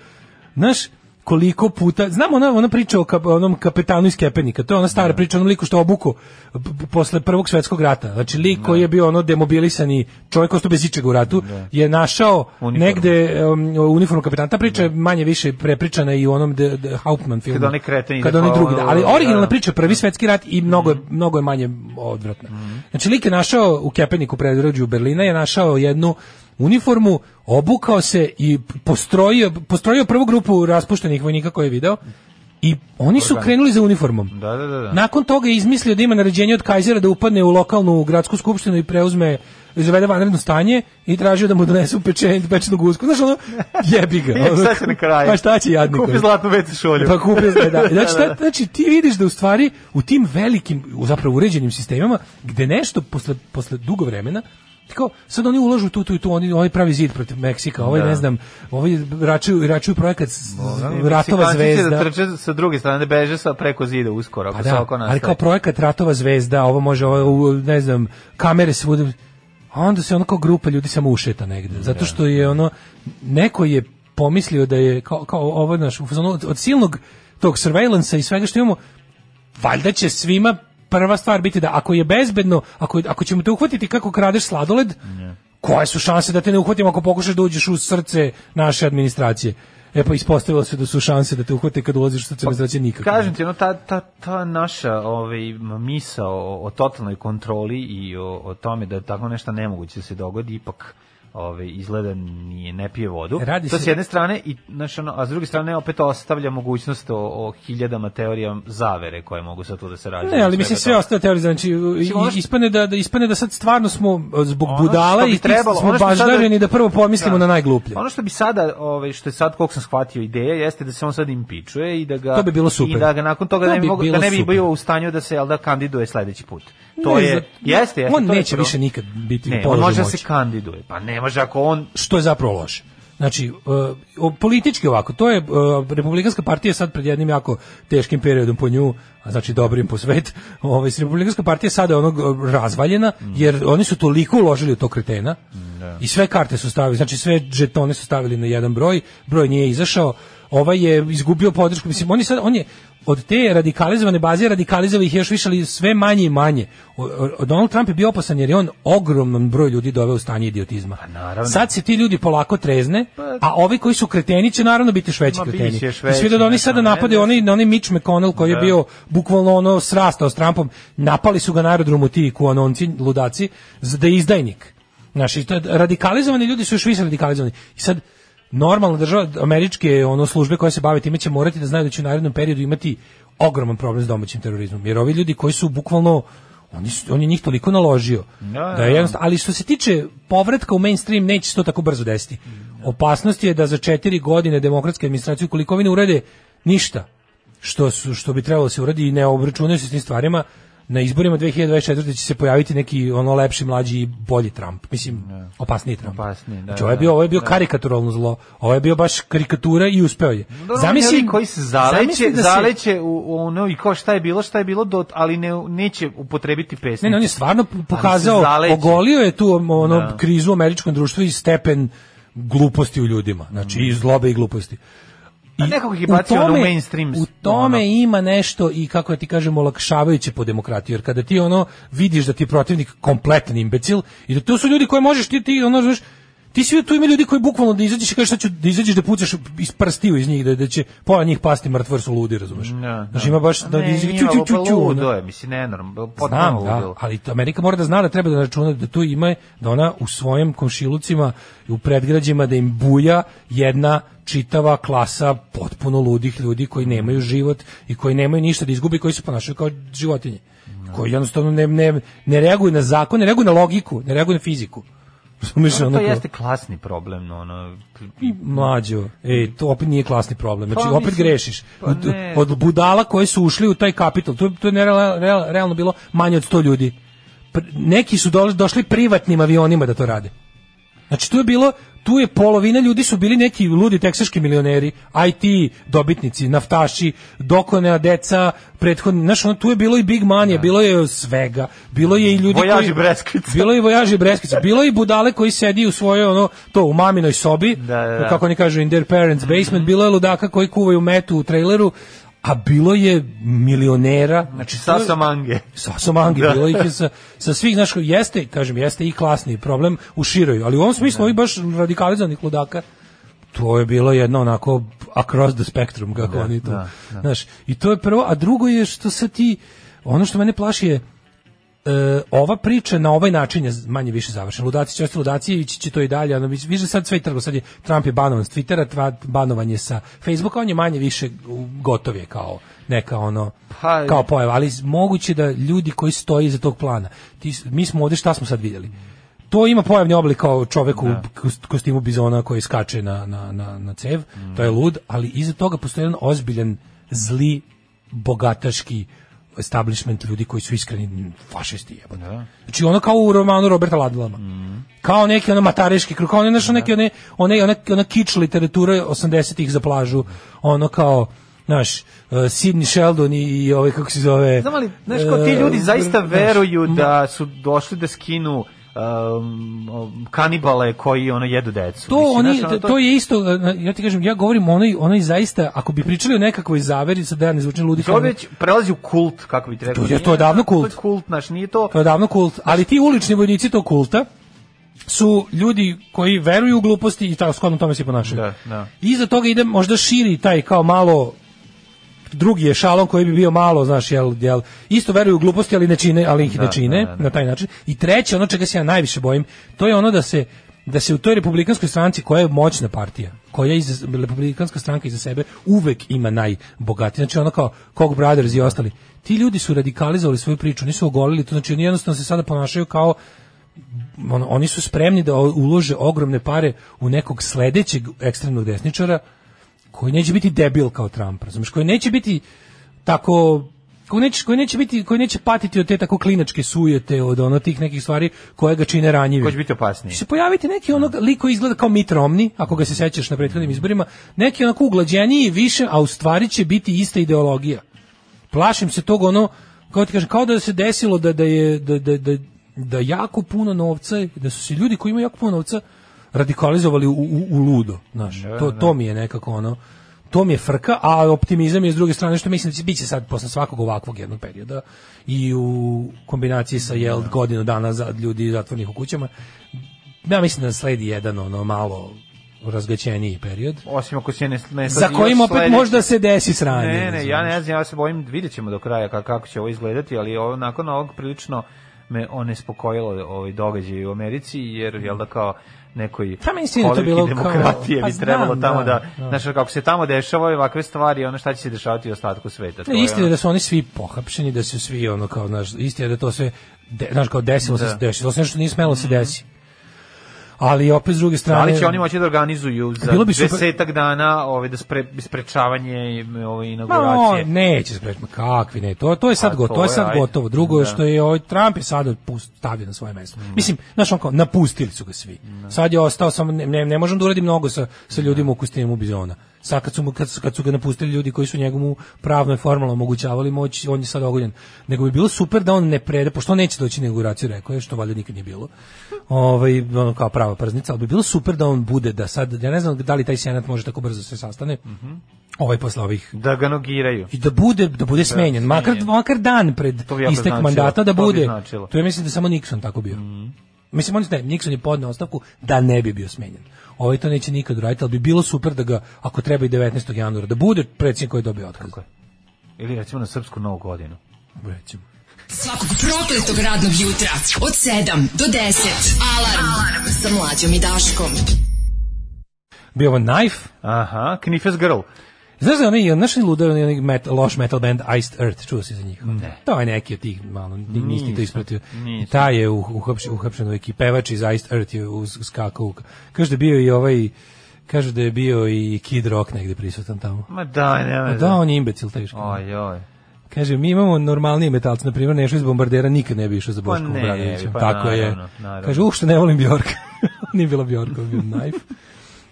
S1: znaš, koliko puta, znam ona, ona priča o kap, onom kapetanu iz Kepenika, to je ona stara
S2: Da.
S1: priča o onom liku što je obuko p- p- posle prvog svetskog rata, znači lik
S2: Da.
S1: koji je bio ono demobilisani čovjek ostao bez ičega u ratu, je našao
S2: Uniformu. Da.
S1: negde um, uniformu kapetana, ta priča je manje više prepričana i u onom de, de Hauptmann filmu.
S2: Kada onaj kreten ide
S1: Kada onaj
S2: po-
S1: drugi, da. ali
S2: da,
S1: originalna
S2: da.
S1: priča je prvi svetski rat i mnogo je, mnogo je manje odvratna. Znači lik je našao u Kepeniku predrođu Berlina je našao jednu uniformu, obukao se i postrojio postrojio prvu grupu raspuštenih vojnika koje je video. I oni su krenuli za uniformom.
S2: Da, da, da, da.
S1: Nakon toga je izmislio da ima naređenje od Kajzera da upadne u lokalnu gradsku skupštinu i preuzme izvede vanredno stanje i tražio da mu donesu pečen, pečenu gusku. Znaš, ono, jebi ga.
S2: Je, (laughs) šta će na kraju?
S1: Pa šta će jadniku?
S2: Kupi zlatnu vecu šolju.
S1: Pa kupio da,
S2: (laughs)
S1: da. Znači, ta- znači, ti vidiš da u stvari u tim velikim, u zapravo uređenim sistemama, gde nešto posle, posle dugo vremena, ti kao, sad oni ulažu tu, tu i tu, oni, oni pravi zid protiv Meksika, ovaj,
S2: Da.
S1: ne znam, ovaj račuju, račuju projekat s- s- Ratova
S2: Ovaj, Meksikanci će
S1: zvezda.
S2: Da trče sa druge strane, da beže sa preko zida uskoro,
S1: Pa
S2: ako se
S1: da,
S2: oko nas.
S1: ali kao projekat Ratova zvezda, ovo može, ovo, ne znam, kamere svuda, a onda se ono kao grupa ljudi samo ušeta
S2: Da,
S1: negde, zato što je ono, neko je pomislio da je, kao, kao ovo, znaš, u fazonu, od, od silnog tog surveillance i svega što imamo, valjda će svima prva stvar biti da ako je bezbedno, ako, ako ćemo te uhvatiti kako kradeš sladoled, koje su šanse da te ne uhvatimo ako pokušaš da uđeš u srce naše administracije? E pa ispostavilo se da su šanse da te uhvate kad ulaziš u srce
S2: Pa
S1: da administracije nikakve.
S2: Kažem ti, ono, ta, ta, ta naša ovaj, misa o, o totalnoj kontroli i o, o tome da je tako nešto nemoguće da se dogodi, ipak ovaj, izgleda nije, ne pije vodu.
S1: Radi
S2: to
S1: se-
S2: s jedne strane, i, znaš, ono, a s druge strane opet ostavlja mogućnost o, o hiljadama teorija zavere koje mogu sad tu da se rađaju.
S1: Ne, ali mislim sve
S2: ostavlja
S1: ostale teorije, znači i-
S2: ono što-
S1: ispane da, da ispane da sad stvarno smo e, zbog
S2: Ono
S1: budala
S2: što bi
S1: i tih
S2: trebalo,
S1: smo
S2: ono što sada-
S1: baždareni da prvo pomislimo na najgluplje.
S2: Ono što bi sada, ovaj što je sad koliko sam shvatio ideja jeste da se on sad impičuje i da ga
S1: To bi bilo super.
S2: i da ga nakon toga
S1: To
S2: ne bi,
S1: bi
S2: mogo, da
S1: bilo
S2: ne bi
S1: super.
S2: bio u stanju da se jel da kandiduje sledeći put. To
S1: Ne,
S2: je
S1: za-
S2: jeste, jeste.
S1: On
S2: to je
S1: neće
S2: pro-
S1: više nikad biti
S2: Ne,
S1: u
S2: on
S1: položaju
S2: može da
S1: moći.
S2: se kandiduje. Pa ne može ako on
S1: što je zapravo loše. Znači, e, o- politički ovako, to je, e, Republikanska partija je sad pred jednim jako teškim periodom po nju, a znači dobrim po svet, (laughs) ovaj, s- Republikanska partija sada je onog e, razvaljena, jer oni su toliko uložili u to kretena, i sve karte su stavili, znači sve žetone su stavili na jedan broj, broj nije izašao, ovaj je izgubio podršku, mislim, on je sad, on je, od te radikalizovane baze radikalizovih ih je još više, ali sve manje i manje. O- o- Donald Trump je bio opasan jer je on ogroman broj ljudi doveo u stanje idiotizma.
S2: naravno.
S1: Sad se ti ljudi polako trezne, a ovi koji su kreteni će naravno biti još veći
S2: Pa- Ma,
S1: kreteni.
S2: biće još
S1: I svi da
S2: veći,
S1: oni
S2: ne
S1: sada
S2: znam, ne
S1: napade
S2: znam. Da.
S1: oni onaj Mitch McConnell koji je bio bukvalno ono srastao s Trumpom, napali su ga na aerodromu ti kuanonci, ludaci, za- da je izdajnik. Naši radikalizovani ljudi su još više radikalizovani. I sad normalna država američke ono službe koje se bave time će morati da znaju da će u narednom periodu imati ogroman problem s domaćim terorizmom. Jer ovi ljudi koji su bukvalno oni su, on je njih toliko naložio
S2: Da,
S1: da je
S2: da.
S1: jednostavno- ali što se tiče povratka u mainstream neće se to tako brzo desiti. Opasnost je da za četiri godine demokratske administracije koliko oni ne urade ništa što su što bi trebalo da se uradi i ne obračunaju se s tim stvarima na izborima 2024 će se pojaviti neki ono lepši, mlađi i bolji Trump. Mislim, opasniji Trump.
S2: Opasniji, da,
S1: Znači, ovo je
S2: da,
S1: bio, ovo je bio
S2: da.
S1: karikaturalno zlo. Ovo je bio baš karikatura i uspeo je.
S2: Da, ono,
S1: Zamisli-
S2: ovi koji se zaleće,
S1: zamisli da se-
S2: zaleće u, u ono i kao šta je bilo, šta je bilo, dot, ali ne, neće upotrebiti pesnicu.
S1: Ne, ne, on je stvarno pokazao,
S2: zaleće.
S1: ogolio je tu um, ono
S2: Da.
S1: krizu u američkom društvu i stepen gluposti u ljudima, znači i zlobe i gluposti.
S2: A nekako ih Pa je bacio ono Mm. u mainstream,
S1: U tome
S2: ono.
S1: ima nešto i kako da ti kažem olakšavajuće po demokratiju, jer kada ti ono vidiš da ti je protivnik kompletan imbecil i da to su ljudi koje možeš ti ti ono znaš Ti si tu ima ljudi koji bukvalno da izađeš i kažeš šta ću da izađeš da pucaš iz prstiju iz njih da, da će pola njih pasti mrtvo jer su ludi, razumeš?
S2: Da,
S1: Znaš, ima baš da
S2: ne,
S1: izađe-
S2: ima,
S1: ću, ću, ću,
S2: pa
S1: ću, ono.
S2: ludo je, mislim, nenormalno, potpuno
S1: Znam, da,
S2: ludilo.
S1: ali to Amerika mora da zna da treba da računa da tu ima, da ona u svojim komšilucima i u predgrađima da im buja jedna čitava klasa potpuno ludih ljudi koji nemaju život i koji nemaju ništa da izgubi, koji se ponašaju kao životinje.
S2: Da.
S1: Koji jednostavno ne, ne, ne reaguju na zakon, ne reaguju na logiku, ne reaguju na fiziku. (laughs) Razumeš,
S2: Ono,
S1: ono
S2: to
S1: kao-
S2: jeste klasni problem, no, ono,
S1: i mlađo, ej, to opet nije klasni problem. Znači,
S2: Pa,
S1: opet
S2: mislim,
S1: grešiš.
S2: pa
S1: Od,
S2: ne.
S1: od budala koji su ušli u taj kapital, to, to je nereal- real- realno bilo manje od 100 ljudi. Pr- neki su došli, došli privatnim avionima da to rade. Znači, tu je bilo, tu je polovina ljudi su bili neki ludi teksaški milioneri, IT dobitnici, naftaši, dokonea deca, prethodni, znaš, ono, tu je bilo i big money, bilo je svega, bilo je i ljudi
S2: Vojaži Breskvica.
S1: (laughs) bilo je i vojaži Breskica, bilo je i budale koji sedi u svojoj ono to u maminoj sobi,
S2: Da, da, da.
S1: kako oni kažu in their parents basement, bilo je ludaka koji kuvaju metu u traileru, a bilo je milionera,
S2: znači,
S1: to je-
S2: sasa mange.
S1: sa sa mangi bilo ih je sa, sa svih znaš jeste kažem jeste i klasni problem u široj ali u ovom smislu ovih baš radikalizovanih ludaka to je bilo jedno onako across the spectrum kako oni to znaš i to je prvo a drugo je što se ti ono što mene plaši je e, ova priča na ovaj način je manje više završena. Ludaci će ostati ludaci i ići će to i dalje. Ono, viš- više sad sve je trgo. Sad je Trump je banovan s Twittera, tva, banovan je sa Facebooka, on je manje više u- gotov je kao neka ono
S2: Pa-
S1: kao pojava, ali moguće da ljudi koji stoje iza tog plana. Ti, s- mi smo ovde šta smo sad vidjeli? To ima pojavni oblik kao čovek u kost- kostimu bizona koji skače na, na, na, na cev, to je lud, ali iza toga postoji jedan ozbiljan zli bogataški establishment ljudi koji su iskreni fašisti jebote. Znači ono kao u romanu Roberta Ladlama. Kao neki ono matareški krug, kao ono, znaš,
S2: Da.
S1: neke one, one, ona, ona kič literatura 80-ih za plažu, ono kao Naš, Sidney Sheldon i, i ovaj, kako se zove...
S2: Znam ali, znaš, kao ti ljudi
S1: e,
S2: zaista
S1: znaš,
S2: veruju da su došli da skinu um, kanibale koji ono jedu decu.
S1: To,
S2: Mislim,
S1: oni,
S2: znaš, ono,
S1: to, je isto, e, ja ti kažem, ja govorim o onoj, onoj zaista, ako bi pričali o nekakvoj zaveri, sad da ja ne zvučim ludi,
S2: To već prelazi u kult, kako bi trebalo.
S1: To je- to je davno
S2: To
S1: kult.
S2: je kult, znaš, nije to...
S1: to da je davno kult, ali ti ulični vojnici tog kulta su ljudi koji veruju u gluposti i tako shodno tome se i ponašaju.
S2: Da, da.
S1: Iza toga ide možda širi taj kao malo drugi je šalon koji bi bio malo, znaš, jel, jel, isto veruju u gluposti, ali ne čine, ali ih ne
S2: Da,
S1: čine
S2: da, da, da.
S1: na taj način. I treće, ono čega se ja najviše bojim, to je ono da se da se u toj republikanskoj stranci koja je moćna partija, koja iz republikanska stranka iza sebe uvek ima najbogatiji. Znači ono kao Koch Brothers i ostali. Ti ljudi su radikalizovali svoju priču, nisu ogolili to, znači oni jednostavno se sada ponašaju kao on- oni su spremni da o- ulože ogromne pare u nekog sledećeg ekstremnog desničara koji neće biti debil kao Trump, razumeš, koji neće biti tako koji neće, koji neće biti koji neće patiti od te tako klinačke sujete od ono tih nekih stvari koje ga čine ranjivim.
S2: Ko će biti opasniji?
S1: Će se pojaviti neki onog lik koji izgleda kao Mitt Romney, ako ga se sećaš na prethodnim izborima, neki onako uglađeniji više, a u stvari će biti ista ideologija plašim se tog ono kao ti kažem kao da se desilo da da je da da da da jako puno novca da su se ljudi koji imaju jako puno novca radikalizovali u, u, u ludo, znaš. To to mi je nekako ono to mi je frka, a optimizam je s druge strane što mislim da će biće sad posle svakog ovakvog jednog perioda i u kombinaciji sa jel godinu dana za ljudi zatvornih u kućama. Ja mislim da sledi jedan ono malo razgaćeniji period
S2: Osim ako se ne, ne
S1: za kojim opet možda se desi sranje.
S2: Ne, ne, ja
S1: razumeš.
S2: ne znam, ja se bojim, vidjet ćemo do kraja ka- kako će ovo izgledati, ali ovo, nakon ovog prilično me onespokojilo ovaj događaj u Americi, jer jel da kao nekoj
S1: Pa meni se da to
S2: kolevki
S1: bilo kao-
S2: demokratije
S1: pa
S2: bi trebalo
S1: znam,
S2: tamo
S1: da,
S2: da,
S1: da.
S2: znaš, kako se tamo dešavaju ovakve stvari, ono šta će se dešavati u ostatku sveta. To
S1: Ne, istina je
S2: ono-
S1: da su oni svi pohapšeni, da su svi ono kao, znaš, istina je da to sve, de, znaš, kao desilo
S2: Da.
S1: se, desilo se nešto nije smelo da se desi. Ali opet s druge
S2: Da
S1: strane...
S2: li Mhm. će oni moći da organizuju za
S1: Bilo bi super-
S2: desetak dana ovaj, da spre, sprečavanje i, ove
S1: Ma,
S2: inauguracije?
S1: on, neće se preći, ma kakvi ne, to, to je sad
S2: A,
S1: gotovo,
S2: to
S1: to je
S2: je,
S1: sad
S2: ajde.
S1: gotovo. Drugo je
S2: Da. Mm.
S1: što je ovaj Trump je sad pust, stavio na svoje mesto. Mislim, znaš on kao, da
S2: Da.
S1: napustili su ga svi. Sad je ostao, samo ne, ne, ne možem da uradim mnogo sa, sa ljudima u kostinu bizona. Sad kad su, mu, kad, su- kad su ga napustili ljudi koji su njegovu pravno i formalno omogućavali moć, on je sad ogoljen. Nego bi bilo super da on ne prede, pošto on neće doći na inauguraciju, rekao je, što valjda nikad nije bilo. Ovaj ono kao prava prznica, ali bi bilo super da on bude da sad ja ne znam da li taj senat može tako brzo se sastane.
S2: Mhm.
S1: Ovaj posle ovih
S2: da ga nogiraju.
S1: i da bude da bude smenjen, makar makar dan pred
S2: To bi jako
S1: istek
S2: značilo.
S1: mandata da
S2: To bi
S1: bude.
S2: značilo. Mhm.
S1: To je mislim da samo Nixon tako bio. Mislim on ne, Nixon je podneo ostavku da ne bi bio smenjen. Ovaj to neće nikad uraditi, ali bi bilo super da ga ako treba i 19. januara da bude predsjednik koji je dobio otkaz.
S2: je. Ili recimo na srpsku novu godinu.
S1: Recimo.
S3: Svakog prokletog radnog jutra od 7 do 10. Alarm, Alarm. sa mlađom i Daškom.
S1: Bio ovo Knife.
S2: Aha, Knifes Girl.
S1: Znaš da oni, znaš li luda, onaj metal, loš metal band Iced Earth, čuo si za njih?
S2: Ne.
S1: To je neki od tih, malo, ni- nisi ti to ispratio.
S2: nisam.
S1: Ta je u- uhapšen, uhapšen u ekipi, pevač iz Iced Earth je uz- uskakao. u- Kaže da je bio i ovaj, kaže da je bio i Kid Rock negde prisutan tamo.
S2: Ma daj, nema.
S1: Da, on je imbecil teško.
S2: Oj, oj.
S1: Kaže, mi imamo normalnije metalce, na primjer, nešto iz bombardera nikad ne bi išao za Boškom
S2: ne,
S1: Obradovićem.
S2: pa
S1: Tako je.
S2: naravno, naravno.
S1: Kaže, uopšte ne volim Bjorka. (laughs) Nije bila Bjorka, bio Knife.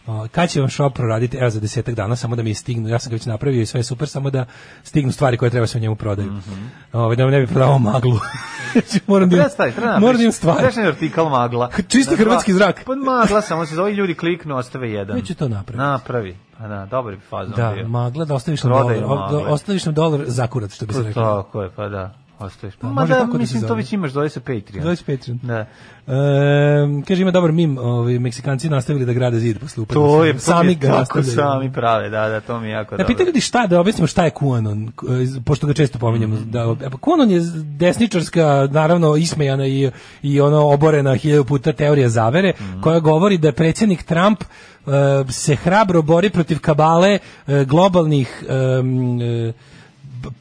S1: O, kad će vam šop proraditi? Evo za desetak dana, samo da mi stignu. Ja sam ga već napravio i sve je super, samo da stignu stvari koje treba se u njemu prodaju.
S2: Mhm.
S1: Ovaj, da mi ne bi prodavao maglu. (laughs) Znači, moram da imam,
S2: Treba stavi, treba napraviš.
S1: (laughs) moram da imam stvari.
S2: Trebaš artikal magla.
S1: Čisti
S2: Na dva-
S1: hrvatski zrak.
S2: Pa magla samo se zove ljudi kliknu, ostave jedan.
S1: Ja ću to napraviti.
S2: Napravi. Pa da, dobar bi fazon
S1: Da,
S2: bio.
S1: magla, da ostaviš nam
S2: Prodaju
S1: dolar. O- da
S2: magle.
S1: Ostaviš nam dolar za kurac, što bi se
S2: Pa
S1: rekao.
S2: Tako je, pa da. Ostaviš. Pa,
S1: Pa
S2: Ma
S1: može
S2: da,
S1: tako da se
S2: mislim, to
S1: zove.
S2: već imaš, dole se Patreon.
S1: Dođi Patreon.
S2: Da.
S1: Ehm, kaže ima dobar mim, ovi Meksikanci nastavili da grade zid posle upada.
S2: To je, to mi
S1: sami
S2: je
S1: ga
S2: tako
S1: nastavljaju.
S2: sami prave, da, da, to mi je jako
S1: Da
S2: dobro.
S1: pita ljudi šta, da objasnimo šta je QAnon, k- e, pošto ga često pominjemo.
S2: Mhm.
S1: Da, e, pa QAnon je desničarska, naravno ismejana i, i ono oborena hiljadu puta teorija zavere,
S2: Mhm.
S1: koja govori da predsjednik Trump e, se hrabro bori protiv kabale e, globalnih em, e,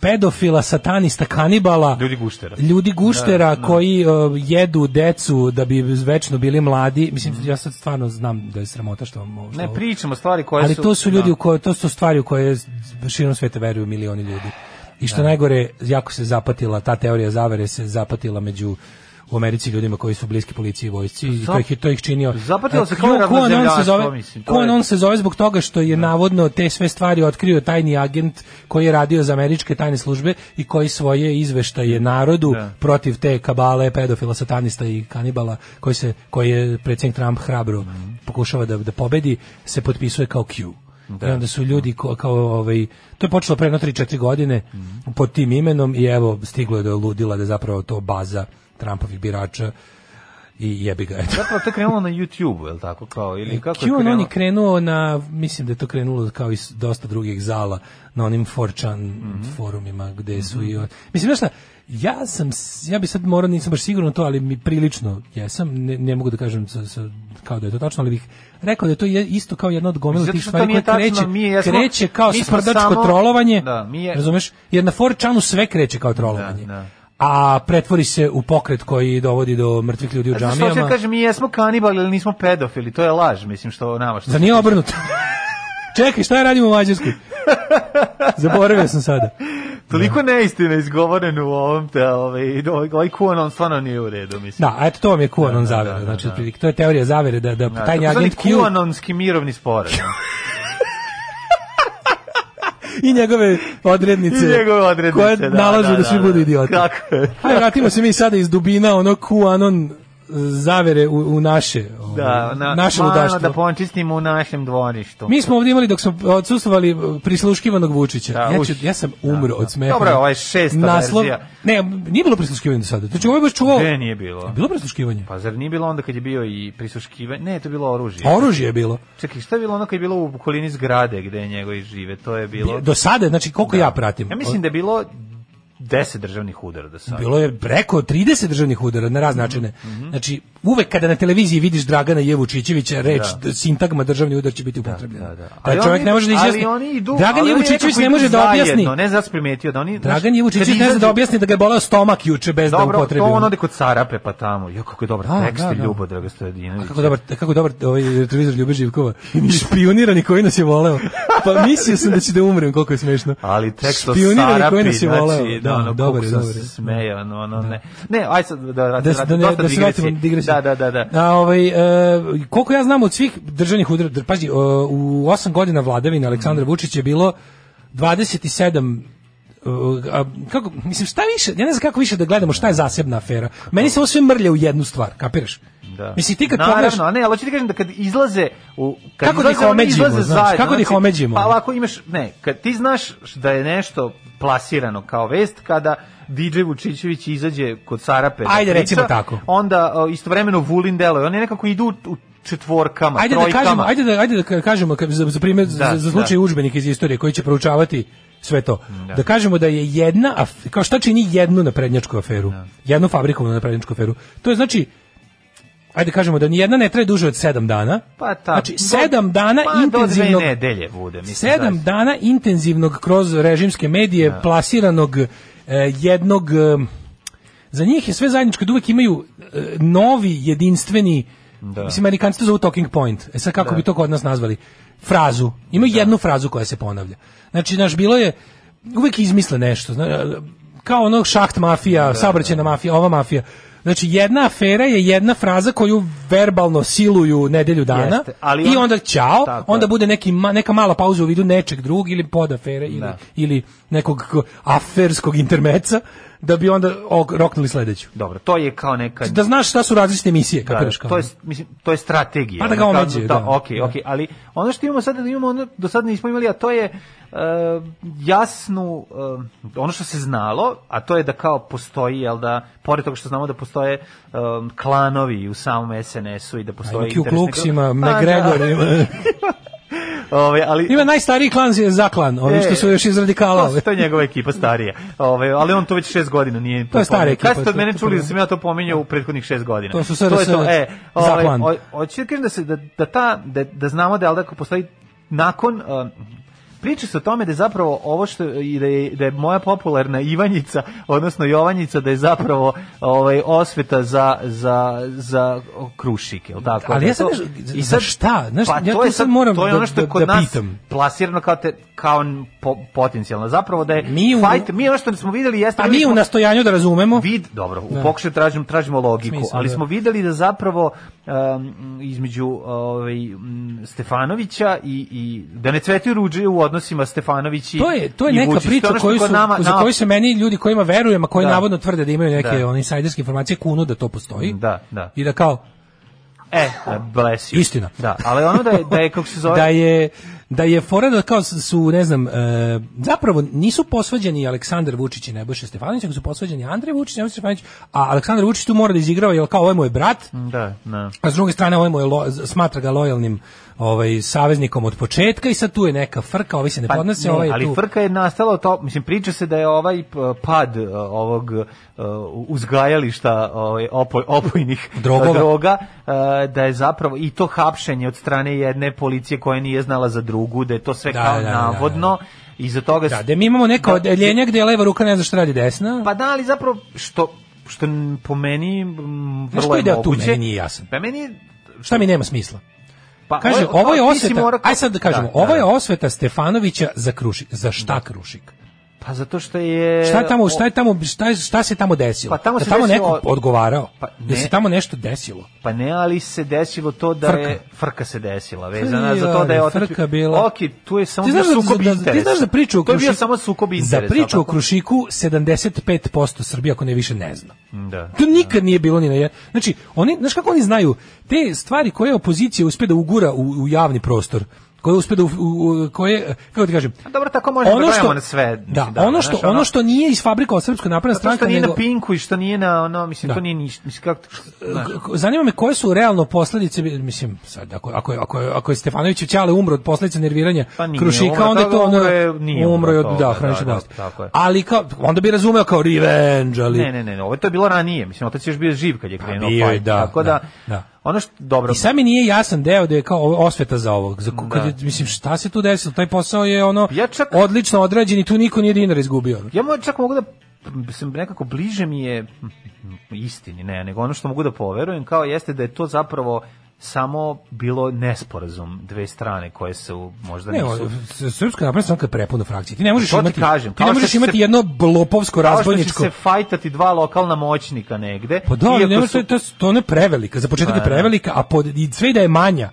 S1: pedofila, satanista, kanibala,
S2: Ljudi guštera. Da,
S1: ljudi guštera koji e, jedu decu da bi večno bili mladi. Mislim, ja sad stvarno znam da je sramota što vam ovo- što
S2: Ne
S1: ovo-
S2: pričamo stvari koje
S1: ali
S2: su...
S1: to su ljudi
S2: da.
S1: u koje to su stvari u koje širom sveta veruju milioni ljudi. I
S2: Da.
S1: što je najgore, jako se zapatila ta teorija zavere se zapatila među u Americi ljudima koji su bliski policiji i vojsci
S2: Pa
S1: i to ih je- to ih činio.
S2: Zapatila se
S1: Ko-
S2: kao
S1: ko on
S2: ravnozemljanstvo,
S1: se zove-
S2: mislim, to
S1: ko on
S2: je- Da.
S1: on se zove zbog toga što je navodno te sve stvari otkrio tajni agent koji je radio za američke tajne službe i koji svoje izveštaje narodu
S2: Da.
S1: protiv te kabale pedofila, satanista i kanibala koji se koji je predsjednik Trump hrabro
S2: Mhm.
S1: pokušava da da pobedi se potpisuje kao Q.
S2: Da.
S1: I onda su ljudi ko- kao ovaj to je počelo pre 3-4 godine
S2: Mhm.
S1: pod tim imenom i evo stiglo je do ludila da je zapravo to baza Trumpovih birača i jebi ga eto.
S2: Zapravo to je krenulo na YouTube-u, je li tako kao?
S1: E,
S2: Ili kako je
S1: QAnon
S2: krenulo?
S1: je krenuo na, mislim da je to krenulo kao i s- dosta drugih zala, na onim 4chan
S2: Mhm.
S1: forumima gde su i... o- Mislim, znaš šta, ja sam, s- ja bi sad morao, nisam baš siguran u to, ali mi prilično jesam, ne, ne mogu da kažem sa, sa- kao da je to tačno, ali bih rekao da je to je isto kao jedna od gomila
S2: Zato
S1: tih
S2: što to
S1: stvari
S2: nije
S1: koje
S2: tačno,
S1: kreće,
S2: mi jesmo-
S1: kreće kao
S2: mi smo
S1: sprdačko
S2: samo-
S1: trolovanje,
S2: Da, mi je-
S1: razumeš? Jer na 4chanu sve kreće kao trolovanje.
S2: Da, da.
S1: a pretvori se u pokret koji dovodi do mrtvih ljudi u
S2: A Znaš što hoću da
S1: džamijama.
S2: kažem, mi jesmo kanibali ili nismo pedofili, to je laž, mislim, što nama što...
S1: Zar Da nije obrnuto? Čekaj, šta ja radim u Mađarskoj? Zaboravio sam sada.
S2: Toliko neistina izgovorena u ovom, te, ovaj, ovaj, ovaj QAnon stvarno nije u redu, mislim.
S1: Da, a eto to vam je QAnon zavere.
S2: da,
S1: Znači, otprilike, to je teorija zavere da, da
S2: Da,
S1: tajni
S2: takozvani
S1: agent Q
S2: QAnonski mirovni
S1: (laughs)
S2: sporazum.
S1: i njegove odrednice,
S2: I njegove odrednice,
S1: koje
S2: da,
S1: nalažu da,
S2: da,
S1: svi
S2: da,
S1: budu
S2: da.
S1: idioti.
S2: Tako je.
S1: Hajde, vratimo se mi sada iz dubina ono QAnon zavere u, u naše, ovo,
S2: Da, na,
S1: naše
S2: malo
S1: ludaštvo.
S2: da počistimo u našem dvorištu.
S1: Mi smo ovdje imali dok smo odsustvovali e, prisluškivanog Vučića.
S2: Da,
S1: ja,
S2: uš.
S1: ću, ja sam umro
S2: da.
S1: od smeha.
S2: Dobro, ovo je šesta
S1: Naslov,
S2: verzija.
S1: Ne, nije bilo prisluškivanje do sada. Znači, ovo je baš čuvao...
S2: Gde nije bilo?
S1: Je bilo prisluškivanje?
S2: Pa zar nije bilo onda kad je bio i prisuškivanje? Ne, to je bilo oružje.
S1: Pa Oružje je bilo.
S2: Čekaj, šta je bilo ono kad je bilo u okolini zgrade gde je njegovi žive? To je bilo...
S1: Do sada, znači koliko ja pratim.
S2: Ja mislim da je bilo 10 državnih udara do sada.
S1: Bilo je preko 30 državnih udara na razne načine.
S2: Mhm,
S1: Znači, uvek kada na televiziji vidiš Dragana Jevučićevića, reč,
S2: Da.
S1: sintagma državni udar će biti upotrebljena.
S2: Da, da.
S1: Taj
S2: Ali
S1: čovjek
S2: oni-
S1: ne može da izjasni.
S2: Ali oni idu, ali
S1: Dragan
S2: oni
S1: Jevučićević
S2: nekako
S1: ne
S2: idu
S1: može da
S2: zajedno,
S1: objasni.
S2: Ne znam, ja sam primetio da oni...
S1: Dragan
S2: znaš,
S1: Jevučićević
S2: kad
S1: ne zna
S2: izađu-
S1: da objasni da ga je boleo stomak juče bez da
S2: Dobro, to
S1: upotrebi.
S2: on
S1: ono.
S2: ode kod Sarape pa tamo. Jo, kako je dobar
S1: Da,
S2: tekst
S1: da,
S2: i
S1: da.
S2: Ljubo Draga Stojadinović.
S1: Kako dobar, kako dobar ovaj retrovizor Ljube Živkova. Špionirani koji nas je voleo. Pa mislio sam da će da umrem, koliko je smešno.
S2: Ali tekst o
S1: Špionirani koji
S2: Sarapi,
S1: nas je
S2: znači,
S1: voleo.
S2: da, ono,
S1: dobar
S2: dobar,
S1: je,
S2: sam
S1: dobar
S2: se
S1: je.
S2: smejao, ono, ono, ne. Ne, aj sad, da, da,
S1: Da-
S2: da,
S1: da ne-
S2: dosta
S1: da se
S2: digresije.
S1: vratimo na digresiju,
S2: Da, Da, da, da, da.
S1: A, ovaj, e, koliko ja znam od svih državnih udara, dr- pazi, e, u osam godina vladavine Aleksandra
S2: Mm.
S1: Vučića je bilo 27 e, a, kako, mislim, šta više, ja ne znam kako više da gledamo šta je zasebna afera. Meni se ovo sve mrlja u jednu stvar, kapiraš?
S2: Da.
S1: Mislim, ti kad
S2: Naravno,
S1: pogledaš,
S2: a ne, ali hoću ti kažem da kad izlaze u kad
S1: Kako da ih
S2: izlaze, oni
S1: omeđimo,
S2: izlaze
S1: znaš, kako da ih
S2: znači,
S1: omeđimo?
S2: Pa ovako imaš, ne, kad ti znaš da je nešto plasirano kao vest kada DJ Vučićević izađe kod Sarape. da
S1: Ajde,
S2: priča,
S1: recimo tako.
S2: Onda o, istovremeno Vulin deluje. Oni nekako idu u- u četvorkama,
S1: ajde da
S2: trojkama.
S1: kažemo, ajde da, ajde da ka- kažemo ka- za, za primjer,
S2: Da,
S1: za, za slučaj
S2: da.
S1: udžbenika iz istorije koji će proučavati sve to. Da.
S2: Da.
S1: kažemo da je jedna, af- kao šta čini jednu naprednjačku aferu,
S2: Da.
S1: jednu fabrikovanu naprednjačku aferu. To je znači, ajde kažemo da ni jedna ne traje duže od sedam dana.
S2: Pa tako.
S1: Znači, sedam dana
S2: pa,
S1: intenzivnog...
S2: do dve nedelje bude, mislim.
S1: Sedam
S2: zaista. Da.
S1: dana intenzivnog kroz režimske medije plasiranog e, jednog e, za njih je sve zajedničko da uvek imaju e, novi jedinstveni
S2: Da.
S1: mislim Amerikanci to zovu talking point e sad kako bi to kod nas nazvali frazu imaju
S2: Da.
S1: jednu frazu koja se ponavlja znači naš bilo je uvek izmisle nešto zna- kao ono šaht
S2: Da,
S1: mafija saobraćajna mafija ova mafija Znači, jedna afera je jedna fraza koju verbalno siluju nedelju dana
S2: Jeste, ali
S1: i
S2: on-
S1: onda ćao,
S2: Tako
S1: onda
S2: je.
S1: bude neki ma- neka mala pauza u vidu nečeg drugog ili podafere ili
S2: Da.
S1: ili nekog ko- aferskog intermeca da bi onda ok- roknuli sledeću.
S2: Dobro, to je kao neka
S1: Da znaš šta su različite emisije,
S2: Da,
S1: kapiraš kao.
S2: to je mislim to je strategija.
S1: Pa da ga
S2: Ono, kao-
S1: omeđe, da.
S2: Okej, okej, ali ono što imamo sada da imamo ono do sada nismo imali, a to je e, jasnu e, ono što se znalo, a to je da kao postoji jel da pored toga što znamo da postoje e, klanovi u samom SNS-u i da postoji
S1: Neki u Kluksima,
S2: Pa, da.
S1: McGregor, ima,
S2: (laughs) Ovaj,
S1: (laughs)
S2: ali
S1: ima najstariji klan je za klan, ovi
S2: E,
S1: što su još iz radikala.
S2: To, su- to je njegova ekipa starija. Ove, ali on to već šest godina nije
S1: To je stara
S2: pominjao.
S1: ekipa,
S2: Kad ste od
S1: to-
S2: mene
S1: to
S2: čuli da
S1: prvo.
S2: sam ja to pominjao u prethodnih šest godina?
S1: To su da
S2: je
S1: SRS
S2: E, ove,
S1: zaklan.
S2: o- Hoću da kažem da, se, da, da, ta, da, da znamo da, je, jel da ako postoji nakon... um, Priča se o tome da je zapravo ovo što i da je, da je moja popularna Ivanjica, odnosno Jovanjica, da je zapravo ovaj osveta za za za krušik, je tako?
S1: Ali
S2: Da
S1: ja sad
S2: to- pa
S1: kažem, za šta? Znaš, ja
S2: to
S1: tu
S2: je
S1: sad moram
S2: to je
S1: da-
S2: ono što je
S1: da-
S2: kod
S1: da
S2: nas
S1: pitam.
S2: plasirano kao te, kao n- po, potencijalno. Zapravo da je
S1: Mi u-
S2: fight, mi ono što smo videli jeste
S1: A mi u
S2: smo
S1: nastojanju da razumemo.
S2: vid, dobro, u
S1: Da.
S2: pokušaju tražimo tražimo logiku,
S1: Smisao,
S2: ali
S1: da.
S2: smo videli da zapravo um, između ovaj m, Stefanovića i i da ne cvetaju ruđe u odnosima Stefanović i
S1: To je to je
S2: i
S1: neka
S2: Vučić. To
S1: priča
S2: ono što
S1: koju
S2: kod
S1: su za koju se meni ljudi kojima verujem, a koji
S2: Da.
S1: navodno tvrde da imaju neke
S2: Da.
S1: one insajderske informacije kunu da to postoji.
S2: Da, da.
S1: I da kao
S2: E, bless you.
S1: Istina.
S2: Da, ali ono da je, da je kako se zove...
S1: da je da je fora da kao su ne znam e, zapravo nisu posvađani Aleksandar Vučić i Nebojša Stefanović, nego su posvađani Andrej Vučić i Nebojša Stefanović, a Aleksandar Vučić tu mora da izigrava jel kao ovo je moj brat,
S2: Da, da.
S1: a s druge strane ovaj mu je lo, smatra ga lojalnim ovaj saveznikom od početka i sad tu je neka frka, ovi se ne podnose,
S2: Pa, ne,
S1: ovaj je
S2: ali
S1: tu.
S2: frka je nastala od to, mislim priča se da je ovaj p- pad e, ovog e, uzgajališta ovaj opoj, opojnih
S1: Drogova.
S2: e, droga e, da je zapravo i to hapšenje od strane jedne policije koja nije znala za drugu, da je to sve
S1: Da,
S2: kao
S1: da, da, da,
S2: navodno iza toga
S1: Da,
S2: s-
S1: da mi imamo neka
S2: Da,
S1: odeljenja gde leva ruka ne zna šta radi desna.
S2: pa da, ali zapravo što što n- po meni m,
S1: Znaš
S2: vrlo
S1: koji
S2: je
S1: deo tu
S2: moguće.
S1: meni nije jasan?
S2: Pa meni
S1: šta mi nema smisla?
S2: pa
S1: Kaže,
S2: ovo-
S1: ovo je
S2: ti si
S1: osveta,
S2: morao-
S1: aj sad da kažemo,
S2: Da, da,
S1: ovo je
S2: da.
S1: osveta Stefanovića za Krušik. Za šta Krušik?
S2: pa zato što je
S1: Šta je tamo, šta je tamo, šta, je, šta se tamo desilo?
S2: Pa tamo
S1: Da
S2: se
S1: tamo
S2: desilo-
S1: neko odgovarao?
S2: Pa
S1: Da
S2: ne.
S1: se tamo nešto desilo?
S2: Pa ne, ali se desilo to da
S1: Frka.
S2: je frka se desila, vezana za to
S1: Jare,
S2: da je otac
S1: frka bila.
S2: Ok, tu je samo
S1: Ti
S2: bio
S1: znaš, da,
S2: sukob
S1: da,
S2: interesa.
S1: ti znaš za priču o
S2: To je
S1: Krušiku?
S2: bio samo sukob interesa.
S1: Za priču o
S2: tako?
S1: Krušiku 75% Srbija, ako ne više, ne zna.
S2: Da.
S1: To nikad nije bilo ni na jedan. Znači, oni, znaš kako oni znaju, te stvari koje opozicija uspe da ugura u, u javni prostor, koje uspe da, u, u- koje, kako ti kažem,
S2: A dobro, tako možemo da brojamo na sve.
S1: Da,
S2: mislim,
S1: ono što
S2: znaš,
S1: ono što nije iz fabrika od Srpska napredna
S2: Zato
S1: stranka
S2: što nije
S1: nego
S2: na pinku i što nije na ono, mislim,
S1: Da.
S2: to nije ništa. Mislim, kako... znaš.
S1: K- zanima me koje su realno posledice mislim sad ako ako je- ako je, ako je Stefanović Ćale umro od posledica nerviranja
S2: Pa nije,
S1: Krušika
S2: umro od
S1: onda je to
S2: toga,
S1: ono
S2: umro je- nije
S1: umro je od
S2: umro od
S1: da
S2: toga,
S1: hronične
S2: da, da,
S1: bolesti.
S2: tako je.
S1: ali kao onda bi razumeo kao revenge ali
S2: Ne, ne, ne, ne, ovo je to bilo ranije. Mislim, otac je još bio živ kad je krenuo.
S1: bio je,
S2: fight,
S1: da,
S2: Tako
S1: da,
S2: da,
S1: da.
S2: ono što, dobro,
S1: I sad mi nije jasan deo da je kao ovo- osveta za ovog. Za ko- kad je, mislim, šta se tu desilo? Taj posao je ono
S2: Da. Ja čak-
S1: odlično odrađen i tu niko nije dinar izgubio.
S2: Ja mo, čak mogu da sam nekako bliže mi je hm, istini, ne, nego ono što mogu da poverujem kao jeste da je to zapravo samo bilo nesporazum dve strane koje su možda
S1: Ne,
S2: nisu...
S1: o, srpska napredna stranka je prepuna frakcija. Ti ne možeš
S2: To ti
S1: imati,
S2: kažem,
S1: ti ne
S2: kao
S1: možeš
S2: što će
S1: imati
S2: se-
S1: jedno blopovsko
S2: Kao što će
S1: razbojničko.
S2: se fajtati dva lokalna moćnika negde.
S1: Pa da, ali
S2: iako
S1: ne
S2: su- Pa da.
S1: može, to, to ne prevelika, za početak je prevelika, a pod, i sve i da je manja.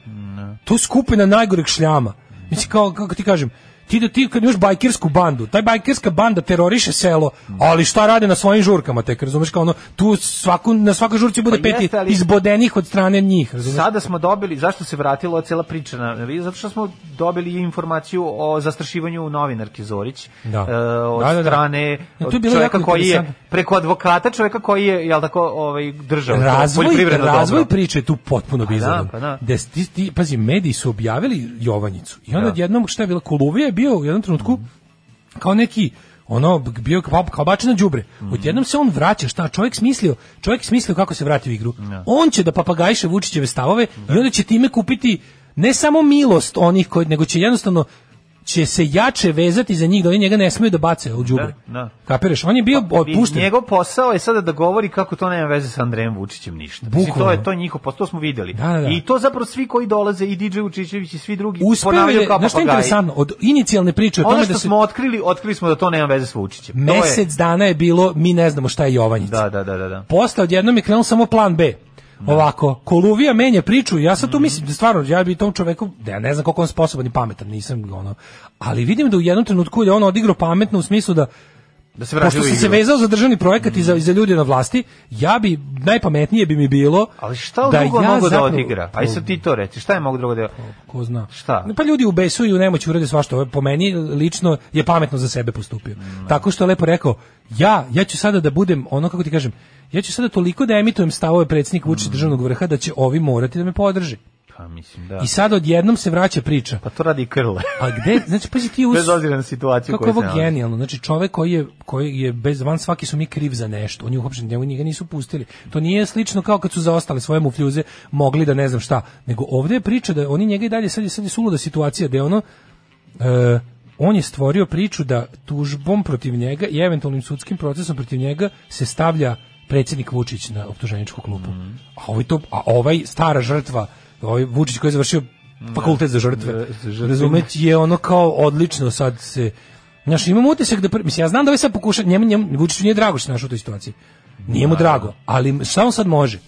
S1: To je skupina najgorih šljama. Mislim, kao, kako ti kažem, ti, da, ti kad imaš bajkersku bandu, taj bajkerska banda teroriše selo, ali šta rade na svojim žurkama, tek, razumeš, kao ono, tu svaku, na svakoj žurci bude
S2: Pa
S1: pet
S2: jeste, ali-
S1: izbodenih od strane njih, razumeš?
S2: Sada smo dobili, zašto se vratila ova cela priča na zato što smo dobili informaciju o zastrašivanju novinarke Zorić
S1: Da.
S2: e, od
S1: Da, da, da.
S2: strane
S1: E, to je bilo
S2: čoveka
S1: jako
S2: koji je
S1: interesantno.
S2: preko advokata, čoveka koji je jel tako ovaj držao to
S1: razvoj,
S2: poljoprivredno
S1: razvoj
S2: dobro.
S1: priče je tu potpuno bizaran.
S2: pa da.
S1: Des- ti, ti, pazi, mediji su objavili Jovanjicu i onda
S2: Da.
S1: odjednom šta je bila Koluvija je bio u jednom trenutku kao neki ono bio kao, kao bačeno đubre.
S2: Mhm.
S1: Odjednom se on vraća, šta čovjek smislio? Čovjek smislio kako se vrati u igru. On će da papagajše Vučićeve stavove
S2: Da.
S1: i onda će time kupiti ne samo milost onih koji nego će jednostavno će se jače vezati za njih da oni njega ne smeju da bace u đubre.
S2: Da, da.
S1: Kapiraš? On je bio
S2: I
S1: otpušten.
S2: Njegov posao je sada da govori kako to nema veze sa Andrejem Vučićem ništa. Mislim,
S1: Bukvalno.
S2: to je to je njihov posao, to smo vidjeli.
S1: Da, da, da.
S2: I to zapravo svi koji dolaze i DJ Vučićević i svi drugi
S1: uspeo
S2: ponavljaju
S1: je,
S2: kao
S1: znaš što je
S2: papagaji.
S1: interesantno, od inicijalne priče o
S2: Ono
S1: tome
S2: što
S1: da se
S2: smo otkrili, otkrili smo da to nema veze sa Vučićem. To je-
S1: mesec dana je bilo, mi ne znamo šta je Jovanjica.
S2: Da, da, da, da, da.
S1: Posle odjednom je krenuo samo plan B. Ovako, Koluvija menja priču, ja sad tu mislim, da stvarno, ja bi tom čoveku, da ja ne znam koliko on sposoban i pametan, nisam ga ono, ali vidim da u jednom trenutku je on odigrao pametno u smislu da,
S2: Da se vraća
S1: pošto
S2: u
S1: sam se
S2: igru.
S1: vezao za državni projekat i za, i za ljude na vlasti, ja bi, najpametnije bi mi bilo
S2: Ali šta
S1: da
S2: drugo
S1: ja
S2: mogu da
S1: zapravo-
S2: odigra? Aj sad ti to reci, šta je mogu drugo da...
S1: Ko zna.
S2: Šta?
S1: Pa ljudi u besu i u nemoći urade svašta. Ovo je Po meni e, lično je pametno za sebe postupio.
S2: Mm.
S1: Tako što je lepo rekao, ja, ja ću sada da budem, ono kako ti kažem, ja ću sada toliko da emitujem stavove predsjednika
S2: Mm.
S1: Vučića državnog vrha da će ovi morati da me podrže.
S2: Pa mislim da...
S1: I sad odjednom se vraća priča.
S2: Pa to radi i Krle.
S1: A gde, znači, pazi ti uz...
S2: Bez obzira na situaciju
S1: Kako je
S2: koju
S1: ovo
S2: se nalazi.
S1: genijalno, znači čovek koji je, koji je bez van svaki su mi kriv za nešto, on je uhapšen, njega, njega nisu pustili. To nije slično kao kad su za ostale svoje mufljuze mogli da ne znam šta, nego ovdje je priča da oni njega i dalje, sad je, sad je suluda situacija da je ono, e, on je stvorio priču da tužbom protiv njega i eventualnim sudskim procesom protiv njega se stavlja predsjednik Vučić na optuženičku klupu.
S2: Mhm.
S1: A, ovaj to, a ovaj stara žrtva, ovaj Vučić koji je završio fakultet za žrtve,
S2: Da, za žrtve.
S1: razumete, je ono kao odlično sad se Znaš, imam utisak da, pr- mislim, ja znam da ovaj sad pokuša, njemu, njemu, Vučiću nije drago što se našao u toj situaciji. Nije mu drago, ali m- samo sad može.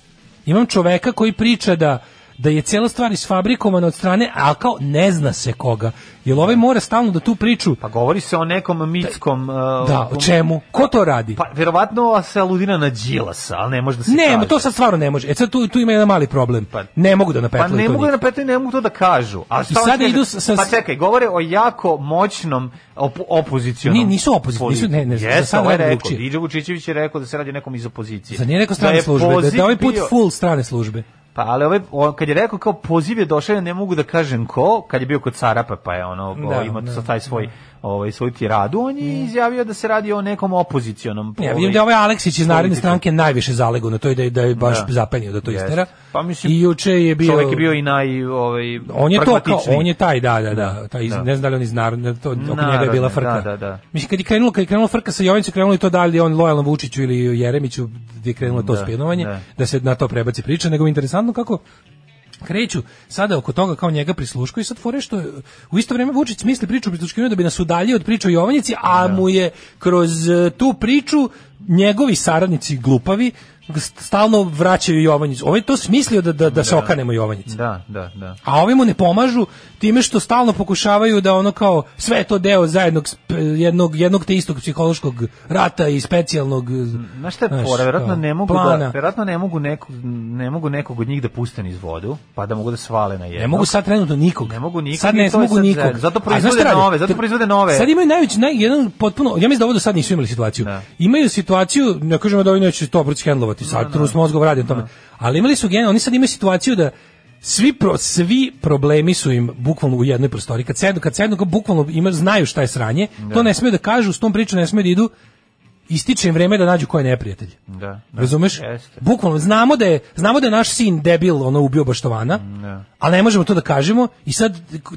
S1: Imam čoveka koji priča da da je cijela stvar isfabrikovana od strane, a kao ne zna se koga. Jer ovaj mora stalno da tu priču,
S2: Pa govori se o nekom mitskom... uh,
S1: da, o čemu, ko to radi?
S2: Pa verovatno se aludira na Đilasa, ali ne može da se
S1: Ne,
S2: kaže.
S1: ma to sad stvarno ne može. E sad tu, tu ima jedan mali problem.
S2: Pa-
S1: Ne mogu da
S2: Pa
S1: napetlaju
S2: ne
S1: to
S2: mogu da
S1: nikad.
S2: napetaju, ne mogu to da kažu. A šta
S1: I
S2: hoću
S1: sada
S2: kažem?
S1: idu sa- sa-
S2: Pa čekaj, govore o jako moćnom op opozicionom...
S1: Ni- nisu opozicioni, nisu- ne, ne, za
S2: Jeste,
S1: sad
S2: ovo je
S1: radi
S2: rekao.
S1: drugčije.
S2: Diđe Vučićević je rekao da se radi o nekom iz opozicije.
S1: Zar nije neko
S2: Da
S1: strane
S2: je
S1: službe? Da, da je ovaj
S2: poziv
S1: put
S2: bio-
S1: full strane službe.
S2: Pa ali ovaj, o, kad je rekao kao poziv je došao, ja ne mogu da kažem ko, kad je bio kod Sarapa, pa je ono,
S1: Da,
S2: da, ima
S1: da,
S2: sa taj svoj, ovaj, svoj tiradu, on je izjavio da se radi o nekom opozicionom.
S1: Ne,
S2: ovaj,
S1: vidim da je ovaj Aleksić iz Narodne
S2: politiku.
S1: stranke najviše zalego na to i da je, da je baš
S2: Da.
S1: zapenio da to
S2: Jeste.
S1: istera.
S2: Pa mislim,
S1: I juče je bio...
S2: Čovjek je bio i naj... Ovaj,
S1: On je to kao,
S2: pragmatičniji.
S1: on je taj, da, da, da, taj iz,
S2: Da.
S1: ne znam da li on iz narodne, to, oko njega je
S2: Narodne,
S1: bila frka.
S2: da, da, da.
S1: Mislim, kad je krenulo, kad je krenula frka sa Jovinicom, krenulo je to da li je on lojalan Vučiću ili Jeremiću, gdje je krenulo to
S2: Da,
S1: spjenovanje,
S2: da.
S1: da se na to prebaci priča, nego mi je interesantno kako kreću sada oko toga kao njega prisluškuju i sad fore što je- u isto vrijeme Vučić misli priču o prisluškivanju da bi nas udaljio od priče o Jovanjici,
S2: Da.
S1: a mu je kroz e, tu priču njegovi saradnici glupavi st- stalno vraćaju Jovanjicu. Ovaj je to smislio da, da, da se okanemo Jovanjice.
S2: Da, da, da.
S1: A ovi mu ne pomažu time što stalno pokušavaju da ono kao sve je to deo zajednog sp- jednog jednog te istog psihološkog rata i specijalnog
S2: Znaš šta je
S1: znaš,
S2: fora, verovatno
S1: kao,
S2: ne mogu da,
S1: plana.
S2: verovatno ne mogu nekog ne mogu nekog od njih da puste niz vodu, pa da mogu da svale na jedno.
S1: Ne mogu sad trenutno nikog.
S2: Ne mogu nikog
S1: Sad
S2: i
S1: ne
S2: to je
S1: mogu
S2: sad
S1: nikog.
S2: zajedno. Zato
S1: A znaš šta
S2: proizvode
S1: rade?
S2: nove, zato
S1: Te-
S2: proizvode nove.
S1: Sad imaju najveći naj, jedan potpuno, ja mislim da ovo do sad nisu imali situaciju.
S2: Da.
S1: Imaju situaciju, ne kažemo da ovi neće to proći hendlovati, sad trus mozgov radi na tome.
S2: Da.
S1: Ali imali su gen, oni sad imaju situaciju da Svi, pro, svi problemi su im bukvalno u jednoj prostoriji. Kad sednu, kad sednu, kao bukvalno ima, znaju šta je sranje, to ne smeju da kažu, s tom pričom ne smeju da idu ističe im vreme da nađu ko je neprijatelj.
S2: Da, da.
S1: Razumeš?
S2: Jeste.
S1: Bukvalno, znamo da, je, znamo da je naš sin debil, ono, ubio Baštovana,
S2: Mm,
S1: ali ne možemo to da kažemo i sad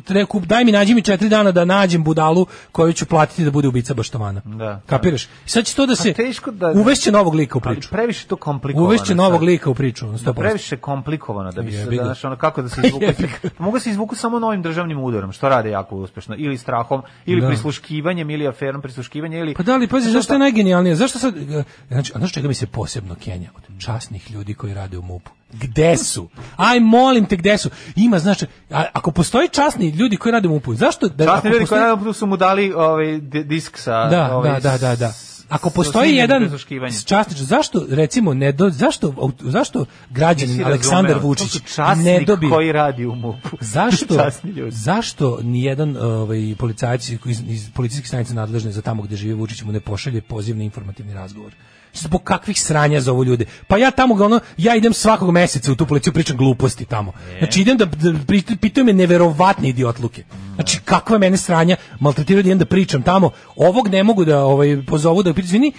S1: reku, daj mi, nađi mi četiri dana da nađem budalu koju ću platiti da bude ubica Baštovana.
S2: Da.
S1: Kapiraš? I sad će to da se...
S2: teško da-
S1: Uvešće novog lika u
S2: Ali
S1: priču.
S2: previše to komplikovano.
S1: Uvešće novog
S2: sad.
S1: lika u priču, ono, 100%.
S2: Previše komplikovano da bi se,
S1: Jebi ga.
S2: da, znaš, ono, kako da se
S1: (laughs)
S2: izvuku.
S1: Jebi ga.
S2: Mogu se izvuku samo novim državnim udarom, što rade jako uspešno. Ili strahom, ili
S1: Da.
S2: prisluškivanjem, ili aferom prisluškivanja, ili...
S1: Pa da li, pazi, zašto je najgenijalnije? Zašto sad, e, znači, a znaš čega mi se posebno kenja? Od časnih ljudi koji rade u MUP-u. Gde su? Aj, molim te, gde su? Ima, znači, a, ako postoji časni ljudi koji rade u MUP-u, zašto? Da, ako
S2: Časni ljudi koji
S1: postoji-
S2: naravno su mu dali ovaj, di- disk sa...
S1: Da,
S2: ovaj,
S1: da, da, da, da.
S2: s-
S1: Ako
S2: sa
S1: postoji
S2: snimljenim
S1: jedan
S2: prisluškivanjem.
S1: časnič, zašto recimo ne do, zašto aut- zašto
S2: Nisi
S1: građanin
S2: razumeo,
S1: Aleksandar
S2: to su
S1: Vučić
S2: časnik
S1: ne dobije
S2: koji radi u MUP-u.
S1: (laughs) Zašto?
S2: (laughs) Časni ljudi.
S1: Zašto nijedan ovaj policajac iz, iz policijskih stanica nadležne za tamo gde živi Vučić mu ne pošalje poziv na informativni razgovor? Zbog kakvih sranja za ovo ljude? Pa ja tamo ga ono, ja idem svakog meseca u tu policiju, pričam gluposti tamo. Znači idem da, da pri- pitaju me neverovatne idiotluke. Znači kakva je mene sranja, maltretiraju da idem da pričam tamo. Ovog ne mogu da ovaj pozovu da pitam, izvini,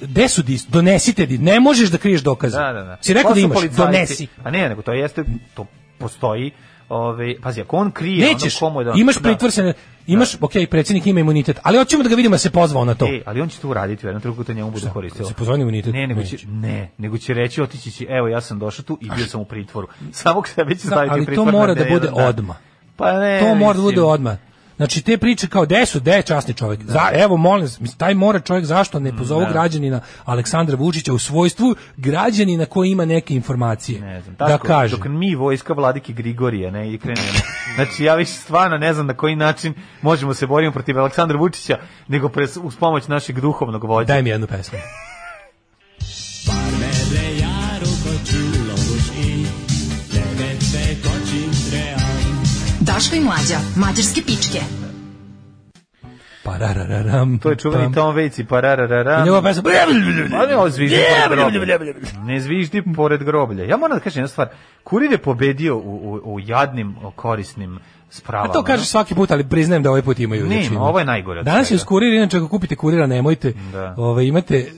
S1: gde su dis, donesite, di, ne možeš da kriješ dokaze.
S2: Da, da, da.
S1: Si rekao
S2: Ko
S1: da
S2: su
S1: imaš,
S2: policajci?
S1: donesi.
S2: A ne, nego to jeste, to postoji, ovaj, pazi, ako on krije,
S1: Nećeš,
S2: onda komu je da...
S1: imaš
S2: da.
S1: pritvor se, ne- imaš, ok, predsjednik ima imunitet, ali hoćemo da ga vidimo da se pozvao na to.
S2: E, ali on će to uraditi, u jednom trenutku to njemu bude koristilo.
S1: se pozvani imunitet?
S2: Ne, nego će,
S1: Neće.
S2: ne, nego će reći, otići će, evo, ja sam došao tu i bio sam u pritvoru. Samog sebe će staviti
S1: ali
S2: u
S1: to
S2: pritvor. na
S1: mora da
S2: jedan
S1: bude
S2: dan.
S1: odmah.
S2: Pa ne,
S1: to mora da bude
S2: mislim. Da.
S1: odmah. Znači te priče kao desu, de je časni čovjek. Za, evo molim, vas, mislim, taj mora čovjek zašto ne pozovu građanina Aleksandra Vučića u svojstvu građanina koji ima neke informacije.
S2: Ne znam,
S1: da
S2: tako,
S1: kaže.
S2: Dok mi vojska vladike Grigorija, ne, i krenemo. Znači, ja više stvarno ne znam na koji način možemo se boriti protiv Aleksandra Vučića, nego pres, uz pomoć našeg duhovnog vođa.
S1: Daj mi jednu pesmu.
S3: Daško i mlađa, mađarske pičke.
S1: Pa, Pararararam.
S2: To je čuveni
S1: pam.
S2: Tom Vejci, parararara.
S1: da. I njegova pesma.
S2: Pa ne, ovo zviždi pored groblja. Ne zviždi pored groblja. Ja moram da kažem jednu stvar. Kurir je pobedio u, u, u jadnim, o, korisnim spravama.
S1: A to kažeš svaki put, ali priznajem da ovaj put imaju.
S2: Ne,
S1: znači,
S2: ima, ovo je najgore od
S1: Danas je
S2: Pa svega.
S1: uz kurir, inače ako kupite kurira nemojte.
S2: Da.
S1: Ovaj, imate,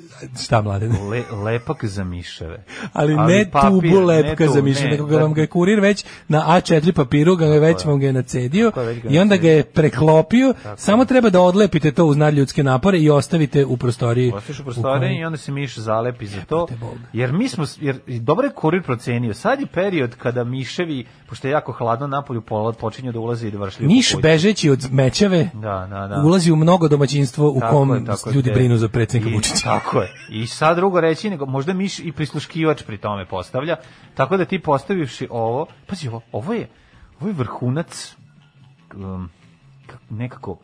S1: šta mladen?
S2: Le, lepak za miševe.
S1: (laughs) Ali, ne
S2: papir,
S1: tubu
S2: ne
S1: lepka
S2: tu,
S1: za mišljenje,
S2: ne,
S1: nego ga
S2: da.
S1: vam ga je kurir već na A4 papiru, ga je već vam ga je nacedio
S2: Tako je, već ga je
S1: i onda ga
S2: nacedio.
S1: je preklopio. Samo treba da odlepite to uz nadljudske napore i ostavite u prostoriji.
S2: Ostaviš u
S1: kojoj-
S2: prostore i onda se miš zalepi za to.
S1: Jebote Bog.
S2: Jer mi smo, s- jer i dobro je kurir procenio. Sad je period kada miševi, pošto je jako hladno napolju, pola- počinju da ulaze i da vršljuju po
S1: Niš
S2: kući.
S1: bežeći od mečeve
S2: Da, da, da.
S1: ulazi u mnogo domaćinstvo u
S2: Tako
S1: kom
S2: je, tako je,
S1: ljudi
S2: gde-
S1: brinu za predsjednika
S2: I-
S1: Vučića.
S2: Tako je. I sad drugo reći, nego možda miš i prisluškivač pri tome postavlja. Tako da ti postavivši ovo, pazi ovo, ovo je, ovo je vrhunac um, kak- nekako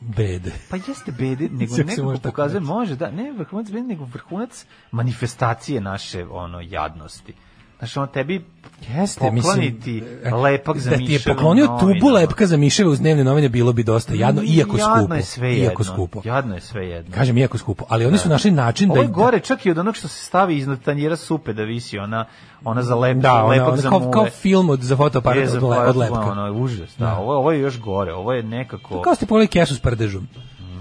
S1: Bede.
S2: pa jeste
S1: (laughs)
S2: bede, nego
S1: Sve se
S2: nekako
S1: može tako
S2: pokazuje,
S1: reći.
S2: može, da, ne vrhunac bede, nego vrhunac manifestacije naše, ono, jadnosti. Znaš, ono, tebi
S1: Jeste,
S2: pokloniti
S1: mislim, e,
S2: lepak za
S1: da ti je
S2: miševe u
S1: poklonio tubu
S2: novinama.
S1: lepka za miševe uz dnevne novine bilo bi dosta jadno, iako
S2: jadno
S1: skupo.
S2: Je sve
S1: iako
S2: jedno,
S1: skupo.
S2: Jadno je sve jedno.
S1: Kažem iako skupo, ali oni su našli način
S2: Ovo
S1: da
S2: je gore čak i od onog što se stavi iznad tanjira supe da visi ona, ona za lep,
S1: da, ona,
S2: lepak
S1: ona,
S2: za
S1: kao,
S2: mule.
S1: kao film od, za fotoaparat
S2: Je,
S1: od,
S2: za
S1: le-
S2: par-
S1: od lepka.
S2: Ono, je užas, da, Ovo, ovo je još gore, ovo je nekako,
S1: Kao ste pogledali kesu s prdežom.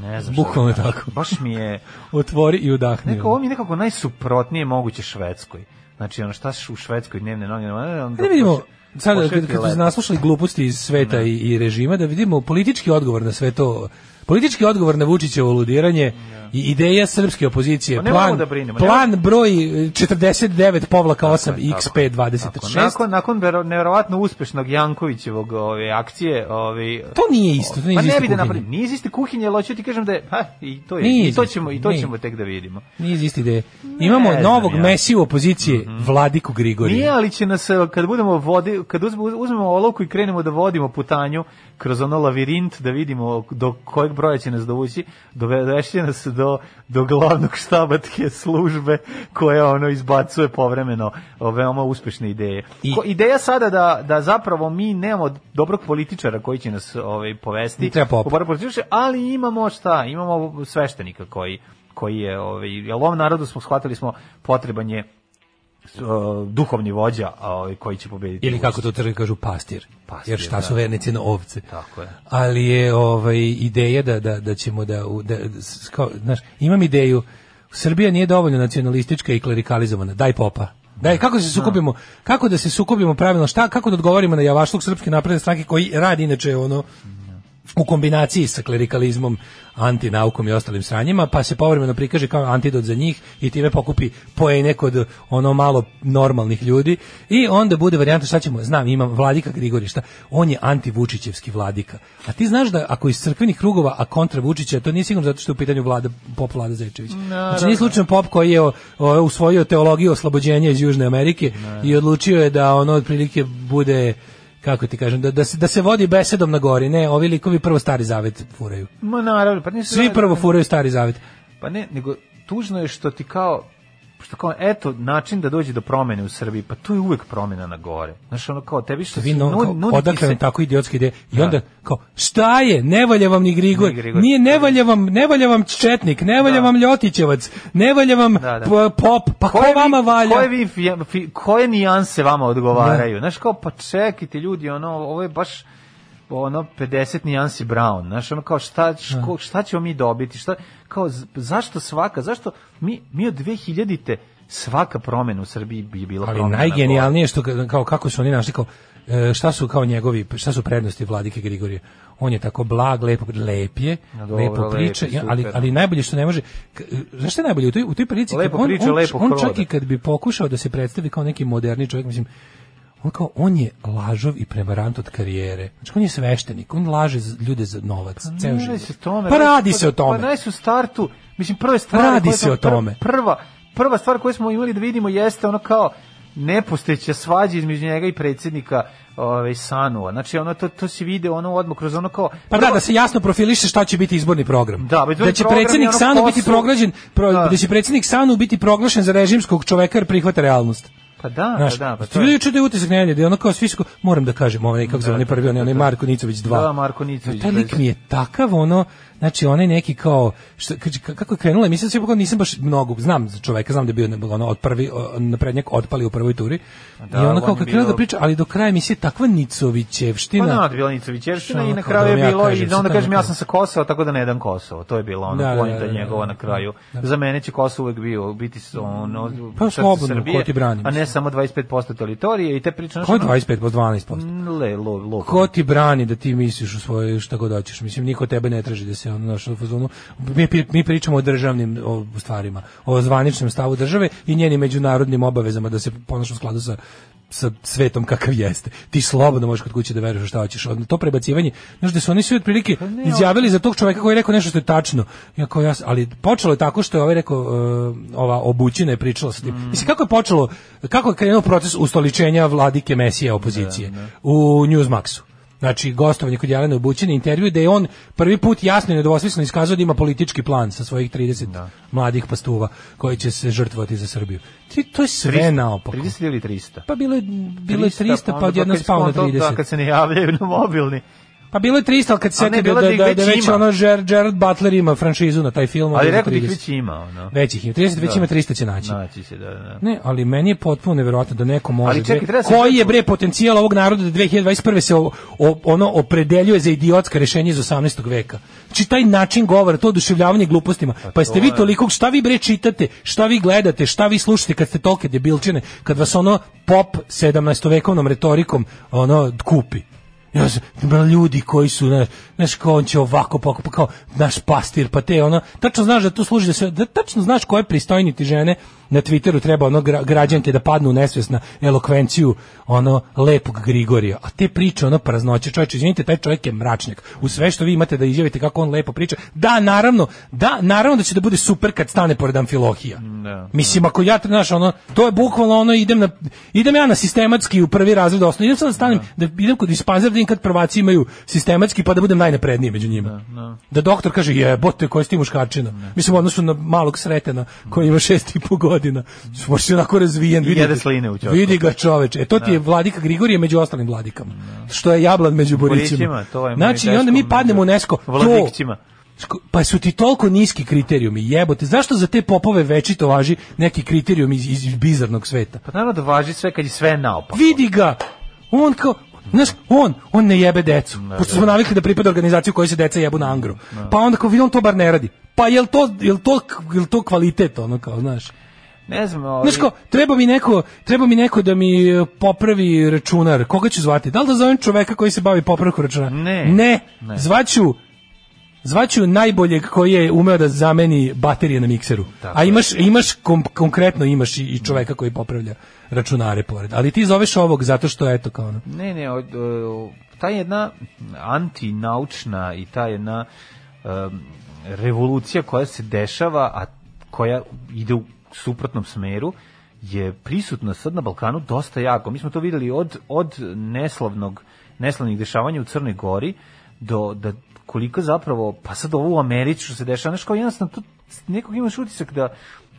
S2: ne znam šta
S1: Bukvalno
S2: da kažem.
S1: tako.
S2: Baš mi je,
S1: Otvori i udahni.
S2: nekako, ovo mi je nekako najsuprotnije moguće Švedskoj. Znači, ono, šta su u Švedskoj dnevne noge? Onda
S1: Da vidimo,
S2: poš-
S1: sad
S2: pošetke
S1: kad, kad su se
S2: lepak.
S1: naslušali gluposti iz sveta i, i režima, da vidimo politički odgovor na sve to. Politički odgovor na Vučićevo ludiranje i ideja srpske opozicije.
S2: Da. Pa ne
S1: plan,
S2: moramo da brinemo, ne
S1: plan broj 49 povlaka 8
S2: Tako,
S1: XP26.
S2: Nakon, nakon vero- nevjerovatno uspešnog Jankovićevog ove, akcije... Ove,
S1: To nije isto, to nije
S2: pa
S1: iz
S2: ne
S1: iste
S2: bi da
S1: kuhinje.
S2: napravim. Nije iz iste kuhinje, ali hoću ti kažem da je... Ha, i to, je,
S1: Nije
S2: i to,
S1: iz-
S2: ćemo, i to
S1: nije.
S2: ćemo tek da vidimo.
S1: Nije iz iste ideje. Imamo
S2: znam
S1: novog
S2: ja. Mhm.
S1: mesiju opozicije, Vladiku Grigorija.
S2: Nije, ali će nas, e, kad budemo vodi, kad uzme- uzmemo olovku i krenemo da vodimo putanju kroz ono lavirint, da vidimo do kojeg broja će nas dovući, dovešće nas do, do glavnog štabatke službe koja ono izbacuje povremeno o, veoma uspešne ideje.
S1: I-
S2: Ko- ideja sada da, da zapravo mi nemamo dobrog političara koji će nas ovaj, povesti,
S1: Treba pop.
S2: u borbu protiv čuče, ali imamo šta, imamo sveštenika koji koji je, ovaj, jel ovom narodu smo shvatili smo potreban je s- o, e, duhovni vođa a, ovaj, koji će pobediti.
S1: ili kako to crkve kažu pastir.
S2: Pastir,
S1: Jer šta
S2: da.
S1: su vernici na ovce.
S2: Tako je.
S1: Ali je ovaj ideja da da da ćemo da u- da, s- kao, znaš, imam ideju Srbija nije dovoljno nacionalistička i klerikalizovana. Daj popa. Daj, kako
S2: Da.
S1: se sukobimo, kako da se sukobimo pravilno, šta, kako da odgovorimo na javašluk srpske napredne stranke koji radi inače ono, u kombinaciji sa klerikalizmom, antinaukom i ostalim sranjima, pa se povremeno prikaže kao antidot za njih i time pokupi poene kod ono malo normalnih ljudi i onda bude varijanta šta ćemo, znam, imam vladika Grigorišta, on je antivučićevski vladika. A ti znaš da ako iz crkvenih krugova, a kontra Vučića, to nije sigurno zato što je u pitanju vlada, pop vlada Zečević. Znači nije slučajno pop koji je o- o- usvojio teologiju oslobođenja iz Južne Amerike i odlučio je da ono otprilike bude kako ti kažem, da, da, se, da se vodi besedom na gori, ne, ovi likovi prvo stari zavet furaju.
S2: Ma naravno, pa nisu
S1: Svi prvo furaju stari zavet.
S2: Pa ne, nego tužno je što ti kao što kao, eto, način da dođe do promene u Srbiji, pa tu je uvek promena na gore. Znaš, ono kao, tebi što
S1: Vi
S2: se
S1: no,
S2: nu-
S1: kao,
S2: nudi ti
S1: odakle vam
S2: se-
S1: tako idiotske ideje? I
S2: Da.
S1: onda kao, šta je? Ne valja vam ni Grigor.
S2: Ni Grigor.
S1: Nije, ne valja vam, ne valja vam Četnik, ne valja
S2: Da.
S1: vam Ljotićevac, ne valja vam
S2: Da, da.
S1: p- Pop, pa ko,
S2: Koje vi-
S1: vama valja? Da.
S2: Koje, vi, fi- fi- koje nijanse vama odgovaraju? Znaš, kao, pa čekajte ljudi, ono, ovo je baš ono 50 nijansi Brown, znaš, ono kao šta,
S1: Da.
S2: ško, šta ćemo mi dobiti, šta, kao z- zašto svaka, zašto mi, mi od 2000-te svaka promena u Srbiji bi bila
S1: Ali
S2: promena na gore.
S1: najgenijalnije je što ka- kao kako su oni našli kao e, šta su kao njegovi šta su prednosti Vladike Grigorije. On je tako blag, lepo lep je,
S2: No dobro,
S1: lepo
S2: lep je,
S1: priča, ja,
S2: super.
S1: ali ali najbolje što ne može k- zašto je najbolje u toj u toj prilici
S2: Lepo
S1: kad on,
S2: priča,
S1: on,
S2: lepo
S1: on čak
S2: hoda.
S1: i kad bi pokušao da se predstavi kao neki moderni čovjek, mislim on kao on je lažov i prevarant od karijere. Znači on je sveštenik, on laže za- ljude za novac, ceo
S2: Ne
S1: život.
S2: radi se o tome.
S1: pa
S2: radi
S1: radi
S2: pa-
S1: se o tome. Pa
S2: Pa radi se u startu. Mislim, prve stvari...
S1: Radi
S2: koje
S1: se
S2: smo-
S1: o tome.
S2: pr- Prva, prva stvar koju smo imali da vidimo jeste ono kao nepostojeća svađa između njega i predsjednika ovaj, Sanua. Znači, ono, to, to si video ono odmah kroz ono kao...
S1: Pa da,
S2: prvo-
S1: da se jasno profiliše šta će biti izborni program.
S2: Da, izborni
S1: će
S2: program je
S1: predsjednik
S2: ono
S1: Sanu
S2: ko
S1: biti
S2: su-
S1: proglađen, pro-
S2: Da.
S1: da. će predsjednik Sanu biti proglašen za režimskog čoveka jer prihvata realnost.
S2: Pa da,
S1: Znaš,
S2: pa da. Pa
S1: ti
S2: to je-
S1: vidio juče da je utisak nedelje, da je ono kao svi su, ko- moram da kažem, ovaj kako se onaj prvi, onaj, onaj Marko Nicović 2.
S2: Da, Marko Nicović,
S1: Pa Taj lik
S2: bez-
S1: mi je takav, ono, znači onaj neki kao, što, kač- kako je krenula, mislim sve pokao nisam baš mnogo, znam za čoveka, znam da je bio ne- ono, od prvi, o, naprednjak otpali u prvoj turi.
S2: Da,
S1: I ono
S2: on
S1: kao
S2: je
S1: kad krenula
S2: bio-
S1: da priča, ali do kraja mi se takva Nicovićevština.
S2: Pa da, bila Nicovićevština
S1: Šta
S2: i
S1: ono
S2: na
S1: kao,
S2: kraju
S1: da
S2: je
S1: vam ja
S2: bilo,
S1: kažem,
S2: i
S1: šta
S2: da onda
S1: da
S2: kažem ja
S1: kažem?
S2: sam sa Kosova, tako da ne dam Kosovo. To je bilo ono
S1: Da, da,
S2: da,
S1: da, da,
S2: njegova na kraju. Za mene će Kosovo uvek bio, biti s- ono,
S1: Pa
S2: srce
S1: slobodno,
S2: Srbije,
S1: ko ti brani,
S2: a ne
S1: mislim.
S2: samo 25% teritorije i te priče... znaš,
S1: Ko je
S2: ono-
S1: 25 plus 12%?
S2: Le, lo, lo.
S1: Ko ti brani da ti misliš u svoje šta god hoćeš? Mislim, niko od tebe ne traži da se ono naš u fazonu. Mi, pri- mi pričamo o državnim o, stvarima, o zvaničnom stavu države i njenim međunarodnim obavezama da se ponaša u skladu sa sa svetom kakav jeste. Ti slobodno možeš kod kuće da veruješ u šta hoćeš. Od to prebacivanje, znaš da su oni svi otprilike izjavili za tog čoveka koji je rekao nešto što je tačno. Ja kao ja, s- ali počelo je tako što je ovaj rekao e, ova obućina je pričala sa
S2: Mm.
S1: tim. Mislim kako je počelo, kako je krenuo proces ustoličenja vladike Mesije opozicije
S2: Da,
S1: u Newsmaxu znači gostovanje kod Jelene Obućine, intervju da je on prvi put jasno i nedvosmisleno iskazao da ima politički plan sa svojih 30
S2: Da.
S1: mladih pastuva koji će se žrtvovati za Srbiju. Ti to je sve
S2: 300,
S1: naopako.
S2: 30 ili 300?
S1: Pa bilo je bilo je 300 pa
S2: onda
S1: odjednom
S2: kad
S1: spao na
S2: skontam Da,
S1: 30.
S2: kad se ne javljaju na mobilni.
S1: Pa bilo je 300, ali kad se
S2: A ne,
S1: setio da,
S2: bilo da
S1: da,
S2: ih
S1: da,
S2: već
S1: da već
S2: ima.
S1: ono Ger- Gerard Butler ima franšizu na taj film. onda
S2: Ali
S1: je
S2: rekao bih
S1: 30.
S2: već ima, ono.
S1: Već ih ima, 30 već
S2: Da.
S1: ima 300 će naći.
S2: Naći se, da, da.
S1: Ne, ali meni je potpuno neverovatno da neko može.
S2: Ali čekaj,
S1: bre,
S2: treba se
S1: koji je
S2: setiti-
S1: bre potencijal ovog naroda da 2021 se o, o- ono opredeljuje za idiotska rešenja iz 18. veka. Znači taj način govora, to oduševljavanje glupostima. Pa jeste vi toliko šta vi bre čitate, šta vi gledate, šta vi slušate kad ste tolke debilčine, kad vas ono pop 17. vekovnom retorikom ono kupi. Ja sam, bro, ljudi koji su, znaš, znaš kao on će ovako, pa, pa kao naš pastir, pa te ono, tačno znaš da to služi da se, da tačno znaš koje pristojni ti žene na Twitteru treba ono gra, građanke da padnu u nesvest na elokvenciju ono lepog Grigorija. A te priče ono praznoće, čovječe, izvinite, taj čovjek je mračnjak. U sve što vi imate da izjavite kako on lepo priča, da, naravno, da, naravno da će da bude super kad stane pored Amfilohija.
S2: Da.
S1: Mislim, ako ja, znaš, ono, to je bukvalno ono, idem, na, idem ja na sistematski u prvi razred osnovne, idem sad da stanem, da idem kod dispanzera, da vidim kad prvaci imaju sistematski, pa da budem najnapredniji među njima. Da, doktor kaže, jebote, koji si ti muškačina?
S2: Da.
S1: Mislim, u odnosu na malog sretena, koji ima šest i po godina. Možeš onako razvijen, vidi,
S2: jede sline u ćošku. Da.
S1: vidi ga čoveče. E, to ti je vladika Grigorije među ostalim vladikama. Što je jablan među borićima.
S2: Borićima, to je
S1: znači, i
S2: meni
S1: onda
S2: teško
S1: mi padnemo u
S2: među
S1: nesko. To-
S2: vladikćima.
S1: Ško- Pa su ti toliko niski kriterijumi, jebote, zašto za te popove večito važi neki kriterijum iz, iz bizarnog sveta?
S2: Pa naravno da važi sve kad je sve naopako.
S1: Vidi ga! On kao, Znaš, on, on ne jebe decu. pošto smo navikli da pripada organizaciju kojoj se deca jebu na angru. Pa onda kao vidi on to bar ne radi. Pa jel to, jel to, jel to kvalitet ono kao, znaš?
S2: Ne znam, ovi...
S1: Znaš kao, treba mi neko, treba mi neko da mi e, popravi računar. Koga ću zvati? Da li da zovem čoveka koji se bavi popravkom računara?
S2: Ne.
S1: Ne.
S2: Ne.
S1: Zvaću Zvaću najboljeg koji je umeo da zameni baterije na mikseru.
S2: Tako
S1: A
S2: je.
S1: imaš, imaš kom- konkretno imaš i, i čoveka koji popravlja računare pored. Ali ti zoveš ovog zato što eto kao ono.
S2: Ne, ne, o, o, ta jedna antinaučna i ta jedna em, revolucija koja se dešava, a koja ide u suprotnom smeru, je prisutna sad na Balkanu dosta jako. Mi smo to videli od, od neslavnog, neslavnih dešavanja u Crnoj Gori do da koliko zapravo, pa sad ovo u Americi što se dešava, znaš kao jednostavno tu nekog imaš utisak da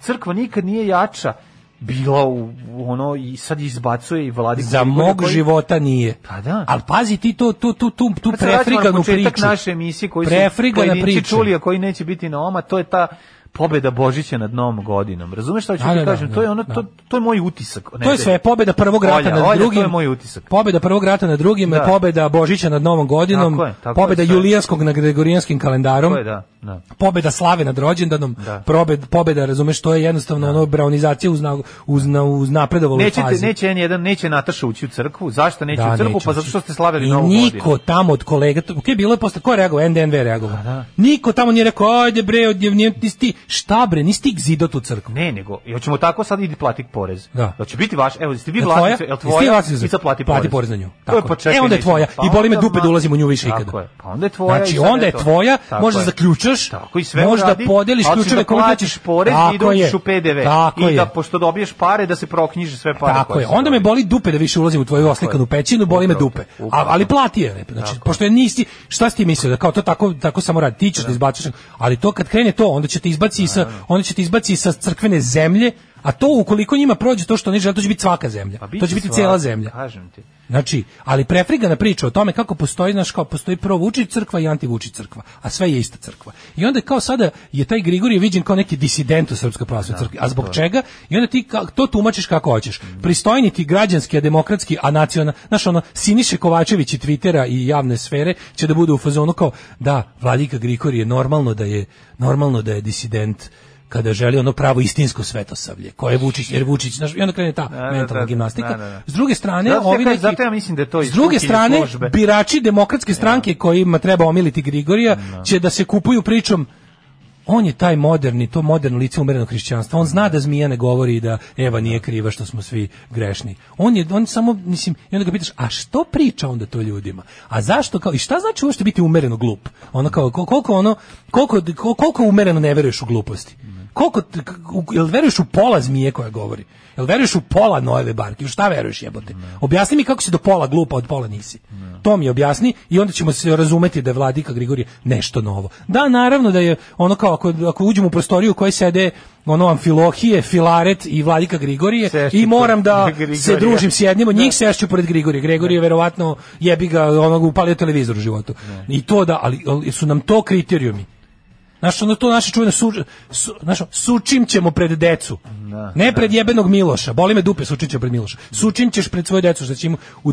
S2: crkva nikad nije jača bila u, u ono i sad izbacuje i vladi
S1: Za
S2: koliko god
S1: mog
S2: koji-
S1: života nije.
S2: Pa da.
S1: Ali pazi ti to, tu, tu, tu, tu
S2: Pa Sad se vraćamo
S1: prefriganu
S2: na početak
S1: priču.
S2: naše emisije koji su
S1: Prefrigana
S2: pojedinci
S1: priča.
S2: čuli, a koji neće biti na oma, to je ta pobeda Božića nad Novom godinom. Razumeš šta ću
S1: Da,
S2: ti
S1: da,
S2: kažem?
S1: da,
S2: to je ono,
S1: da.
S2: to, to je moj utisak.
S1: To je sve pobeda prvog rata
S2: Olja,
S1: nad
S2: Olja, to
S1: drugim.
S2: je moj utisak.
S1: Pobeda prvog rata nad drugim,
S2: Da.
S1: pobeda Božića nad Novom godinom,
S2: Tako je, tako je,
S1: pobeda
S2: sve.
S1: julijanskog nad gregorijanskim kalendarom.
S2: To je, da, da.
S1: Pobeda slave nad rođendanom,
S2: Da.
S1: probed, pobeda, razumeš, to je jednostavno ono braunizacija uz, na, uz, na, uz napredovalu
S2: Neće,
S1: fazi. Da,
S2: te, neće N1, neće Nataša ući u crkvu. Zašto neće u crkvu?
S1: neću
S2: Pa zato
S1: ući.
S2: što ste slavili
S1: I
S2: Novu
S1: niko
S2: godinu.
S1: tamo od kolega, to, ok, bilo je posle, ko je reagovao? NDNV je
S2: Da,
S1: reagovao. Niko tamo nije rekao, ajde bre, od, nije, nisi ti, šta bre, nisi ti gzidot u crkvu.
S2: Ne, nego, i hoćemo tako sad idi plati porez.
S1: Da.
S2: će biti vaš, evo, jeste vi
S1: Jel
S2: vlasnici,
S1: tvoja?
S2: jel
S1: Jesi ti
S2: tvoja,
S1: vlasnik za-
S2: i sad plati,
S1: plati porez na nju.
S2: To je
S1: Tako
S2: pa
S1: je.
S2: čekaj,
S1: E, onda je
S2: nećemo.
S1: tvoja. I boli me
S2: onda
S1: dupe da
S2: ma-
S1: ulazim u nju više
S2: Tako
S1: ikada.
S2: je. Pa onda je tvoja. i
S1: Znači,
S2: sad
S1: onda je
S2: eto.
S1: tvoja,
S2: Tako
S1: možda
S2: je.
S1: zaključaš,
S2: Tako, i sve
S1: možda
S2: uradi,
S1: podeliš
S2: ali ćeš
S1: ključeve
S2: da
S1: kome
S2: platiš
S1: hoćeš.
S2: porez i da
S1: Tako je.
S2: uđeš u PDV.
S1: Tako
S2: I da,
S1: je.
S2: pošto dobiješ pare, da se proknjiže sve pare.
S1: Tako
S2: koje
S1: je.
S2: si
S1: Onda me
S2: dobio.
S1: boli dupe da više ulazim u tvoju oslikanu pećinu, boli me
S2: Upravo,
S1: dupe. A-
S2: upravo.
S1: ali plati je. lepo. Znači, pošto je nisi, šta si ti mislio da kao to tako tako samo radi, ti ćeš da izbaciš, ali to kad krene to, onda će te izbaci i sa onda će te izbaci i sa crkvene zemlje, a to ukoliko njima prođe to što oni žele, to će biti svaka zemlja.
S2: Pa bit
S1: to će biti
S2: sva-
S1: cijela zemlja.
S2: Kažem ti.
S1: Znači, ali prefrigana priča o tome kako postoji, znaš, kao postoji pro Vučić crkva i anti Vučić crkva, a sve je ista crkva. I onda kao sada je taj Grigorije viđen kao neki disident u Srpskoj pravoslavnoj
S2: Da,
S1: crkvi, a zbog čega? I onda ti ka- to tumačiš kako hoćeš. Pristojni ti građanski, a demokratski, a nacional, znaš, ono, Siniše Kovačević i Twittera i javne sfere će da budu u fazonu kao, da, vladika Grigorije, normalno da je, normalno da je disident kada želi ono pravo istinsko svetosavlje, koje je Vučić, jer Vučić, znaš, i onda krene ta
S2: da,
S1: mentalna
S2: da,
S1: gimnastika.
S2: da, da, da.
S1: S druge strane,
S2: Zato ja
S1: ovi
S2: kažem,
S1: neki-
S2: zato ja mislim da je to iz
S1: S druge
S2: Putine
S1: strane,
S2: službe. Da.
S1: birači demokratske stranke kojima treba omiliti Grigorija će da se kupuju pričom on je taj moderni, to moderno lice umerenog hrišćanstva. On zna da zmija ne govori i da Eva nije kriva što smo svi grešni. On je on samo mislim i onda ga pitaš a što priča onda to ljudima? A zašto kao i šta znači uopšte biti umereno glup? Ono kao ko- koliko ono koliko ko- koliko umereno ne veruješ u gluposti? Koliko t- k- u- jel veruješ u pola zmije koja govori? Jel veruješ u pola nojeve barke? U šta veruješ jebote? Objasni mi kako si do pola glupa od pola nisi. To mi objasni i onda ćemo se razumeti da je Vladika Grigorije nešto novo. Da, naravno da je ono kao ako, ako uđemo u prostoriju u kojoj sede ono Amfilohije, Filaret i Vladika Grigorije
S2: Sešću
S1: i moram da
S2: pored Da. Grigorija.
S1: se družim s jednim od njih, sešću pored Grigorije. Grigorije verovatno jebi ga onog upalio televizor u životu. I to da, ali, ali su nam to kriterijumi. Znaš, ono to naše čuvene su, su, znaš, sučim ćemo pred decu.
S2: Da,
S1: ne pred jebenog Miloša. Boli me dupe, sučim ćemo pred Miloša. Sučim ćeš pred svoju decu, što će im u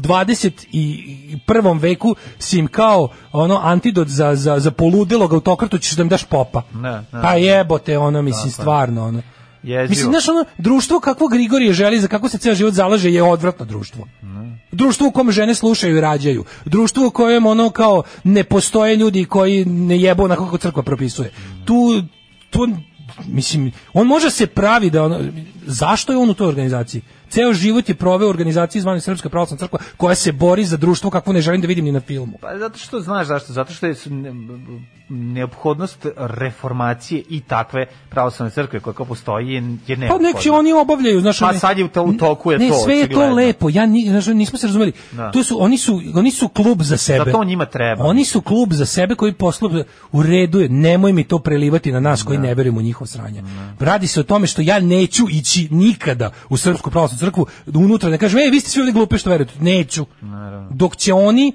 S1: 21. veku si im kao ono antidot za, za, za poludelog autokratu ćeš da im daš popa.
S2: Da, da.
S1: Pa jebote, ono, mislim, stvarno, ono.
S2: Jezivo.
S1: Mislim, znaš, ono, društvo kakvo Grigorije želi, za kako se ceo život zalaže, je odvratno društvo. Društvo u kom žene slušaju i rađaju. Društvo u kojem, ono, kao, ne postoje ljudi koji ne jebu onako kako crkva propisuje. Tu, tu, mislim, on može se pravi da, ono, zašto je on u toj organizaciji? Ceo život je proveo u organizaciji zvane Srpska pravoslavna crkva koja se bori za društvo kakvo ne želim da vidim ni na filmu.
S2: Pa zato što znaš zašto, zato što je su- ne- neophodnost reformacije i takve pravoslavne crkve koja kao postoji je, je
S1: Pa
S2: neophodna.
S1: neki oni obavljaju, znaš,
S2: E, Pa
S1: oni-
S2: sad je u to- u toku je
S1: ne,
S2: to,
S1: sve je to
S2: očigledno.
S1: lepo. Ja ni, znaš, nismo se razumeli.
S2: Da.
S1: To su oni su oni su klub za sebe.
S2: Zato njima treba.
S1: Oni su klub za sebe koji poslu u redu je. Nemoj mi to prelivati na nas
S2: Da.
S1: koji ne verujemo u njihovo sranje. Radi se o tome što ja neću ići nikada u da "E, srpsku pravoslavnu crkvu unutra ne kažem ej vi ste svi oni glupi što verujete. Neću. Dok će oni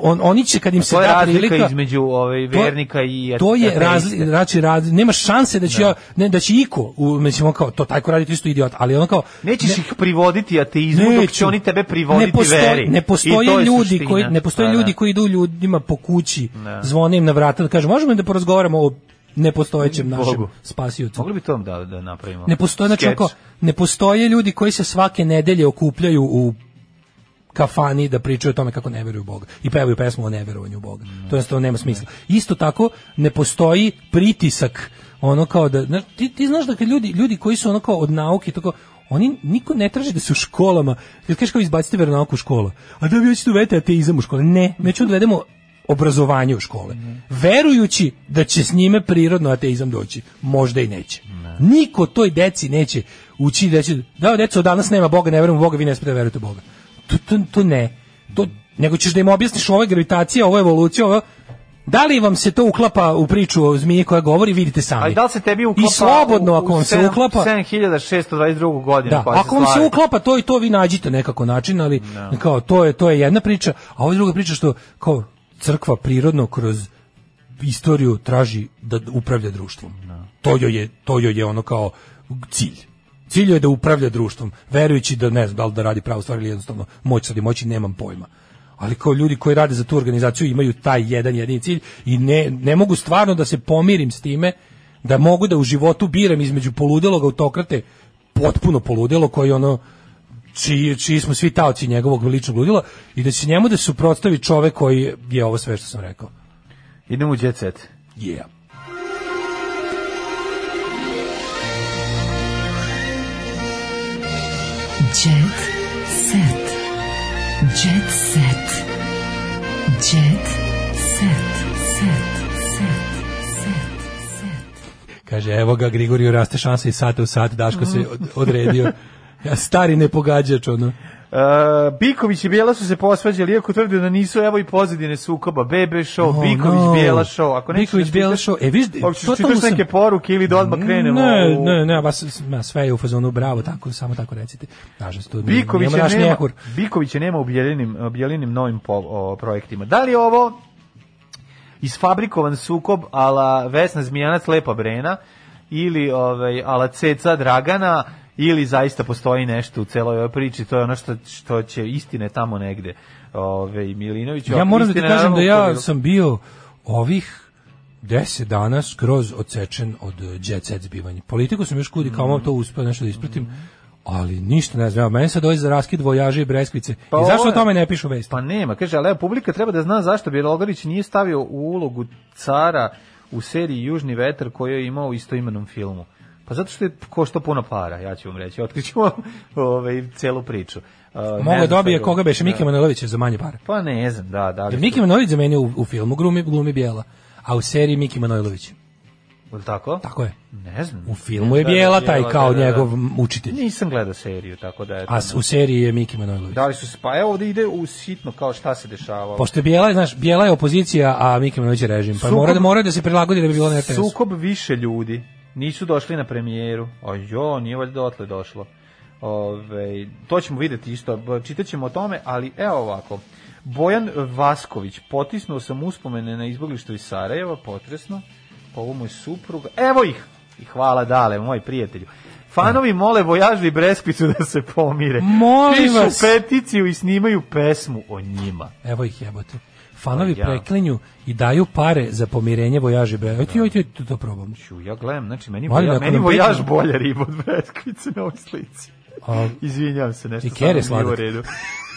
S1: on, oni će kad im se
S2: To je
S1: da
S2: razlika
S1: prilika
S2: između ovaj
S1: to-
S2: vernika i
S1: to je
S2: ateiste.
S1: razli, znači raz, nema šanse da će ja, ne da će iko u mislim on kao to taj ko radi to je isto idiot ali ono kao
S2: Nećeš
S1: ne-
S2: ih privoditi ateizmu, dok će
S1: Neću.
S2: oni tebe privoditi
S1: ne postoji,
S2: veri.
S1: Ne
S2: I to
S1: postoje
S2: je
S1: ljudi
S2: suština.
S1: koji ne postoje
S2: Pa,
S1: ljudi
S2: da.
S1: koji idu ljudima po kući,
S2: Da.
S1: zvone im na vrata da kažu možemo da porazgovaramo o nepostojećem našem
S2: Bogu.
S1: spasiocu.
S2: Mogli bi to da, da napravimo.
S1: Ne postoje znači
S2: Skeč.
S1: onako, ne postoje ljudi koji se svake nedelje okupljaju u kafani da pričaju o tome kako ne veruju u Boga i pevaju pesmu o neverovanju u Boga. To jednostavno nema smisla. Isto tako ne postoji pritisak ono kao da znaš, ti, ti znaš da kad ljudi ljudi koji su ono kao od nauke i tako oni niko ne traži da se u školama jel kažeš kao izbacite veronauku u školu a da vi hoćete uvete ateizam u škole ne mi ćemo da uvedemo obrazovanje u škole verujući da će s njime prirodno ateizam doći možda i neće niko toj deci neće ući i reći da deco danas nema Boga ne verujem u Boga vi ne smete da verujete u Boga to, to, to ne. To, nego ćeš da im objasniš ovo je gravitacija, ovo je evolucija, ovo... Da li vam se to uklapa u priču o zmiji koja govori, vidite sami.
S2: Ali da li se tebi uklapa
S1: I slobodno,
S2: u- u
S1: ako vam se
S2: sedam-
S1: uklapa...
S2: 7622. godinu
S1: Da,
S2: koja pa se
S1: ako vam se
S2: slavi. Da.
S1: uklapa to i to vi nađite nekako način, ali kao to je to je jedna priča, a ovo je druga priča što kao crkva prirodno kroz istoriju traži da upravlja društvom.
S2: Da.
S1: To joj je to joj je ono kao cilj. Cilj joj je da upravlja društvom, verujući da ne znam da li da radi pravu stvar ili jednostavno moć sad i moći nemam pojma. Ali kao ljudi koji rade za tu organizaciju imaju taj jedan jedini cilj i ne, ne mogu stvarno da se pomirim s time da mogu da u životu biram između poludelog autokrate potpuno poludelo koji ono čiji, čiji smo svi taoci njegovog ličnog ludila i da će njemu da se suprotstavi čovek koji je ovo sve što sam rekao.
S2: Idemo u jet set.
S1: Yeah.
S5: Jet set. Jet set. Jet set. Set. Set. Set.
S1: Kaže, evo ga, Grigoriju raste šansa iz sata u sat, Daško se od- odredio. Ja, Stari nepogađač, ono.
S2: Uh, Biković i Bijela su se posvađali, iako tvrde da nisu, evo i pozadine sukoba, BB show,
S1: Oh,
S2: Biković,
S1: no.
S2: Bijela show, ako nećeš
S1: Biković,
S2: da
S1: Bijela
S2: čitaš-
S1: show. E, vidiš,
S2: Hoćeš da
S1: totalno
S2: čitaš
S1: sam-
S2: neke poruke ili da odmah krenemo?
S1: Ne,
S2: u-
S1: ne, ne, vas, ma, sve je u fazonu, bravo, tako, samo tako recite. Nažalost, to
S2: Bikovića
S1: nema naš
S2: nema,
S1: mjehur.
S2: Bikovića nema u Bjelinim, Bjelinim novim po, o, projektima. Da li je ovo isfabrikovan sukob ala Vesna Zmijanac Lepa Brena ili ovaj, ala Ceca Dragana ili zaista postoji nešto u celoj ovoj priči, to je ono što, što će istine tamo negde. Ovaj, Ove, Milinović,
S1: Ja moram da ti kažem da ja sam bio ovih 10 dana skroz odsečen od eh, jet set zbivanja. Politiku sam još kudi kao
S2: Mm.
S1: malo to uspeo nešto da ispratim, ali ništa ne znam. Evo, Meni sad dođe za raskid vojaže i breskvice.
S2: Pa
S1: I
S2: ovo
S1: zašto o
S2: je-
S1: tome ne pišu vesti?
S2: Pa nema, kaže, ali evo, publika treba da zna zašto Bjelogarić nije stavio u ulogu cara u seriji Južni vetar koju je imao u istoimenom filmu. Pa zato što je košta puno para, ja ću vam reći, (laughs) otkriću vam ovaj, celu priču. Uh, ne
S1: Mogu da
S2: znam
S1: dobije
S2: sad-
S1: koga beše
S2: da.
S1: Mike Manojlović za manje pare.
S2: Pa ne znam, da, da. li
S1: Jer
S2: su-
S1: Miki Manojlović za mene u, u filmu glumi, glumi bijela, a u seriji Miki Manojlović.
S2: Jel tako?
S1: Tako je.
S2: Ne znam.
S1: U filmu je
S2: Da, da,
S1: bijela taj kao
S2: da, da, da.
S1: njegov učitelj.
S2: Nisam gledao seriju, tako da je...
S1: A s- u seriji je Miki Manojlović.
S2: Da li su se... Pa evo ovde ide u sitno kao šta se dešavalo.
S1: Pošto je bijela, znaš, bijela je opozicija, a Miki Manojlović je režim. Pa
S2: Sukob-
S1: mora da, mora da se prilagodi da bi bilo na RTS.
S2: Sukob više ljudi. Nisu došli na premijeru. A jo, nije valjda dotle došlo. Ove, to ćemo videti isto. b- Čitat ćemo o tome, ali evo ovako. Bojan Vasković, potisnuo sam uspomene na izboglištu iz Sarajeva, potresno, pa ovo mu je supruga. Evo ih! I hvala dale, moj prijatelju. Fanovi mole Vojažu i Breskvicu da se pomire.
S1: Molim
S2: Pišu
S1: vas.
S2: peticiju i snimaju pesmu o njima.
S1: Evo ih jebote. Fanovi
S2: Pa ja.
S1: preklinju i daju pare za pomirenje vojaže Bela. Evo ti, evo ti, to, to probam.
S2: Ču, ja gledam, znači meni,
S1: Molim,
S2: voja,
S1: ako
S2: meni
S1: nam
S2: vojaž
S1: priđemo-
S2: bolja riba od breskvice na ovoj slici.
S1: A
S2: Izvinjavam se, nešto
S1: I kere
S2: stvarno nije u
S1: sladak.
S2: redu.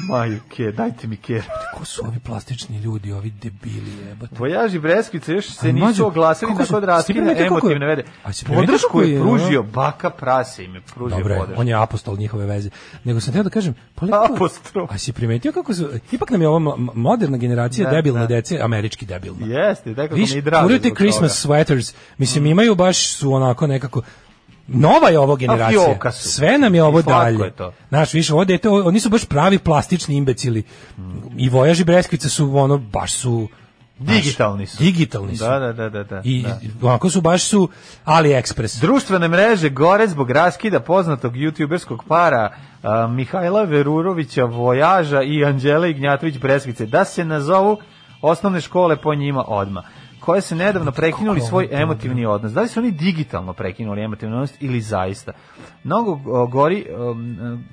S2: Maju, ke, dajte mi kere.
S1: ko su ovi plastični ljudi, ovi debili jebote?
S2: Vojaž i Breskvica još se
S1: A
S2: nisu
S1: mlađo,
S2: oglasili
S1: kako su-
S2: tako da
S1: si
S2: raskine
S1: primetio kako je-
S2: emotivne vede.
S1: A si primetio
S2: Podršku
S1: kako
S2: je
S1: je,
S2: pružio baka prase im je pružio
S1: Dobro, je,
S2: podršku.
S1: on je apostol njihove veze. Nego sam teo da kažem, pa lepo je.
S2: Apostol.
S1: A si primetio kako su, ipak nam je ova mo- moderna generacija
S2: Da,
S1: debilne
S2: da.
S1: dece, američki debilna.
S2: Jeste, tako mi
S1: Viš,
S2: je drago.
S1: kuraju te
S2: zbog Mm.
S1: Christmas sweaters, mislim imaju baš su onako nekako Nova je ovo generacija.
S2: fioka su.
S1: Sve nam je ovo
S2: I slatko
S1: dalje.
S2: je to.
S1: Znaš, više ovo dete,
S2: Mm.
S1: oni su baš pravi plastični imbecili. I Vojaž i Breskvica su ono, baš su Znaš,
S2: Digitalni su.
S1: Digitalni su.
S2: Da, da, da, da, da.
S1: I
S2: da.
S1: onako su baš su AliExpress.
S2: Društvene mreže gore zbog raskida poznatog youtuberskog para a, Mihajla Verurovića Vojaža i Anđele Ignjatović Breskvice da se nazovu osnovne škole po njima odma koje se nedavno prekinuli svoj emotivni odnos. Da li su oni digitalno prekinuli emotivni odnos ili zaista? Mnogo o, gori, um,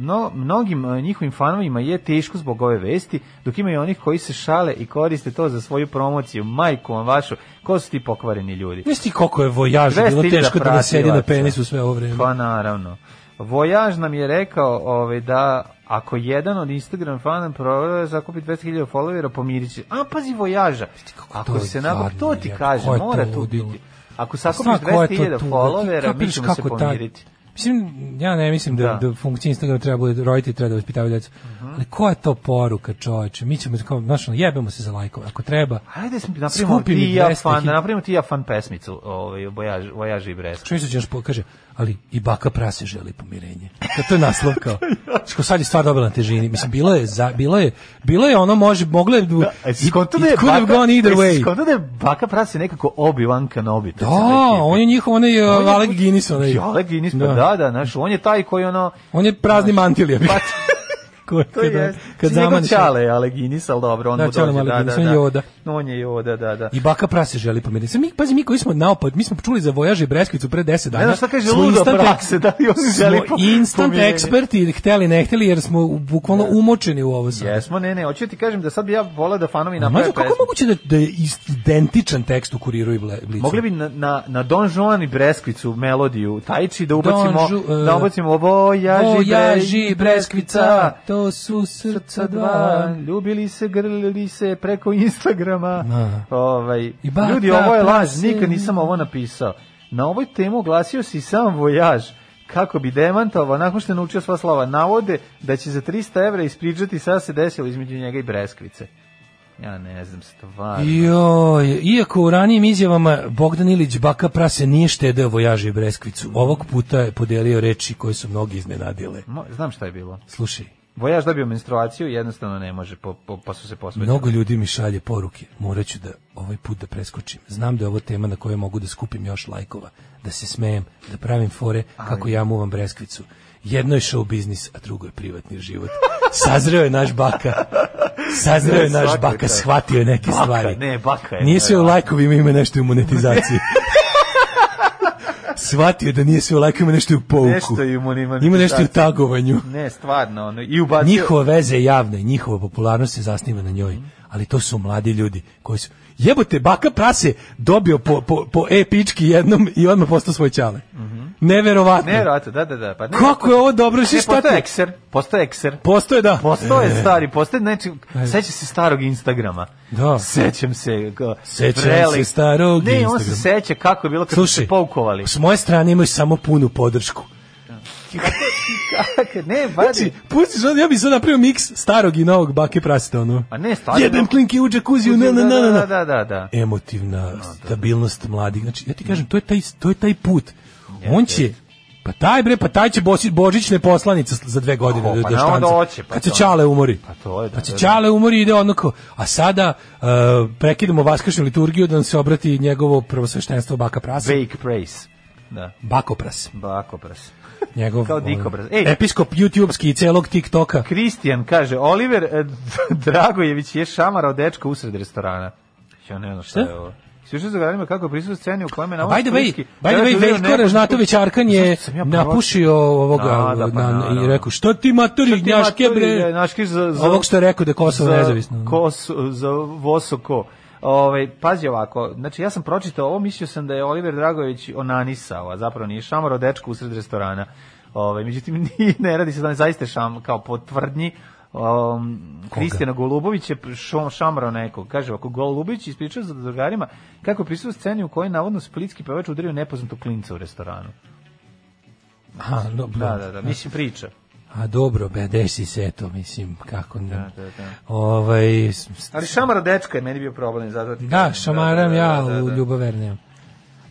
S2: no, mnogim e, njihovim fanovima je teško zbog ove vesti, dok ima i onih koji se šale i koriste to za svoju promociju. Majku vam vašu, ko su ti pokvareni ljudi?
S1: Znaš ti koliko je vojaža
S2: 200.000
S1: bilo teško da nas sjedi na
S2: pratilaca.
S1: penisu sve ovo vreme.
S2: Pa naravno. Vojaž nam je rekao ovaj, da ako jedan od Instagram fana prodaje zakupi 200.000 followera, pomirit će. A, pazi, Vojaža.
S1: kako to
S2: Ako
S1: je
S2: se nako,
S1: jadno,
S2: to ti
S1: jebote,
S2: kaže,
S1: ko je to
S2: mora tu
S1: ludilo?
S2: biti. Ako
S1: A
S2: sakupiš
S1: stvarno, ko je to
S2: 200.000
S1: tu?
S2: followera, mi
S1: Kapiraš
S2: ćemo se
S1: kako taj-
S2: pomiriti.
S1: Mislim, ja ne mislim da,
S2: Da. Mhm.
S1: da. funkcija Instagrama treba bude roditi i treba da vaspitavaju djecu. Ali koja je to poruka, čoveče? Mi ćemo, da kao, znaš, ono, jebemo se za lajkove, ako treba.
S2: Ajde, sm- da napravimo
S1: Skupi
S2: ti
S1: mi
S2: i ja
S1: 200.000.
S2: fan, da napravimo ti i ja fan pesmicu, ovaj, Vojaž, Vojaž i Brest.
S1: Što mi se ćeš pokaže? Ali i baka prase želi pomirenje. Kad to je naslov
S2: (laughs)
S1: kao. Što sad je stvar dobila na težini. Mislim, bilo je, za, bilo je, bilo je ono, može, moglo je... Da, e,
S2: Skonto da je
S1: could have
S2: baka-
S1: gone either
S2: jesi
S1: way.
S2: skontao da je baka prasi nekako Obi-Wan Kenobi. to
S1: Da,
S2: sam neki-
S1: on je njihov, onaj je
S2: On je-
S1: Alec Pa Guinness. Onaj,
S2: Ja, Alec Guinness, pa da, da, znaš, on je taj koji ono...
S1: On je prazni mantil, ja bih.
S2: Pa,
S1: (laughs) Ko-
S2: to
S1: kad- da-
S2: je,
S1: kad
S2: kad
S1: zamaniš-
S2: zamaniš... Čale je Alec Guinness, ali dobro, on
S1: Da,
S2: mu dođe,
S1: Čale je
S2: da,
S1: Alec
S2: da,
S1: Guinness, on
S2: da.
S1: je Yoda.
S2: On je Yoda, da, da.
S1: I baka prase želi pomiriti. Sad Mi, pazi, mi koji smo naopad, mi smo čuli za Vojaže i Breskvicu pre 10 dana.
S2: Ne znam šta kaže
S1: smo
S2: ludo
S1: instant-
S2: prakse, da li oni želi
S1: smo
S2: po-
S1: instant
S2: pomirenje? Da.
S1: eksperti, hteli ne hteli, jer smo bukvalno umočeni u ovo sad.
S2: Jesmo, ne, ne, hoću ti kažem da sad bi ja volao da fanovi
S1: A
S2: naprave
S1: Mađo, kako je
S2: pesmu.
S1: moguće da, da je ist- identičan tekst u kuriru i Ble- blicu?
S2: Mogli bi na, na, na Don Juan i Breskvicu melodiju tajči da ubacimo,
S1: Don Ju- e,
S2: da ubacimo obojaži,
S1: Vojaži, Breskvica, to su srca dva.
S2: ljubili se, grlili se preko Instagrama.
S1: Da.
S2: Ovaj,
S1: I baka
S2: ljudi, ovo je laž,
S1: prase.
S2: nikad nisam ovo napisao. Na ovoj temu oglasio si sam vojaž, kako bi demantovao, nakon što je naučio sva slova, navode da će za 300 evra ispričati šta se desilo između njega i Breskvice. Ja ne znam, stvarno.
S1: Joj, iako u ranijim izjavama Bogdan Ilić Baka Prase nije štedeo Vojaže i Breskvicu, ovog puta je podelio reči koje su mnogi iznenadile.
S2: Mo- Znam šta je bilo.
S1: Slušaj,
S2: Vojaž dobio menstruaciju, jednostavno ne može, po, po, pa su se posvetili.
S1: Mnogo ljudi mi šalje poruke. Morat ću da ovaj put da preskočim. Znam da je ovo tema na kojoj mogu da skupim još lajkova, da se smejem, da pravim fore kako ja muvam breskvicu. Jedno je show biznis, a drugo je privatni život. Sazreo je naš baka. Sazreo je naš
S2: Svaka
S1: baka,
S2: čast.
S1: shvatio je neke stvari.
S2: da. ne, baka je,
S1: Nije sve u
S2: da, da.
S1: lajkovima, ima nešto i u
S2: (laughs)
S1: monetizaciji. shvatio je da nije sve u lajkovima, ima nešto i u pouku.
S2: Nešto je u monetizaciji.
S1: Ima nešto i u tagovanju.
S2: Ne, stvarno, ono, i ubacio...
S1: Njihova veza je javna i njihova popularnost se zasniva na njoj. Ali to su mladi ljudi koji su... Jebote, baka prase dobio po, po, po e-pički jednom i odmah postao svoj čale. Neverovatno.
S2: Mhm. Ne, rata, da, da, da. Pa ne,
S1: Kako je ovo dobro?
S2: Ne,
S1: Šta
S2: postoje
S1: ti?
S2: ekser, postoje ekser.
S1: Postoje, da.
S2: Postoje
S1: E,
S2: stari, postoje, znači, seća se starog Instagrama.
S1: Da.
S2: Sećam se. Go,
S1: Sećam se starog
S2: Ne, on se
S1: Instagrama.
S2: seća kako je bilo kad su
S1: Slušaj,
S2: se poukovali.
S1: s moje strane imaš samo punu podršku.
S2: ne, vadi.
S1: Znači, pustiš, ono, ja bih sad napravio miks starog i novog bake praseta, ono.
S2: A ne, stvarno.
S1: Jebem klinki u džakuziju, na, na, na, na, na.
S2: Da, da, da, da.
S1: emotivna stabilnost mladih. Znači, ja ti kažem, to je taj, to je taj put. On će, pa taj bre, pa taj će bosi, božićne poslanice za dve godine
S2: O,
S1: do,
S2: pa
S1: do
S2: na onda
S1: štanca.
S2: hoće, pa
S1: kad se
S2: to.
S1: čale umori.
S2: Pa to je, da,
S1: Kad se
S2: da, da.
S1: čale umori ide onako, a sada e, prekidamo vaskršnju liturgiju da nam se obrati njegovo prvosveštenstvo baka prasa.
S2: Bake praise. Da,
S1: Bakopras.
S2: bakopras.
S1: Njegov,
S2: Kao
S1: ono,
S2: dikobraz. Ej.
S1: Episkop YouTubeski i celog TikToka.
S2: Kristijan kaže, Oliver eh, (laughs) Dragojević je šamarao dečka usred restorana. Ja ne znam šta je
S1: Šta?
S2: ovo. Slušaj za gledanje kako je prisutno sceni u kojem je na
S1: By the way, by the way, Veljko Ražnatović Arkan je napušio ovoga
S2: Da, da, pa
S1: na-
S2: naravno.
S1: i rekao, što ti matori, gnjaške bre?
S2: Naški da za, za,
S1: Ovog što je rekao da je Kosovo
S2: za
S1: nezavisno.
S2: Kos, za Vosoko. Ovaj pazi ovako, znači ja sam pročitao ovo, mislio sam da je Oliver Dragojević onanisao, a zapravo nije šamarao dečku usred restorana. Ovaj međutim (laughs) nije, ne radi se da je zaista šam kao po tvrdnji um, Kristijana Golubović je šo- šamrao nekog. Kaže ovako, Golubović ispričao za drugarima kako je prisutan sceni u kojoj je navodno splitski pevač udario nepoznatog klinca u restoranu.
S1: Aha, dobro.
S2: Da, da, da, mislim priča.
S1: A dobro, be, desi se to, mislim, kako ne.
S2: Da, da, da.
S1: Ovaj, s- s-
S2: Ali šamara dečka je meni bio problem, zato ti
S1: da,
S2: kažem.
S1: šamaram
S2: da,
S1: ja
S2: da, da,
S1: u
S2: da.
S1: ljubav vernijem.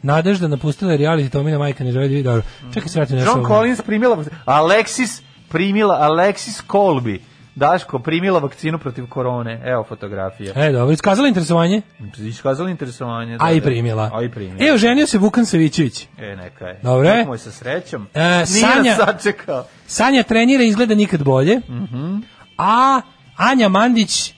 S1: Nadežda napustila je reality, to mi na majka ne želi da vidi, dobro. Čekaj, svratim
S2: John Collins primila Alexis primila Alexis Colby Daško primila vakcinu protiv korone. Evo fotografije.
S1: E, dobro, iskazala interesovanje,
S2: Iskazala interesovanje. da,
S1: a i
S2: da.
S1: primila.
S2: A i primila.
S1: E, oženio se Vukan Savićević.
S2: E, neka je.
S1: Dobro je.
S2: Nek mu je sa srećom.
S1: E,
S2: Nije
S1: Sanja-
S2: sačekao.
S1: Sanja trenira i izgleda nikad bolje.
S2: Mhm.
S1: A Anja Mandić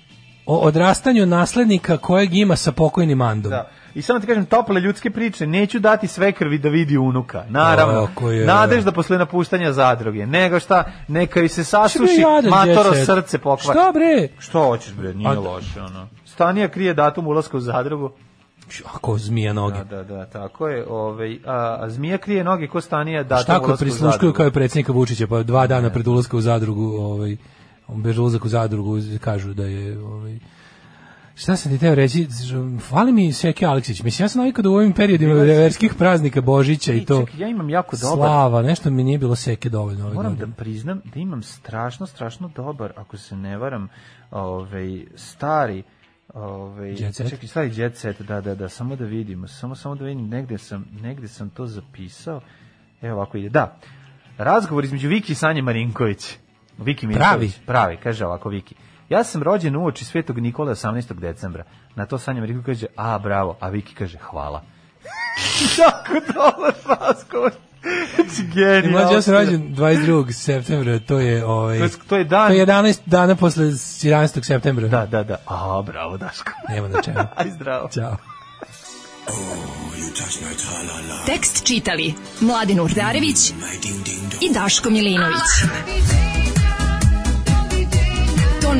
S1: o odrastanju naslednika kojeg ima sa pokojnim Andom.
S2: Da. I samo ti kažem, tople ljudske priče, neću dati sve krvi da vidi unuka, naravno.
S1: O, koji je-
S2: Nadežda posle napuštanja zadruge, nego šta, neka joj se
S1: Šta bre,
S2: sasuši,
S1: jadan
S2: matoro
S1: djece?
S2: srce pokvari.
S1: Šta bre?
S2: Što hoćeš bre, nije
S1: A-
S2: loše ono. Stanija krije datum ulaska u zadrugu.
S1: Ako zmija noge.
S2: Da, da, da, tako je. Ovaj a, a zmija krije noge ko stanija datum
S1: Šta ako
S2: ulaska u
S1: prisluškuju
S2: zadrugu.
S1: kao i predsjednika Vučića, pa dva dana pred ulaska u zadrugu, ovaj, bez ulazak u zadrugu, kažu da je... Ovaj, Šta sam ti teo reći? Hvali mi Seki Aleksić. Mislim, ja sam navikao da u ovim periodima verskih praznika Božića i
S2: I
S1: to...
S2: čekaj, ja imam jako dobar.
S1: Slava, nešto mi nije bilo Seke dovoljno ove
S2: Moram da
S1: godine.
S2: priznam da imam strašno, strašno dobar, ako se ne varam, ovaj, stari ovaj
S1: Jet set?
S2: čekaj, stari jet set, da, da, da, samo da vidimo, samo, samo da vidim, negde sam, negde sam to zapisao, evo ovako ide, da, razgovor između Viki i Sanje Marinković, Viki Mirinković,
S1: Pravi.
S2: pravi, kaže ovako Viki, ja sam rođen uoči Svetog Nikola 18. decembra, na to Sanja Marinković kaže, a, bravo, a Viki kaže, hvala. (laughs) jako dobar razgovor. Znači,
S1: I
S2: genijalno.
S1: E, mlađe, ja sam rođen 22. septembra, to je, ovaj,
S2: To je- to je dan-
S1: to je 11 dana posle 11. septembra.
S2: Da, da, da. A, bravo, Daško. (laughs)
S1: Nema na čemu.
S2: Aj, zdravo.
S1: Ćao.
S6: Oh,
S3: Tekst čitali Mladin Urdarević i Daško Milinović. Ton